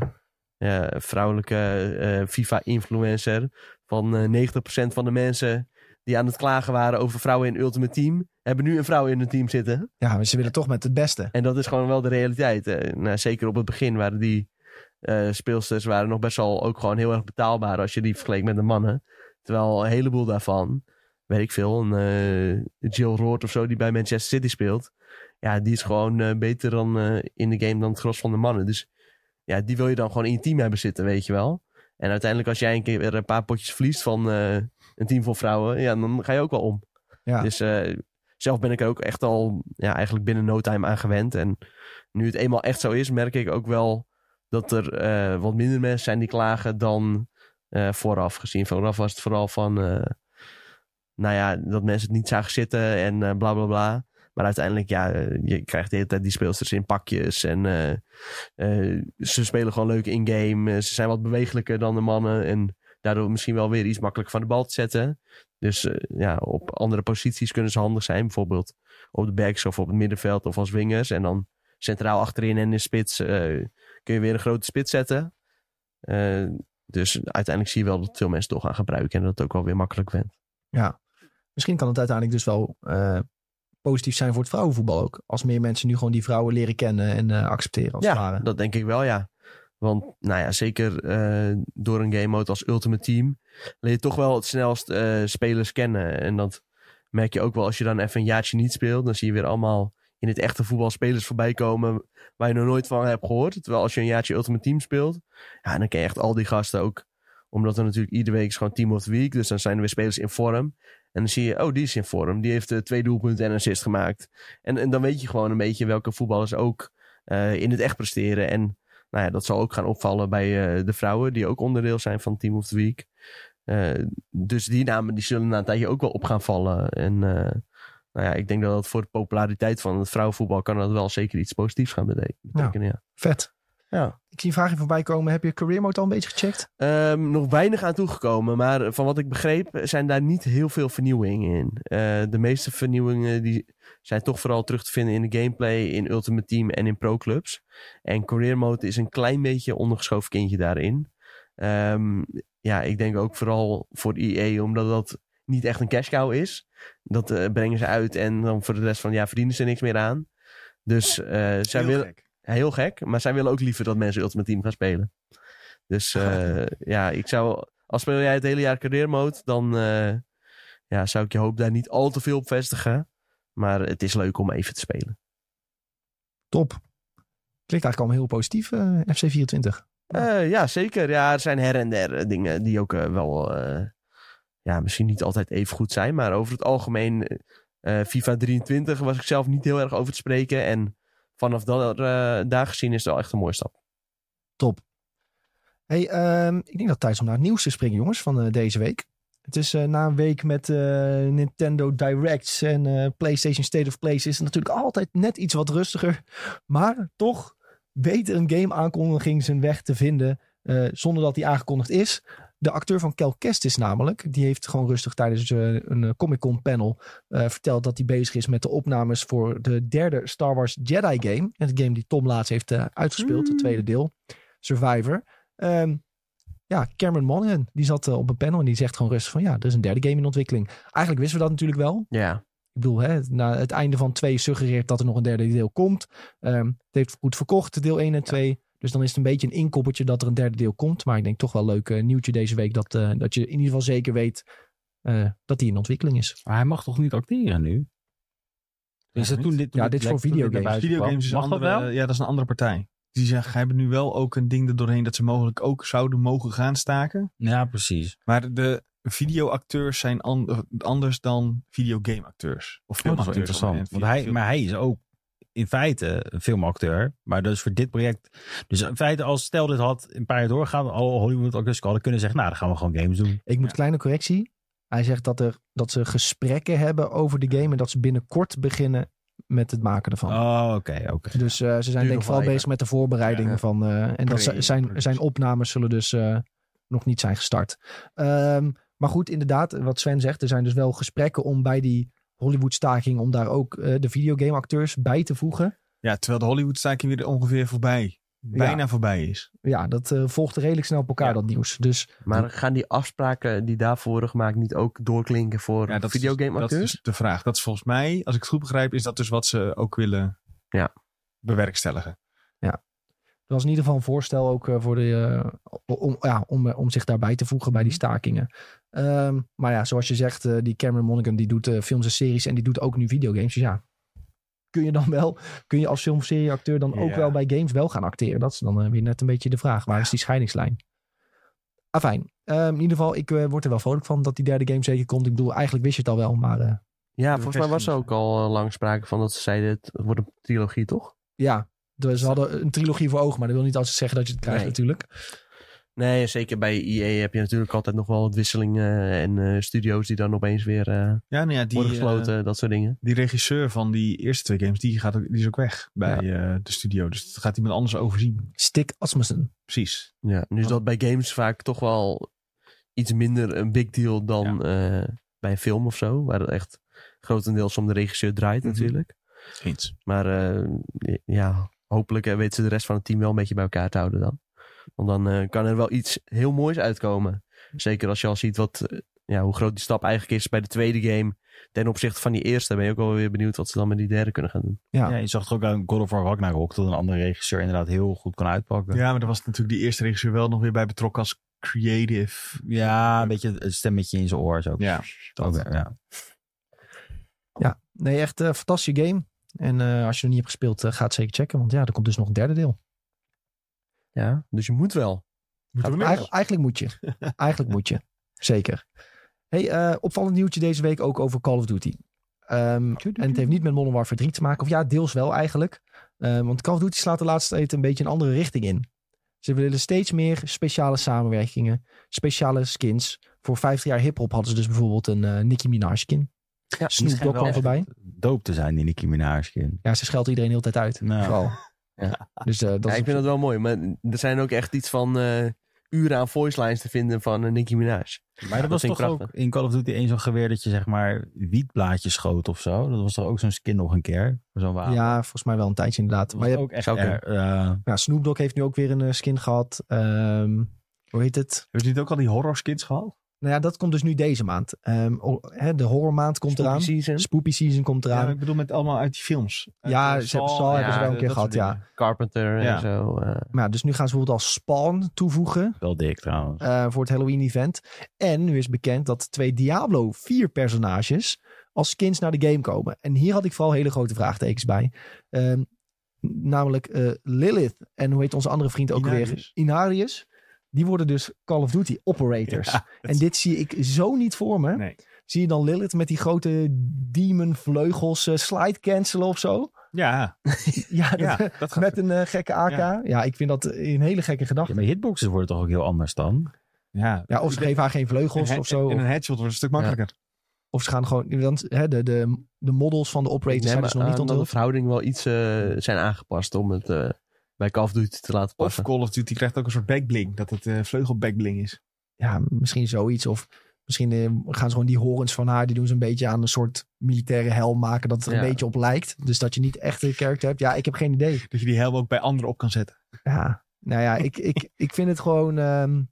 Speaker 4: eh, vrouwelijke eh, FIFA-influencer. Van eh, 90% van de mensen die aan het klagen waren over vrouwen in Ultimate Team, hebben nu een vrouw in hun team zitten.
Speaker 1: ja, maar ze willen toch met het beste.
Speaker 4: En dat is gewoon wel de realiteit. Eh, nou, zeker op het begin waren die eh, speelsters waren nog best wel ook gewoon heel erg betaalbaar als je die vergeleek met de mannen. Terwijl een heleboel daarvan, weet ik veel, een eh, Jill Roord of zo die bij Manchester City speelt. Ja, die is gewoon eh, beter dan, eh, in de game dan het gros van de mannen. Dus ja, die wil je dan gewoon in je team hebben zitten, weet je wel. En uiteindelijk als jij een keer weer een paar potjes verliest van eh, een team vol vrouwen, ja, dan ga je ook wel om.
Speaker 1: Ja.
Speaker 4: Dus eh, zelf ben ik er ook echt al ja, eigenlijk binnen no time aan gewend. En nu het eenmaal echt zo is, merk ik ook wel dat er eh, wat minder mensen zijn die klagen dan eh, vooraf gezien. Vooraf was het vooral van, eh, nou ja, dat mensen het niet zagen zitten en eh, bla bla bla. Maar uiteindelijk, ja, eh, je krijgt de hele tijd die speelsters in pakjes. En eh, eh, ze spelen gewoon leuk in-game. Eh, Ze zijn wat bewegelijker dan de mannen. En daardoor misschien wel weer iets makkelijker van de bal te zetten. Dus eh, ja, op andere posities kunnen ze handig zijn. Bijvoorbeeld op de backs of op het middenveld of als wingers. En dan centraal achterin en in de spits eh, kun je weer een grote spits zetten. Eh, dus uiteindelijk zie je wel dat veel mensen het toch gaan gebruiken. En dat het ook wel weer makkelijk went.
Speaker 1: Misschien kan het uiteindelijk dus wel eh, positief zijn voor het vrouwenvoetbal ook. Als meer mensen nu gewoon die vrouwen leren kennen en eh, accepteren als het
Speaker 4: Ja,
Speaker 1: ware.
Speaker 4: dat denk ik wel, ja. Want nou ja, zeker eh, door een game mode als Ultimate Team leer je toch wel het snelst eh, spelers kennen. En dat merk je ook wel als je dan even een jaartje niet speelt. Dan zie je weer allemaal in het echte voetbal spelers voorbij komen waar je nog nooit van hebt gehoord. Terwijl als je een jaartje Ultimate Team speelt, ja, dan ken je echt al die gasten ook. Omdat er natuurlijk iedere week is gewoon Team of the Week. Dus dan zijn er weer spelers in vorm. En dan zie je, oh, die is in vorm. Die heeft eh, twee doelpunten en een assist gemaakt. En, en dan weet je gewoon een beetje welke voetballers ook eh, in het echt presteren. En nou ja, dat zal ook gaan opvallen bij eh, de vrouwen, die ook onderdeel zijn van Team of the Week. Eh, dus die namen die zullen na een tijdje ook wel op gaan vallen. En eh, nou ja, ik denk dat dat voor de populariteit van het vrouwenvoetbal kan dat wel zeker iets positiefs gaan bete- betekenen. Ja.
Speaker 1: Vet.
Speaker 4: Ja.
Speaker 1: Ik zie een vraagje voorbij komen. Heb je career mode al een beetje gecheckt?
Speaker 4: Ehm, nog weinig aan toegekomen, maar van wat ik begreep zijn daar niet heel veel vernieuwingen in. Eh, de meeste vernieuwingen die zijn toch vooral terug te vinden in de gameplay, in Ultimate Team en in Pro Clubs. En Career Mode is een klein beetje ondergeschoven kindje daarin. Ehm, ja, ik denk ook vooral voor EA, omdat dat niet echt een cash cow is. Dat eh, brengen ze uit en dan voor de rest van het jaar verdienen ze niks meer aan. Dus eh, zij
Speaker 2: Heel
Speaker 4: willen...
Speaker 2: gek.
Speaker 4: Heel gek, maar zij willen ook liever dat mensen Ultimate Team gaan spelen. Dus eh, ja, ik zou, als speel jij het hele jaar career mode, dan eh, ja, zou ik je hoop daar niet al te veel op vestigen. Maar het is leuk om even te spelen.
Speaker 1: Top. Klinkt eigenlijk allemaal heel positief, eh, FC24. Ja.
Speaker 4: Eh, ja, zeker. Ja, er zijn her en der eh, dingen die ook eh, wel, eh, ja, misschien niet altijd even goed zijn. Maar over het algemeen, eh, eh, FIFA 23 was ik zelf niet heel erg over te spreken. En vanaf dat, eh, daar gezien is het wel echt een mooie stap.
Speaker 1: Hey, ehm, ik denk dat het tijd is om naar het nieuws te springen, jongens, van eh, deze week. Het is eh, na een week met eh, Nintendo Directs en eh, PlayStation State of Play is het natuurlijk altijd net iets wat rustiger. Maar toch weet een game-aankondiging zijn weg te vinden eh, zonder dat die aangekondigd is. De acteur van Cal Kestis namelijk, die heeft gewoon rustig tijdens eh, een eh, Comic-Con panel eh, verteld dat hij bezig is met de opnames voor de derde Star Wars Jedi game. Het game die Tom laatst heeft eh, uitgespeeld, het tweede deel, Survivor. Ehm, Ja, Cameron Monaghan, die zat eh, op een panel en die zegt gewoon rustig van ja, er is een derde game in ontwikkeling. Eigenlijk wisten we dat natuurlijk wel.
Speaker 4: Ja,
Speaker 1: Ik bedoel, hè, na het einde van 2 suggereert dat er nog een derde deel komt. Ehm, het heeft goed verkocht, deel 1 en 2. Dus dan is het een beetje een inkoppertje dat er een derde deel komt. Maar ik denk toch wel leuk eh, nieuwtje deze week dat, eh, dat je in ieder geval zeker weet eh, dat die in ontwikkeling is.
Speaker 3: Maar hij mag toch niet acteren nu? Is dat
Speaker 2: niet?
Speaker 3: toen dit, toen
Speaker 1: Ja, dit is
Speaker 3: lek-
Speaker 1: voor
Speaker 3: toen dit naar
Speaker 1: videogames.
Speaker 3: buiten kwam?
Speaker 2: Videogames is een
Speaker 3: Mag dat
Speaker 2: andere,
Speaker 3: wel?
Speaker 2: Ja, dat is een andere partij. Die zeggen, hebben nu wel ook een ding er doorheen dat ze mogelijk ook zouden mogen gaan staken.
Speaker 3: Ja, precies.
Speaker 2: Maar de videoacteurs zijn an- eh, anders dan videogameacteurs. Of
Speaker 3: Oh, Dat is wel
Speaker 2: filmacteurs.
Speaker 3: interessant.
Speaker 2: En
Speaker 3: Want hij,
Speaker 2: film-
Speaker 3: maar hij is ook in feite een filmacteur. Maar dus voor dit project. Dus in feite, als stel dit had een paar jaar doorgaan, al Hollywood acteurs hadden kunnen zeggen, nou, dan gaan we gewoon games doen.
Speaker 1: Ik moet
Speaker 2: Ja.
Speaker 1: kleine correctie. Hij zegt dat, er, dat ze gesprekken hebben over de game en dat ze binnenkort beginnen met het maken ervan.
Speaker 3: Oh, oké, oké.
Speaker 1: Dus eh, ze zijn denk
Speaker 4: nog
Speaker 1: ik vooral
Speaker 4: wel even.
Speaker 1: bezig met de voorbereidingen
Speaker 2: Ja.
Speaker 1: van. eh, en dat zi- zijn,
Speaker 2: Pre-productie.
Speaker 1: zijn opnames zullen dus eh, nog niet zijn gestart. Ehm, maar goed, inderdaad, wat Sven zegt, er zijn dus wel gesprekken om bij die Hollywood-staking om daar ook eh, de videogameacteurs bij te voegen.
Speaker 2: Ja, terwijl de Hollywood-staking weer ongeveer voorbij. Bijna voorbij is.
Speaker 1: Ja, dat eh, volgt redelijk snel op elkaar,
Speaker 2: Ja.
Speaker 1: dat nieuws. Dus
Speaker 4: maar gaan die afspraken die daarvoor worden gemaakt niet ook doorklinken voor
Speaker 2: Ja, dat is- dus-
Speaker 4: videogameacteurs?
Speaker 2: Dat is de vraag. Dat is volgens mij, als ik het goed begrijp, is dat dus wat ze ook willen
Speaker 4: Ja.
Speaker 2: bewerkstelligen.
Speaker 1: Dat was in ieder geval een voorstel ook eh, voor de, eh, om, ja, om, eh, om zich daarbij te voegen bij die stakingen. Ehm, maar ja, zoals je zegt, eh, die Cameron Monaghan die doet eh, films en series en die doet ook nu videogames. Dus ja, kun je dan wel, kun je als film- of serieacteur dan ook
Speaker 2: Ja.
Speaker 1: wel bij games wel gaan acteren? Dat is dan eh, weer net een beetje de vraag. Waar is die scheidingslijn? Afijn, Ehm, in ieder geval, ik eh, word er wel vrolijk van dat die derde game zeker komt. Ik bedoel, eigenlijk wist je het al wel, maar eh,
Speaker 4: Ja, volgens mij was er ook
Speaker 2: bevestiging.
Speaker 4: al eh, lang sprake van dat ze zeiden, het wordt een trilogie toch?
Speaker 1: ja, dus ze hadden een trilogie voor ogen. Maar dat wil niet altijd zeggen dat je het krijgt
Speaker 4: Nee.
Speaker 1: natuurlijk.
Speaker 4: Nee, zeker bij EA heb je natuurlijk altijd nog wel wat wisselingen en eh, studio's die dan opeens weer eh,
Speaker 2: Ja, nou ja, die,
Speaker 4: worden gesloten, dat soort dingen.
Speaker 2: eh, die regisseur van die eerste twee games, die, gaat ook, die is ook weg bij eh, de studio. Dus dat gaat iemand anders overzien.
Speaker 1: Stick Asmussen.
Speaker 2: Precies.
Speaker 4: Ja, nu is dat bij games vaak toch wel iets minder een big deal dan eh, bij een film of zo, waar het echt grotendeels om de regisseur draait
Speaker 2: Mhm.
Speaker 4: natuurlijk.
Speaker 2: Eens.
Speaker 4: Maar eh, ja, hopelijk eh, weten ze de rest van het team wel een beetje bij elkaar te houden dan. Want dan eh, kan er wel iets heel moois uitkomen. Zeker als je al ziet wat, eh, ja, hoe groot die stap eigenlijk is bij de tweede game. Ten opzichte van die eerste ben je ook wel weer benieuwd wat ze dan met die derde kunnen gaan doen.
Speaker 1: Ja.
Speaker 3: Ja. je zag toch ook aan God of War Ragnarok dat een andere regisseur inderdaad heel goed kon uitpakken.
Speaker 2: Ja, maar daar was natuurlijk die eerste regisseur wel nog weer bij betrokken als creative.
Speaker 3: Ja, een beetje het stemmetje in zijn oor zo.
Speaker 2: Ja,
Speaker 3: Ook, ja.
Speaker 1: Nee, echt een fantastische game. En eh, als je nog niet hebt gespeeld, gaat ga het zeker checken. Want ja, er komt dus nog een derde deel.
Speaker 4: Ja, dus je moet wel.
Speaker 2: Moeten we
Speaker 1: Eigen- eigenlijk moet
Speaker 2: [LAUGHS]
Speaker 1: je. eigenlijk moet je. Zeker. Hey, eh, opvallend nieuwtje deze week ook over Call of Duty. Ehm, en het heeft niet met Modern Warfare 3 te maken. Of ja, deels wel eigenlijk. Eh, want Call of Duty slaat de laatste tijd een beetje een andere richting in. Ze willen steeds meer speciale samenwerkingen. Speciale skins. Voor 50 jaar hiphop hadden ze dus bijvoorbeeld een eh, Nicki Minaj skin.
Speaker 4: Ja,
Speaker 1: Snoop Dogg kwam voorbij.
Speaker 3: Doop te zijn in Nicki Minaj. kind.
Speaker 1: Ja, ze scheldt iedereen heel de tijd uit.
Speaker 3: Nou.
Speaker 1: Vooral.
Speaker 4: Ja.
Speaker 1: [LAUGHS] Dus eh, dat
Speaker 4: Ja,
Speaker 1: is
Speaker 4: ik vind dat wel mooi. Maar er zijn ook echt iets van eh, uren aan voicelines te vinden van eh, Nicki Minaj.
Speaker 3: Maar dat,
Speaker 4: dat
Speaker 3: was
Speaker 4: vind
Speaker 3: toch
Speaker 4: ik
Speaker 3: ook
Speaker 4: prachtig.
Speaker 3: in Call of Duty één zo'n geweer dat je zeg maar wietblaadjes schoot of zo. Dat was toch ook zo'n skin nog een keer? Voor Zo'n wapen.
Speaker 1: Ja, volgens mij wel een tijdje inderdaad.
Speaker 3: dat
Speaker 1: Maar je
Speaker 3: was
Speaker 1: hebt,
Speaker 3: ook echt
Speaker 4: zou kunnen.
Speaker 3: er, eh,
Speaker 1: ja, Snoop Dogg heeft nu ook weer een eh, skin gehad. Ehm, hoe heet het?
Speaker 2: Hebben ze niet ook al die horror skins gehad?
Speaker 1: Nou ja, dat komt dus nu deze maand. Ehm, o- hè, de horrormaand komt
Speaker 4: Spooky
Speaker 1: eraan.
Speaker 4: Season,
Speaker 1: Spoopy season komt
Speaker 2: Ja,
Speaker 1: eraan.
Speaker 2: ik bedoel met allemaal uit die films. Uit,
Speaker 1: Ja,
Speaker 2: eh,
Speaker 1: ze hebben Saw hebben
Speaker 4: ze wel
Speaker 2: eh,
Speaker 1: een keer
Speaker 2: dat soort
Speaker 1: gehad, ja.
Speaker 2: dingen.
Speaker 4: Carpenter
Speaker 2: Ja.
Speaker 4: en zo. eh.
Speaker 1: Maar ja, dus nu gaan ze bijvoorbeeld als Spawn toevoegen
Speaker 3: wel dik trouwens.
Speaker 1: eh, voor het Halloween event. En nu is bekend dat twee Diablo 4 personages als skins naar de game komen. En hier had ik vooral hele grote vraagtekens bij. Ehm, namelijk eh, Lilith en hoe heet onze andere vriend ook weer?
Speaker 2: Inarius.
Speaker 1: Inarius. Die worden dus Call of Duty operators.
Speaker 2: Ja,
Speaker 1: En dit zie ik zo niet voor me.
Speaker 2: Nee.
Speaker 1: Zie je dan Lilith met die grote demon vleugels eh, slide cancelen of zo?
Speaker 2: Ja,
Speaker 1: Ja, [LAUGHS] dat-
Speaker 2: ja, dat gaat
Speaker 1: met een eh, gekke AK. Ja.
Speaker 2: Ja.
Speaker 1: ik vind dat een hele gekke
Speaker 3: Ja,
Speaker 1: gedachte.
Speaker 3: maar hitboxen worden toch ook heel anders dan?
Speaker 2: Ja,
Speaker 1: Ja, of ze geven haar geen vleugels of zo.
Speaker 2: En
Speaker 1: Of,
Speaker 2: een headshot wordt een stuk makkelijker.
Speaker 1: of ze gaan gewoon... Want, hè, de, de, de models van de operators
Speaker 4: Ik
Speaker 1: zijn
Speaker 4: neem
Speaker 1: dus nog niet
Speaker 4: aan dat de
Speaker 1: onthuld.
Speaker 4: verhoudingen wel iets eh, zijn aangepast om het eh, bij Call of Duty te laten
Speaker 2: Of
Speaker 4: passen.
Speaker 2: Call of Duty krijgt ook een soort backbling. Dat het eh vleugelbackbling is.
Speaker 1: Ja, misschien zoiets. Of misschien eh, gaan ze gewoon die horens van haar... die doen ze een beetje aan een soort militaire helm maken... dat het er een
Speaker 4: Ja.
Speaker 1: beetje op lijkt. Dus dat je niet echt een karakter hebt. Ja, ik heb geen idee.
Speaker 3: [LAUGHS]
Speaker 2: Dat je die helm ook bij anderen op kan zetten.
Speaker 1: Ja, nou ja, ik, ik, ik vind het gewoon. ehm,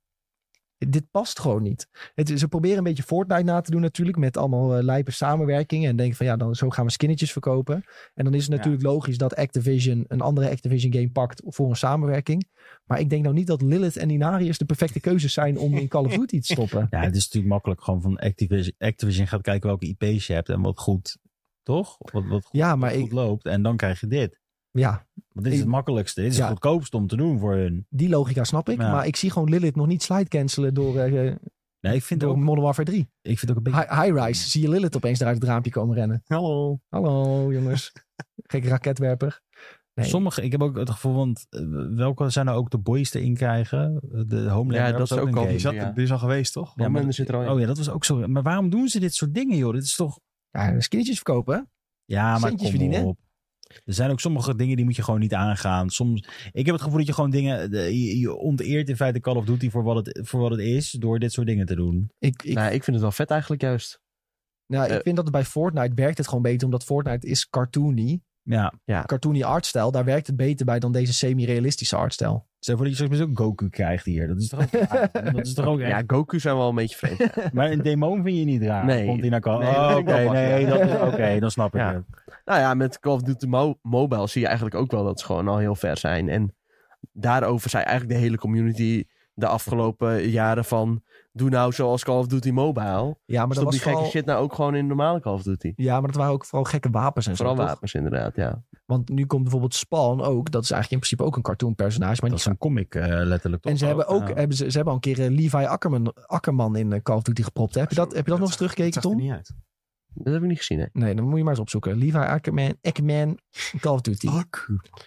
Speaker 1: dit past gewoon niet. Het, is- ze proberen een beetje Fortnite na te doen natuurlijk. Met allemaal eh, lijpe samenwerkingen. En denken van ja, dan, zo gaan we skinnetjes verkopen. En dan is het natuurlijk logisch dat Activision een andere Activision game pakt voor een samenwerking. Maar ik denk nou niet dat Lilith en Inarius de perfecte keuzes zijn om in Call of Duty
Speaker 3: [LAUGHS]
Speaker 1: te stoppen.
Speaker 3: Ja, het is natuurlijk makkelijk gewoon van Activision, Activision gaat kijken welke IP's je hebt en wat goed, toch? Wat, wat goed,
Speaker 1: Ja, maar
Speaker 3: goed
Speaker 1: ik,
Speaker 3: loopt en dan krijg je dit.
Speaker 1: ja,
Speaker 3: Want dit is
Speaker 1: Ik-
Speaker 3: het makkelijkste, dit is
Speaker 1: Ja.
Speaker 3: het goedkoopste om te doen voor hun.
Speaker 1: die logica snap ik.
Speaker 3: Ja.
Speaker 1: Maar ik zie gewoon Lilith nog niet slide cancelen door, eh
Speaker 3: Nee, ik vind,
Speaker 1: door
Speaker 3: ook,
Speaker 1: Modern Warfare 3.
Speaker 3: ik vind ook een beetje...
Speaker 1: Hi- High-rise zie je Lilith opeens eruit het raampje komen rennen.
Speaker 2: Hallo.
Speaker 1: Hallo jongens. Gek raketwerper. Nee.
Speaker 3: Sommige, ik heb ook het gevoel, want eh, welke zijn nou ook de boys erin krijgen? De Homeland
Speaker 4: Ja,
Speaker 3: was
Speaker 4: dat is ook
Speaker 3: een
Speaker 4: al
Speaker 3: game.
Speaker 2: Die, zat,
Speaker 4: Ja.
Speaker 2: die is al geweest, toch?
Speaker 4: Ja, maar er zit er al in.
Speaker 3: Oh ja, dat was ook zo. Maar waarom doen ze dit soort dingen, joh? Dit is toch...
Speaker 1: Ja, skinnetjes verkopen. hè?
Speaker 3: Ja, maar
Speaker 1: Centjes
Speaker 3: kom
Speaker 1: verdienen, hè?
Speaker 3: op. Er zijn ook sommige dingen die moet je gewoon niet aangaan. Soms, ik heb het gevoel dat je gewoon dingen... de- Je, je onteert in feite Call of Duty voor wat, het, voor wat het is... door dit soort dingen te doen.
Speaker 1: Ik, ik,
Speaker 4: Nou, ik vind het wel vet eigenlijk juist.
Speaker 1: nou, ik
Speaker 4: eh,
Speaker 1: vind dat het bij Fortnite werkt het gewoon beter. Omdat Fortnite is cartoony.
Speaker 3: Ja,
Speaker 1: Cartoony artstijl. Daar werkt het beter bij dan deze semi-realistische artstijl.
Speaker 3: stel voor dat je straks ook Goku krijgt hier. Dat is toch ook
Speaker 4: [LAUGHS]
Speaker 3: raar? Dat is toch ook echt-
Speaker 4: Ja, Goku zijn wel een beetje vreemd.
Speaker 1: [LAUGHS]
Speaker 3: Maar een demon vind je niet raar.
Speaker 4: Nee.
Speaker 3: Komt die naar Call...
Speaker 4: Nee, dat
Speaker 3: oh,
Speaker 4: vind
Speaker 3: oké,
Speaker 4: ik wel lastig.
Speaker 3: nee, dat is- oké, dan snap ik
Speaker 4: Ja.
Speaker 3: het.
Speaker 4: Nou ja, met Call of Duty Mo- Mobile zie je eigenlijk ook wel dat ze gewoon al heel ver zijn. En daarover zei eigenlijk de hele community de afgelopen jaren van... Doe nou zoals Call of Duty Mobile.
Speaker 1: Ja, maar
Speaker 4: Maar
Speaker 1: dat
Speaker 4: Stop
Speaker 1: was
Speaker 4: die gekke
Speaker 1: vooral,
Speaker 4: shit nou ook gewoon in normale Call of Duty.
Speaker 1: Ja, maar dat waren ook vooral gekke wapens en
Speaker 4: Vooral
Speaker 1: zo. toch?
Speaker 4: wapens inderdaad, ja.
Speaker 1: Want nu komt bijvoorbeeld Spawn ook. Dat is eigenlijk in principe ook een cartoon personage. Maar die
Speaker 3: Dat is een comic eh, letterlijk. toch
Speaker 1: en ze hebben ook
Speaker 3: Ja.
Speaker 1: hebben ze, ze hebben al een keer eh, Levi Ackerman, Ackerman in eh, Call of Duty gepropt. hè? Heb je dat, heb je dat nog eens
Speaker 2: Dat
Speaker 1: teruggekeken,
Speaker 2: zag er
Speaker 1: Tom?
Speaker 2: niet uit.
Speaker 4: Dat heb ik niet gezien, hè.
Speaker 1: Nee, dan moet je maar eens opzoeken. Levi Ackerman, Ackerman Call of Duty.
Speaker 2: Goku.
Speaker 4: Er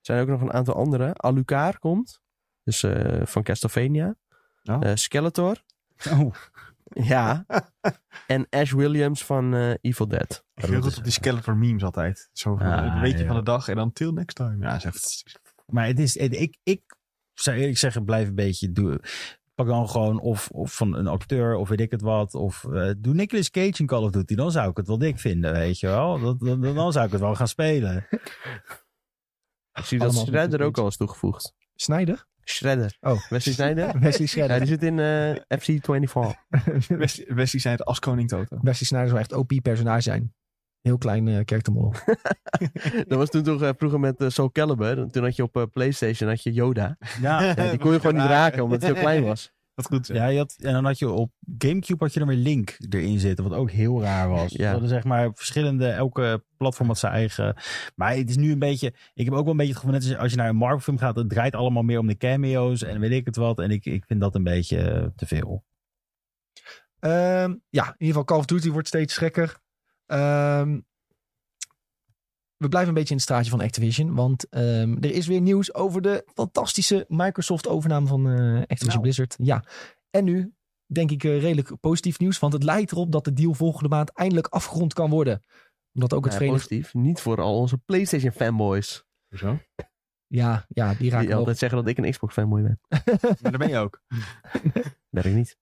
Speaker 4: zijn ook nog een aantal andere. Alucard komt. Dus eh, van Castlevania.
Speaker 2: Oh.
Speaker 4: Eh, Skeletor.
Speaker 3: Oh,
Speaker 4: [LAUGHS] Ja. en Ash Williams van eh, Evil Dead.
Speaker 2: Ik vind het goed op die Skeletor memes altijd. Zo van
Speaker 3: Ah,
Speaker 2: een beetje
Speaker 3: ja.
Speaker 2: van de dag en dan till next time. Ja, zegt.
Speaker 3: Maar het is, het- ik, ik zou eerlijk zeggen, blijf een beetje doen. Pak dan gewoon of, of van een acteur of weet ik het wat. Of eh, doe Nicolas Cage in Call of Duty. Dan zou ik het wel dik vinden, weet je wel. Dat, dat- dan, zou ik het wel gaan spelen.
Speaker 4: Ik zie dat
Speaker 1: Allemaal
Speaker 4: Shredder
Speaker 1: natuurlijk
Speaker 4: ook al is toegevoegd.
Speaker 1: Snijder?
Speaker 4: Shredder.
Speaker 1: Oh.
Speaker 4: Wesley Snyder?
Speaker 1: [LAUGHS] Wesley
Speaker 4: Ja,
Speaker 1: Snijder.
Speaker 4: die zit in eh, FC24.
Speaker 1: [LAUGHS]
Speaker 2: Wesley Wesley zei het als koning Toto.
Speaker 1: Wesley Snijder zou echt OP personage zijn. Heel klein eh charactermodel.
Speaker 4: Dat was toen toch eh, vroeger met eh, Soul Calibur. Toen had je op eh, Playstation had je Yoda.
Speaker 3: Ja,
Speaker 4: Ja, die kon je gewoon
Speaker 1: [LAUGHS]
Speaker 4: niet raken, omdat hij zo klein was.
Speaker 2: Dat goed. zeg.
Speaker 3: [LAUGHS] ja je had, en dan had je op Gamecube had je dan weer Link erin zitten. Wat ook heel raar was.
Speaker 4: Ja.
Speaker 3: Ze hadden zeg maar verschillende, elke platform had zijn eigen. Maar het is nu een beetje, ik heb ook wel een beetje het gevoel, net als als je naar een Marvel film gaat. Het draait allemaal meer om de cameo's en weet ik het wat. En ik, ik vind dat een beetje eh, te veel.
Speaker 1: Ehm, ja, in ieder geval Call of Duty wordt steeds gekker. Ehm, we blijven een beetje in het straatje van Activision. Want ehm, er is weer nieuws over de fantastische Microsoft-overname van eh, Activision
Speaker 2: Nou.
Speaker 1: Blizzard. Ja, en nu denk ik eh, redelijk positief nieuws. Want het lijkt erop dat de deal volgende maand eindelijk afgerond kan worden. Omdat ook het
Speaker 4: Ja,
Speaker 1: Verenigd...
Speaker 4: Eh, positief. Niet voor al onze Playstation fanboys.
Speaker 2: Hoezo?
Speaker 1: Ja, ja, die
Speaker 4: Die
Speaker 1: raken wel.
Speaker 4: altijd zeggen dat ik een Xbox fanboy ben.
Speaker 2: Maar daar ben je ook.
Speaker 4: Ben ik niet.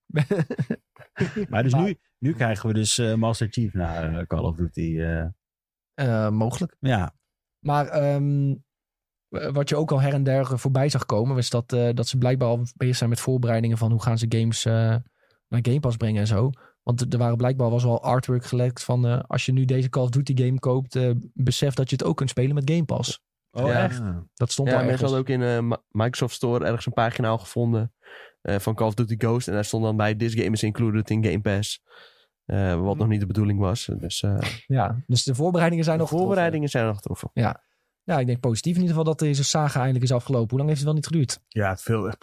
Speaker 3: Maar dus
Speaker 1: Maar-
Speaker 3: Nu, nu krijgen we dus eh, Master Chief naar eh, Call of Duty. eh.
Speaker 1: eh, mogelijk.
Speaker 3: ja,
Speaker 1: Maar ehm, w- wat je ook al her en der eh, voorbij zag komen, was dat, eh, dat ze blijkbaar al bezig zijn met voorbereidingen van hoe gaan ze games eh, naar Game Pass brengen en zo. Want er- er waren blijkbaar was al artwork gelekt van eh, als je nu deze Call of Duty game koopt, eh, besef dat je het ook kunt spelen met Game Pass.
Speaker 3: oh
Speaker 4: Ja.
Speaker 3: echt?
Speaker 1: Dat stond
Speaker 4: Ja,
Speaker 1: al ergens.
Speaker 4: mensen hadden ook in eh, Ma- Microsoft Store ergens een pagina al gevonden eh, van Call of Duty Ghost. En daar stond dan bij This game is included in Game Pass. Eh,
Speaker 1: Mm.
Speaker 4: wat nog niet de bedoeling was. Dus eh,
Speaker 1: Ja, dus de voorbereidingen zijn
Speaker 4: de
Speaker 1: nog getroffen.
Speaker 4: voorbereidingen zijn nog getroffen.
Speaker 1: Ja, ik denk positief in ieder geval dat deze saga eindelijk is afgelopen. Hoe lang heeft het wel niet geduurd?
Speaker 2: Ja, het veel.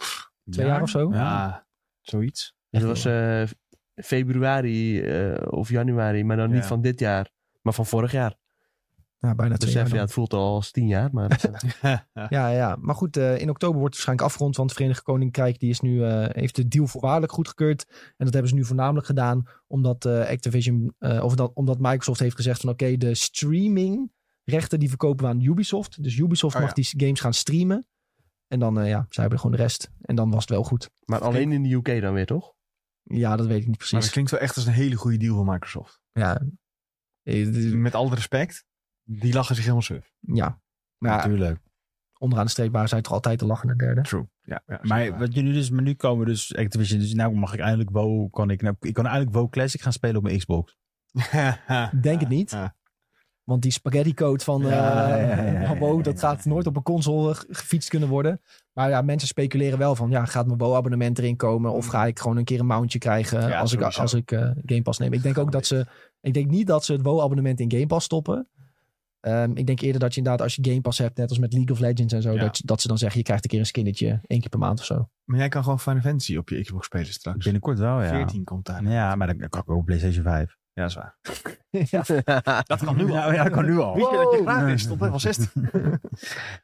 Speaker 1: Twee jaar of zo?
Speaker 2: Ja, zoiets. [LAUGHS]
Speaker 4: Dat was eh, februari eh, of januari, maar dan niet
Speaker 2: Ja.
Speaker 4: van dit jaar, maar van vorig jaar.
Speaker 1: Ja, bijna
Speaker 4: Dus
Speaker 1: twee
Speaker 4: even,
Speaker 1: jaar. dan.
Speaker 4: ja, het voelt al als tien jaar,
Speaker 1: [LAUGHS]
Speaker 4: maar eh,
Speaker 1: Ja, ja, maar goed, eh, in oktober wordt het waarschijnlijk afgerond. Want het Verenigd Koninkrijk die is nu, eh, heeft de deal voorwaardelijk goedgekeurd. En dat hebben ze nu voornamelijk gedaan omdat eh, Activision, eh, of dat, omdat Microsoft heeft gezegd van oké, de streamingrechten die verkopen we aan Ubisoft. Dus Ubisoft
Speaker 2: Oh,
Speaker 1: mag die games gaan streamen. En dan, eh, ja, zij hebben gewoon de rest. En dan was het wel goed.
Speaker 4: maar alleen in de UK dan weer, toch?
Speaker 1: Ja, dat weet ik niet
Speaker 2: Maar dat
Speaker 1: precies.
Speaker 2: klinkt wel echt als een hele goede deal van Microsoft.
Speaker 1: Ja, Eh, d-
Speaker 2: Met alle respect, die lachen zich helemaal surf.
Speaker 1: ja. Maar ja,
Speaker 3: Natuurlijk.
Speaker 1: onderaan de streep waren zij toch altijd de lachende derde.
Speaker 2: True. Ja, ja,
Speaker 3: Maar
Speaker 2: [LAUGHS]
Speaker 3: wat jullie dus, maar nu komen dus Activision. Dus nou mag ik eindelijk WoW, kan ik, nou, ik kan eindelijk WoW Classic gaan spelen op mijn Xbox.
Speaker 1: Denk het niet.
Speaker 2: ja.
Speaker 1: Want die spaghetti code van eh
Speaker 3: Ja, ja, ja, ja,
Speaker 1: van Bo,
Speaker 3: ja, ja,
Speaker 1: dat
Speaker 3: ja.
Speaker 1: gaat nooit op een console ge- gefietst kunnen worden. Maar ja, mensen speculeren wel van, ja, gaat mijn Bo-abonnement erin komen?
Speaker 3: Mm.
Speaker 1: Of ga ik gewoon een keer een mountje krijgen
Speaker 2: Ja,
Speaker 1: als ik,
Speaker 2: sowieso.
Speaker 1: als ik eh, Game Pass neem? Ik denk ook dat ze, ik denk niet dat ze het Bo-abonnement in Game Pass stoppen. Ehm, ik denk eerder dat je inderdaad, als je Game Pass hebt, net als met League of Legends en zo,
Speaker 2: Ja.
Speaker 1: dat, dat ze dan zeggen, je krijgt een keer een skinnetje, één keer per maand
Speaker 3: Oh,
Speaker 1: of zo.
Speaker 2: Maar jij kan gewoon Final Fantasy op je Xbox spelen straks.
Speaker 3: Binnenkort wel, ja.
Speaker 2: 14 komt daar.
Speaker 3: Ja, maar dan kan ik ook op PlayStation 5.
Speaker 2: Oh Ja, dat is waar.
Speaker 1: ja.
Speaker 4: [LAUGHS]
Speaker 2: Dat
Speaker 3: [LAUGHS]
Speaker 2: kan nu al.
Speaker 3: Nou, Ja, ja, dat kan nu al. Oh.
Speaker 2: Weet je dat je
Speaker 1: Wow.
Speaker 2: gratis stond level 16?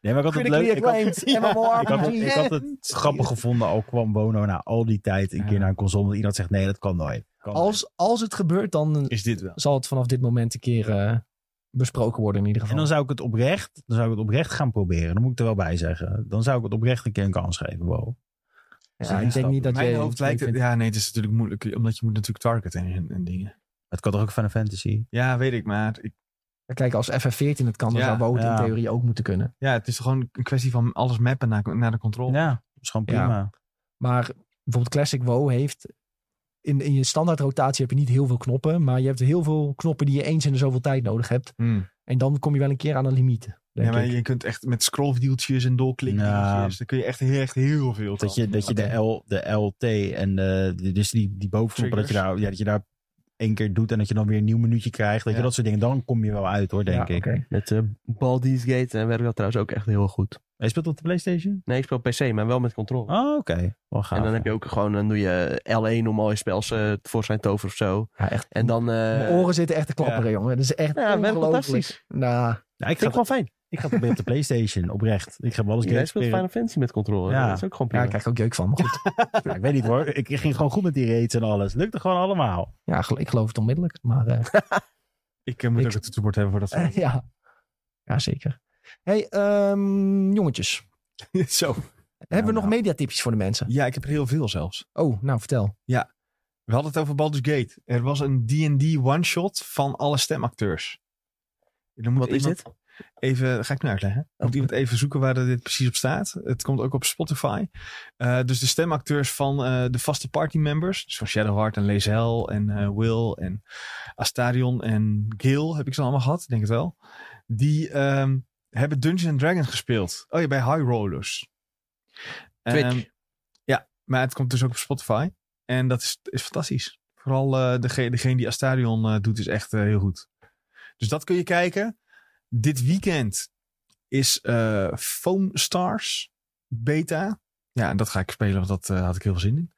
Speaker 3: Nee, maar ik had het leuk.
Speaker 1: Critically
Speaker 3: Ik had, [LAUGHS]
Speaker 1: acclaimed,
Speaker 2: Ja.
Speaker 1: MMORPG.
Speaker 3: ik had het, ik had het grappig gevonden, al kwam Bono na al die tijd een
Speaker 2: Ja.
Speaker 3: keer naar een console. Dat iemand zegt, nee, dat kan nooit. Kan nooit.
Speaker 1: Als, als het gebeurt, dan
Speaker 2: [LAUGHS] Is dit wel.
Speaker 1: zal het vanaf dit moment een keer eh, besproken worden in ieder
Speaker 3: En
Speaker 1: geval.
Speaker 3: dan zou ik het oprecht, dan zou ik het oprecht gaan proberen. Dan moet ik er wel bij zeggen. Dan zou ik het oprecht een keer een kans geven, wow.
Speaker 1: ja, ik denk niet dat
Speaker 2: Mijn
Speaker 1: jij
Speaker 2: hoofd lijkt het, ja nee, het is natuurlijk moeilijk, omdat je moet natuurlijk targeten en, en dingen.
Speaker 3: Het kan toch ook Final Fantasy?
Speaker 2: Ja, weet ik, maar ik,
Speaker 1: Ja, Kijk, als FF14 het kan, dan
Speaker 2: Ja,
Speaker 1: zou Wout
Speaker 3: ja.
Speaker 1: in theorie ook moeten kunnen.
Speaker 2: ja, het is gewoon een kwestie van alles mappen naar, naar de controle.
Speaker 3: Ja, dat is gewoon
Speaker 1: Ja.
Speaker 3: prima.
Speaker 1: Maar bijvoorbeeld Classic WoW heeft... In, in je standaard rotatie heb je niet heel veel knoppen. Maar je hebt heel veel knoppen die je eens in de zoveel tijd nodig hebt.
Speaker 2: Hmm.
Speaker 1: En dan kom je wel een keer aan een limiet, denk
Speaker 2: Ja, maar
Speaker 1: ik.
Speaker 2: je kunt echt met scrollwieltjes en doorklikken.
Speaker 3: Ja.
Speaker 2: Daar kun je echt, heel- echt heel veel
Speaker 3: Dat je, dat je de, L, de LT en de, de- dus die, die bovenknop, dat je,
Speaker 2: Triggers.
Speaker 3: daar, ja, dat je daar één keer doet en dat je dan weer een nieuw minuutje krijgt. Dat
Speaker 2: Ja.
Speaker 3: je dat soort dingen, dan kom je wel uit hoor, denk
Speaker 1: Ja,
Speaker 3: ik.
Speaker 1: oké.
Speaker 4: Met eh Baldur's Gate en werkt dat trouwens ook echt heel goed.
Speaker 3: Hij speelt op de Playstation?
Speaker 4: Nee, ik speel PC, maar wel met controle.
Speaker 3: Oh, oké. Wel gaaf.
Speaker 4: en dan heb je ook gewoon, dan doe je L1 om al je spels eh, voor zijn tover of zo.
Speaker 1: Ja, echt.
Speaker 4: En dan... eh,
Speaker 1: Mijn oren zitten echt te klapperen, jongen. Dat is echt
Speaker 4: Ja, werkt
Speaker 1: ongelooflijk.
Speaker 4: fantastisch.
Speaker 1: Nou,
Speaker 3: Nou, ik,
Speaker 4: vind
Speaker 3: ga,
Speaker 4: ik gewoon fijn.
Speaker 3: ik ga proberen op de Playstation, oprecht. Ik ga wel eens
Speaker 4: Iedereen
Speaker 3: games
Speaker 4: speelt
Speaker 3: spelen.
Speaker 4: Final Fantasy met controle.
Speaker 3: Ja.
Speaker 4: Dat is ook gewoon
Speaker 1: ja,
Speaker 4: prima.
Speaker 1: ik krijg ook jeuk van, maar goed.
Speaker 3: Ja, ik weet niet hoor, ik ging gewoon goed met die raids en alles. Lukte gewoon allemaal.
Speaker 1: Ja, gel- ik geloof het onmiddellijk. Maar eh,
Speaker 2: Ik eh, moet
Speaker 1: Ik-
Speaker 2: ook het toetsenbord hebben voor dat soort-
Speaker 1: [LAUGHS] ja. ja, zeker. hey, ehm, jongetjes.
Speaker 3: [LAUGHS]
Speaker 2: Zo.
Speaker 1: Hebben we
Speaker 3: nou.
Speaker 1: nog mediatipjes voor de mensen?
Speaker 2: Ja, ik heb er heel veel zelfs.
Speaker 1: Oh, nou vertel.
Speaker 2: We hadden het over Baldur's Gate. Er was een D&D one-shot van alle stemacteurs. Dan moet
Speaker 4: Wat is
Speaker 2: iemand-
Speaker 4: dit?
Speaker 2: Even, ga ik nu uitleggen. Moet iemand even zoeken waar dit precies op staat. Het komt ook op Spotify. Eh, dus de stemacteurs van eh, de vaste party members. Dus van Shadowheart en Lazel en eh, Will en Astarion en Gil. Heb ik ze allemaal gehad, denk het wel. Die ehm, hebben Dungeons Dragons gespeeld. Oh ja, bij High Rollers.
Speaker 4: Twitch.
Speaker 2: Ehm, ja, maar het komt dus ook op Spotify. En dat is, is fantastisch. Vooral eh, degene, degene die Astarion eh, doet is echt eh, heel goed. Dus dat kun je kijken. Dit weekend is eh Foam Stars beta. Ja, en dat ga ik spelen, want dat eh, had ik heel veel zin in.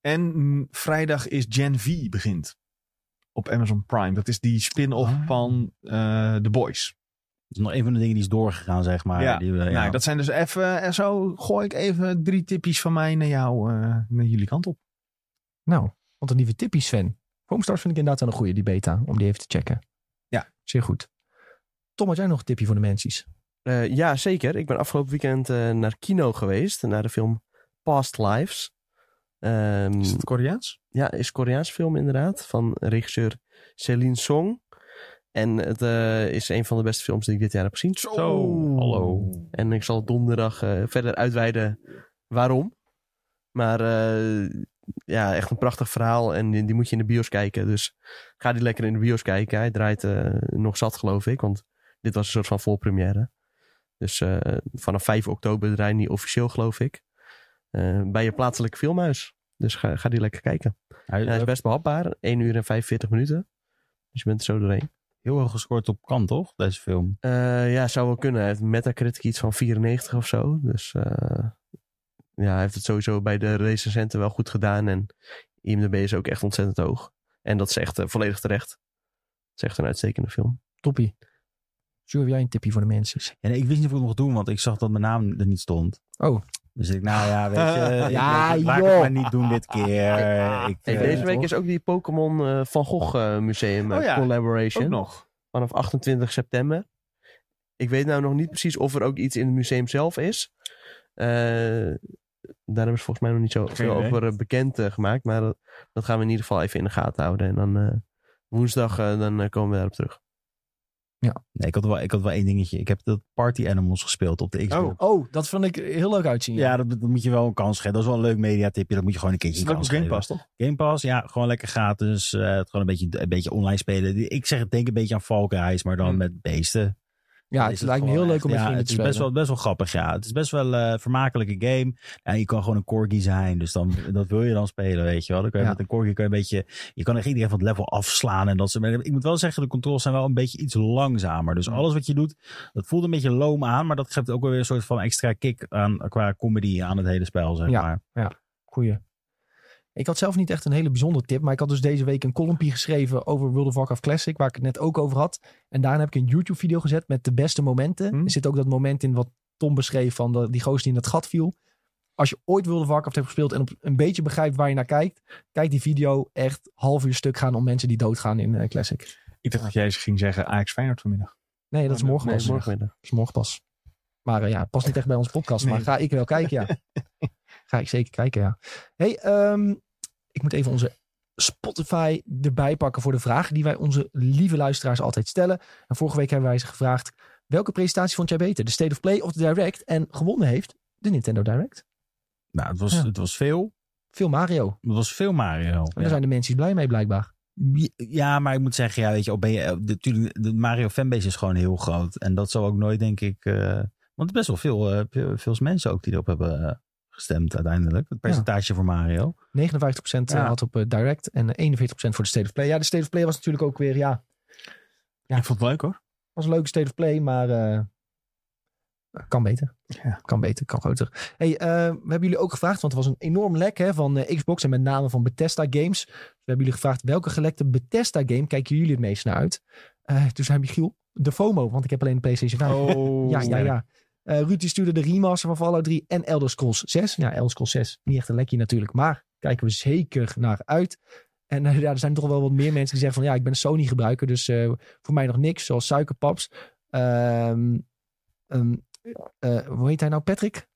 Speaker 2: En mm, vrijdag is Gen V begint. Op Amazon Prime. Dat is die spin-off
Speaker 3: Ah.
Speaker 2: van eh The Boys.
Speaker 3: Dat is nog een van de dingen die is doorgegaan, zeg maar.
Speaker 2: Ja.
Speaker 3: Die eh, we-
Speaker 2: Nou, dat zijn dus even... En zo gooi ik even drie tippies van mij naar jou, eh, naar jullie kant op.
Speaker 1: Nou, want een nieuwe tippies, Sven. Homestars vind ik inderdaad wel een goede, die beta, om die even te checken.
Speaker 2: Ja.
Speaker 1: Zeer goed. Tom, had jij nog een tipje voor de mensen?
Speaker 4: Eh, ja, zeker. Ik ben afgelopen weekend eh, naar kino geweest. Naar de film Past Lives. Ehm,
Speaker 2: Is het Koreaans?
Speaker 4: Ja, is een Koreaanse film inderdaad. Van regisseur Celine Song. En het eh, is een van de beste films die ik dit jaar heb gezien.
Speaker 2: Zo, hallo.
Speaker 4: En ik zal donderdag eh, verder uitweiden waarom. Maar eh, ja, echt een prachtig verhaal. En die, die moet je in de bios kijken. Dus ga die lekker in de bios kijken. Hij draait eh, nog zat, geloof ik. Want dit was een soort van voorpremière. Dus eh, vanaf 5 oktober draait hij officieel, geloof ik. eh, bij je plaatselijk filmhuis. Dus ga, ga die lekker kijken.
Speaker 3: Hij,
Speaker 4: Hij is best behapbaar. 1 uur en 45 minuten. Dus je bent er zo doorheen.
Speaker 3: heel hoog gescoord op kant, toch? Deze film.
Speaker 4: Eh, ja, zou wel kunnen. Hij heeft Metacritic iets van 94 of zo. Dus eh, ja, hij heeft het sowieso bij de recensenten wel goed gedaan. En IMDb is ook echt ontzettend hoog. En dat is echt eh, volledig terecht. Het is echt een uitstekende film.
Speaker 1: Toppie. Zo heb jij een tipje voor de mensen?
Speaker 3: En ik wist niet of ik het mocht doen, want ik zag dat mijn naam er niet stond.
Speaker 1: Oh.
Speaker 3: Dus ik, nou ja,
Speaker 2: [LAUGHS]
Speaker 3: weet je. ik
Speaker 1: Ja,
Speaker 3: denk, laat ik
Speaker 1: joh.
Speaker 3: het maar niet doen dit keer. Ik,
Speaker 4: Hey,
Speaker 3: eh,
Speaker 4: deze week is ook die Pokémon eh, Van Gogh eh, Museum eh,
Speaker 2: Oh ja,
Speaker 4: Collaboration.
Speaker 2: Ook nog.
Speaker 4: vanaf 28 september. Ik weet nou nog niet precies of er ook iets in het museum zelf is. Eh, daar hebben ze volgens mij nog niet zo
Speaker 2: Geen
Speaker 4: veel
Speaker 2: idee.
Speaker 4: over eh, bekend eh, gemaakt. Maar dat, dat gaan we in ieder geval even in de gaten houden. En dan eh, woensdag eh, dan, eh, komen we daarop terug.
Speaker 3: Nee, ik had, wel, ik had wel één dingetje. Ik heb dat Party Animals gespeeld op de Xbox.
Speaker 2: Oh.
Speaker 1: Oh, dat vond ik heel leuk uitzien.
Speaker 3: Ja, dat, dat moet je wel een kans geven. Dat is wel een leuk mediatipje. Dat moet je gewoon een keertje
Speaker 2: Is
Speaker 3: een
Speaker 2: dat ook
Speaker 3: kans
Speaker 2: op Game
Speaker 3: geven.
Speaker 2: Pass, toch?
Speaker 3: Game Pass, ja, gewoon lekker gratis. eh, het gewoon een beetje, een beetje online spelen. Ik zeg het denk een beetje aan Valkenhuis, maar dan
Speaker 2: Hmm.
Speaker 3: met beesten.
Speaker 1: Ja,
Speaker 3: Dan
Speaker 1: het
Speaker 3: is
Speaker 1: lijkt me heel
Speaker 3: gewoon
Speaker 1: leuk om met
Speaker 3: echt- ja,
Speaker 1: vrienden
Speaker 3: het
Speaker 1: te
Speaker 3: is
Speaker 1: spelen.
Speaker 3: best wel, best wel grappig, ja. Het is best wel eh, een vermakelijke game. En je kan gewoon een corgi zijn, dus dan, dat wil je dan spelen, weet je wel. Dan kan je
Speaker 1: Ja.
Speaker 3: met een corgi kan je een beetje... Je kan echt iedereen van het level afslaan en dat soort Maar ik moet wel zeggen, de controls zijn wel een beetje iets langzamer.
Speaker 1: Mm.
Speaker 3: Dus alles wat je doet, dat voelt een beetje loom aan. Maar dat geeft ook wel weer een soort van extra kick aan, qua comedy aan het hele spel, zeg
Speaker 1: Ja.
Speaker 3: maar.
Speaker 1: Goeie. Ik had zelf niet echt een hele bijzondere tip, maar ik had dus deze week een columnpje geschreven over World of Warcraft Classic, waar ik het net ook over had. En daarna heb ik een YouTube-video gezet met de beste momenten.
Speaker 2: Hm.
Speaker 1: Er zit ook dat moment in wat Tom beschreef van de- die goos die in het gat viel. Als je ooit World of Warcraft hebt gespeeld en op een beetje begrijpt waar je naar kijkt, kijk die video echt half uur stuk gaan om mensen die doodgaan in eh, Classic.
Speaker 2: Ik dacht dat jij eens ging zeggen Ajax Feyenoord vanmiddag.
Speaker 1: Nee, dat is
Speaker 2: Nee,
Speaker 1: morgen
Speaker 4: Nee,
Speaker 1: pas. Dat
Speaker 4: morgenmiddag.
Speaker 1: is morgen pas. Maar eh, ja, past niet echt bij onze podcast,
Speaker 2: Nee.
Speaker 1: maar ga ik wel kijken, ja. ga ik zeker kijken, ja. hey, ehm, ik moet even onze Spotify erbij pakken voor de vragen die wij onze lieve luisteraars altijd stellen. En vorige week hebben wij ze gevraagd, welke presentatie vond jij beter? De State of Play of de Direct? En gewonnen heeft de Nintendo Direct.
Speaker 3: Nou, het was,
Speaker 1: Ja.
Speaker 3: het was veel.
Speaker 1: Veel Mario. En
Speaker 3: Het was veel Mario.
Speaker 1: daar
Speaker 3: Ja.
Speaker 1: zijn de mensen blij mee blijkbaar.
Speaker 3: Ja, maar ik moet zeggen, ja, weet je, al ben je, eh, de, tuurlijk, de Mario fanbase is gewoon heel groot. En dat zal ook nooit, denk ik. eh, want best wel veel, eh, veel, veel mensen ook die erop hebben eh, gestemd uiteindelijk. Het percentage voor Mario.
Speaker 1: 59%
Speaker 2: Ja.
Speaker 1: had op eh, Direct en eh, 41% voor de State of Play. Ja, de State of Play was natuurlijk ook weer, ja,
Speaker 2: Ja. Ik vond het leuk hoor.
Speaker 1: was een leuke State of Play, maar eh, kan beter.
Speaker 2: Ja.
Speaker 1: Kan beter, kan groter. Hey, eh, we hebben jullie ook gevraagd, want er was een enorm lek hè, van eh, Xbox en met name van Bethesda Games. Dus we hebben jullie gevraagd welke gelekte Bethesda game kijken jullie het meest naar uit? Eh, toen zei Michiel, de FOMO, want ik heb alleen de PlayStation 5. [LAUGHS]
Speaker 2: Oh.
Speaker 1: ja, ja, ja. Eh, Ruud die stuurde de remaster van Fallout 3 en Elder Scrolls 6. Ja, Elder Scrolls 6, niet echt een lekje natuurlijk, maar kijken we zeker naar uit. En eh, [LAUGHS] ja, er zijn toch wel wat meer mensen die zeggen van ja, ik ben een Sony gebruiker, dus eh, voor mij nog niks, zoals suikerpaps. Ehm, ehm, eh, hoe heet hij nou, Patrick?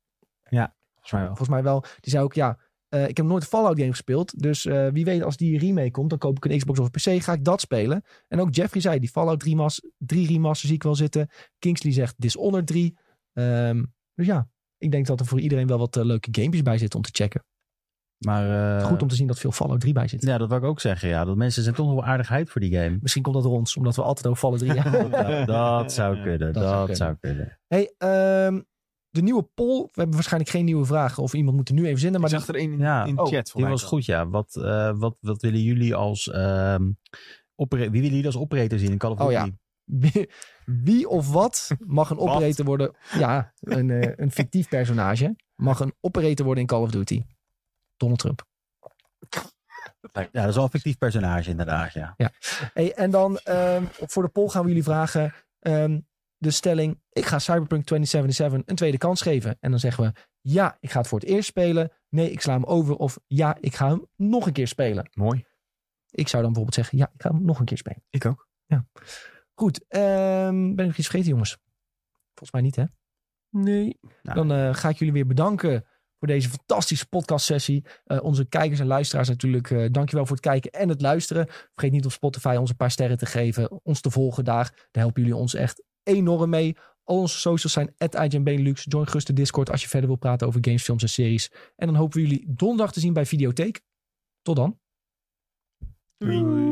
Speaker 2: Volgens mij wel.
Speaker 1: Volgens mij wel. Die zei ook, ja, eh, ik heb nooit een Fallout game gespeeld. Dus eh, wie weet als die remake komt, dan koop ik een Xbox of een PC. Ga ik dat spelen. En ook Jeffrey zei, die Fallout 3, mas- 3 remaster zie ik wel zitten. Kingsley zegt Dishonored 3. Ehm, dus ja, ik denk dat er voor iedereen wel wat eh, leuke gamepjes bij zitten om te checken.
Speaker 3: Maar eh,
Speaker 1: Goed om te zien dat veel Fallout 3 bij zit.
Speaker 3: Ja, dat wil ik ook zeggen. Ja, dat mensen zijn toch nog wel aardigheid voor die game.
Speaker 1: Misschien komt dat door ons, omdat we altijd over Fallout 3 hebben.
Speaker 2: [LAUGHS]
Speaker 3: Ja, dat zou kunnen.
Speaker 1: Dat
Speaker 3: Dat,
Speaker 1: zou
Speaker 3: zou kunnen.
Speaker 1: hey, ehm, de nieuwe poll. We hebben waarschijnlijk geen nieuwe vragen. Of iemand moet er nu even zinnen. Maar
Speaker 2: Maar
Speaker 1: die-
Speaker 2: zag er één in,
Speaker 3: Ja,
Speaker 2: in
Speaker 3: oh,
Speaker 2: chat. voor
Speaker 3: Die
Speaker 2: mij
Speaker 3: was
Speaker 2: wel.
Speaker 3: goed, ja. Wat, eh, wat, wat willen jullie als. ehm, opera- Wie willen jullie als operator zien in Call of
Speaker 1: Oh,
Speaker 3: Duty?
Speaker 1: ja. Wie, wie of wat mag een operator worden? Ja, een, eh, een fictief personage. Mag een operator worden in Call of Duty? Donald Trump.
Speaker 3: Ja, dat is wel een fictief personage, inderdaad. Ja.
Speaker 1: Hey, en dan ehm, voor de poll gaan we jullie vragen ehm, de stelling: ik ga Cyberpunk 2077 een tweede kans geven. En dan zeggen we: ja, ik ga het voor het eerst spelen. Nee, ik sla hem over. Of ja, ik ga hem nog een keer spelen.
Speaker 2: Mooi.
Speaker 1: Ik zou dan bijvoorbeeld zeggen: ja, ik ga hem nog een keer spelen.
Speaker 2: Ik ook.
Speaker 1: Goed, ehm, ben ik nog iets vergeten, jongens? Volgens mij niet, hè? Nee.
Speaker 3: Nou.
Speaker 1: Dan eh, ga ik jullie weer bedanken voor deze fantastische podcastsessie. Eh onze kijkers en luisteraars natuurlijk, eh, dankjewel voor het kijken en het luisteren. Vergeet niet op Spotify ons een paar sterren te geven, ons te volgen daar. Daar helpen jullie ons echt enorm mee. Al onze socials zijn @IGNBenelux. Join gerust de Discord als je verder wil praten over games, films en series. En dan hopen we jullie donderdag te zien bij Videotheek. Tot dan.
Speaker 2: Doei.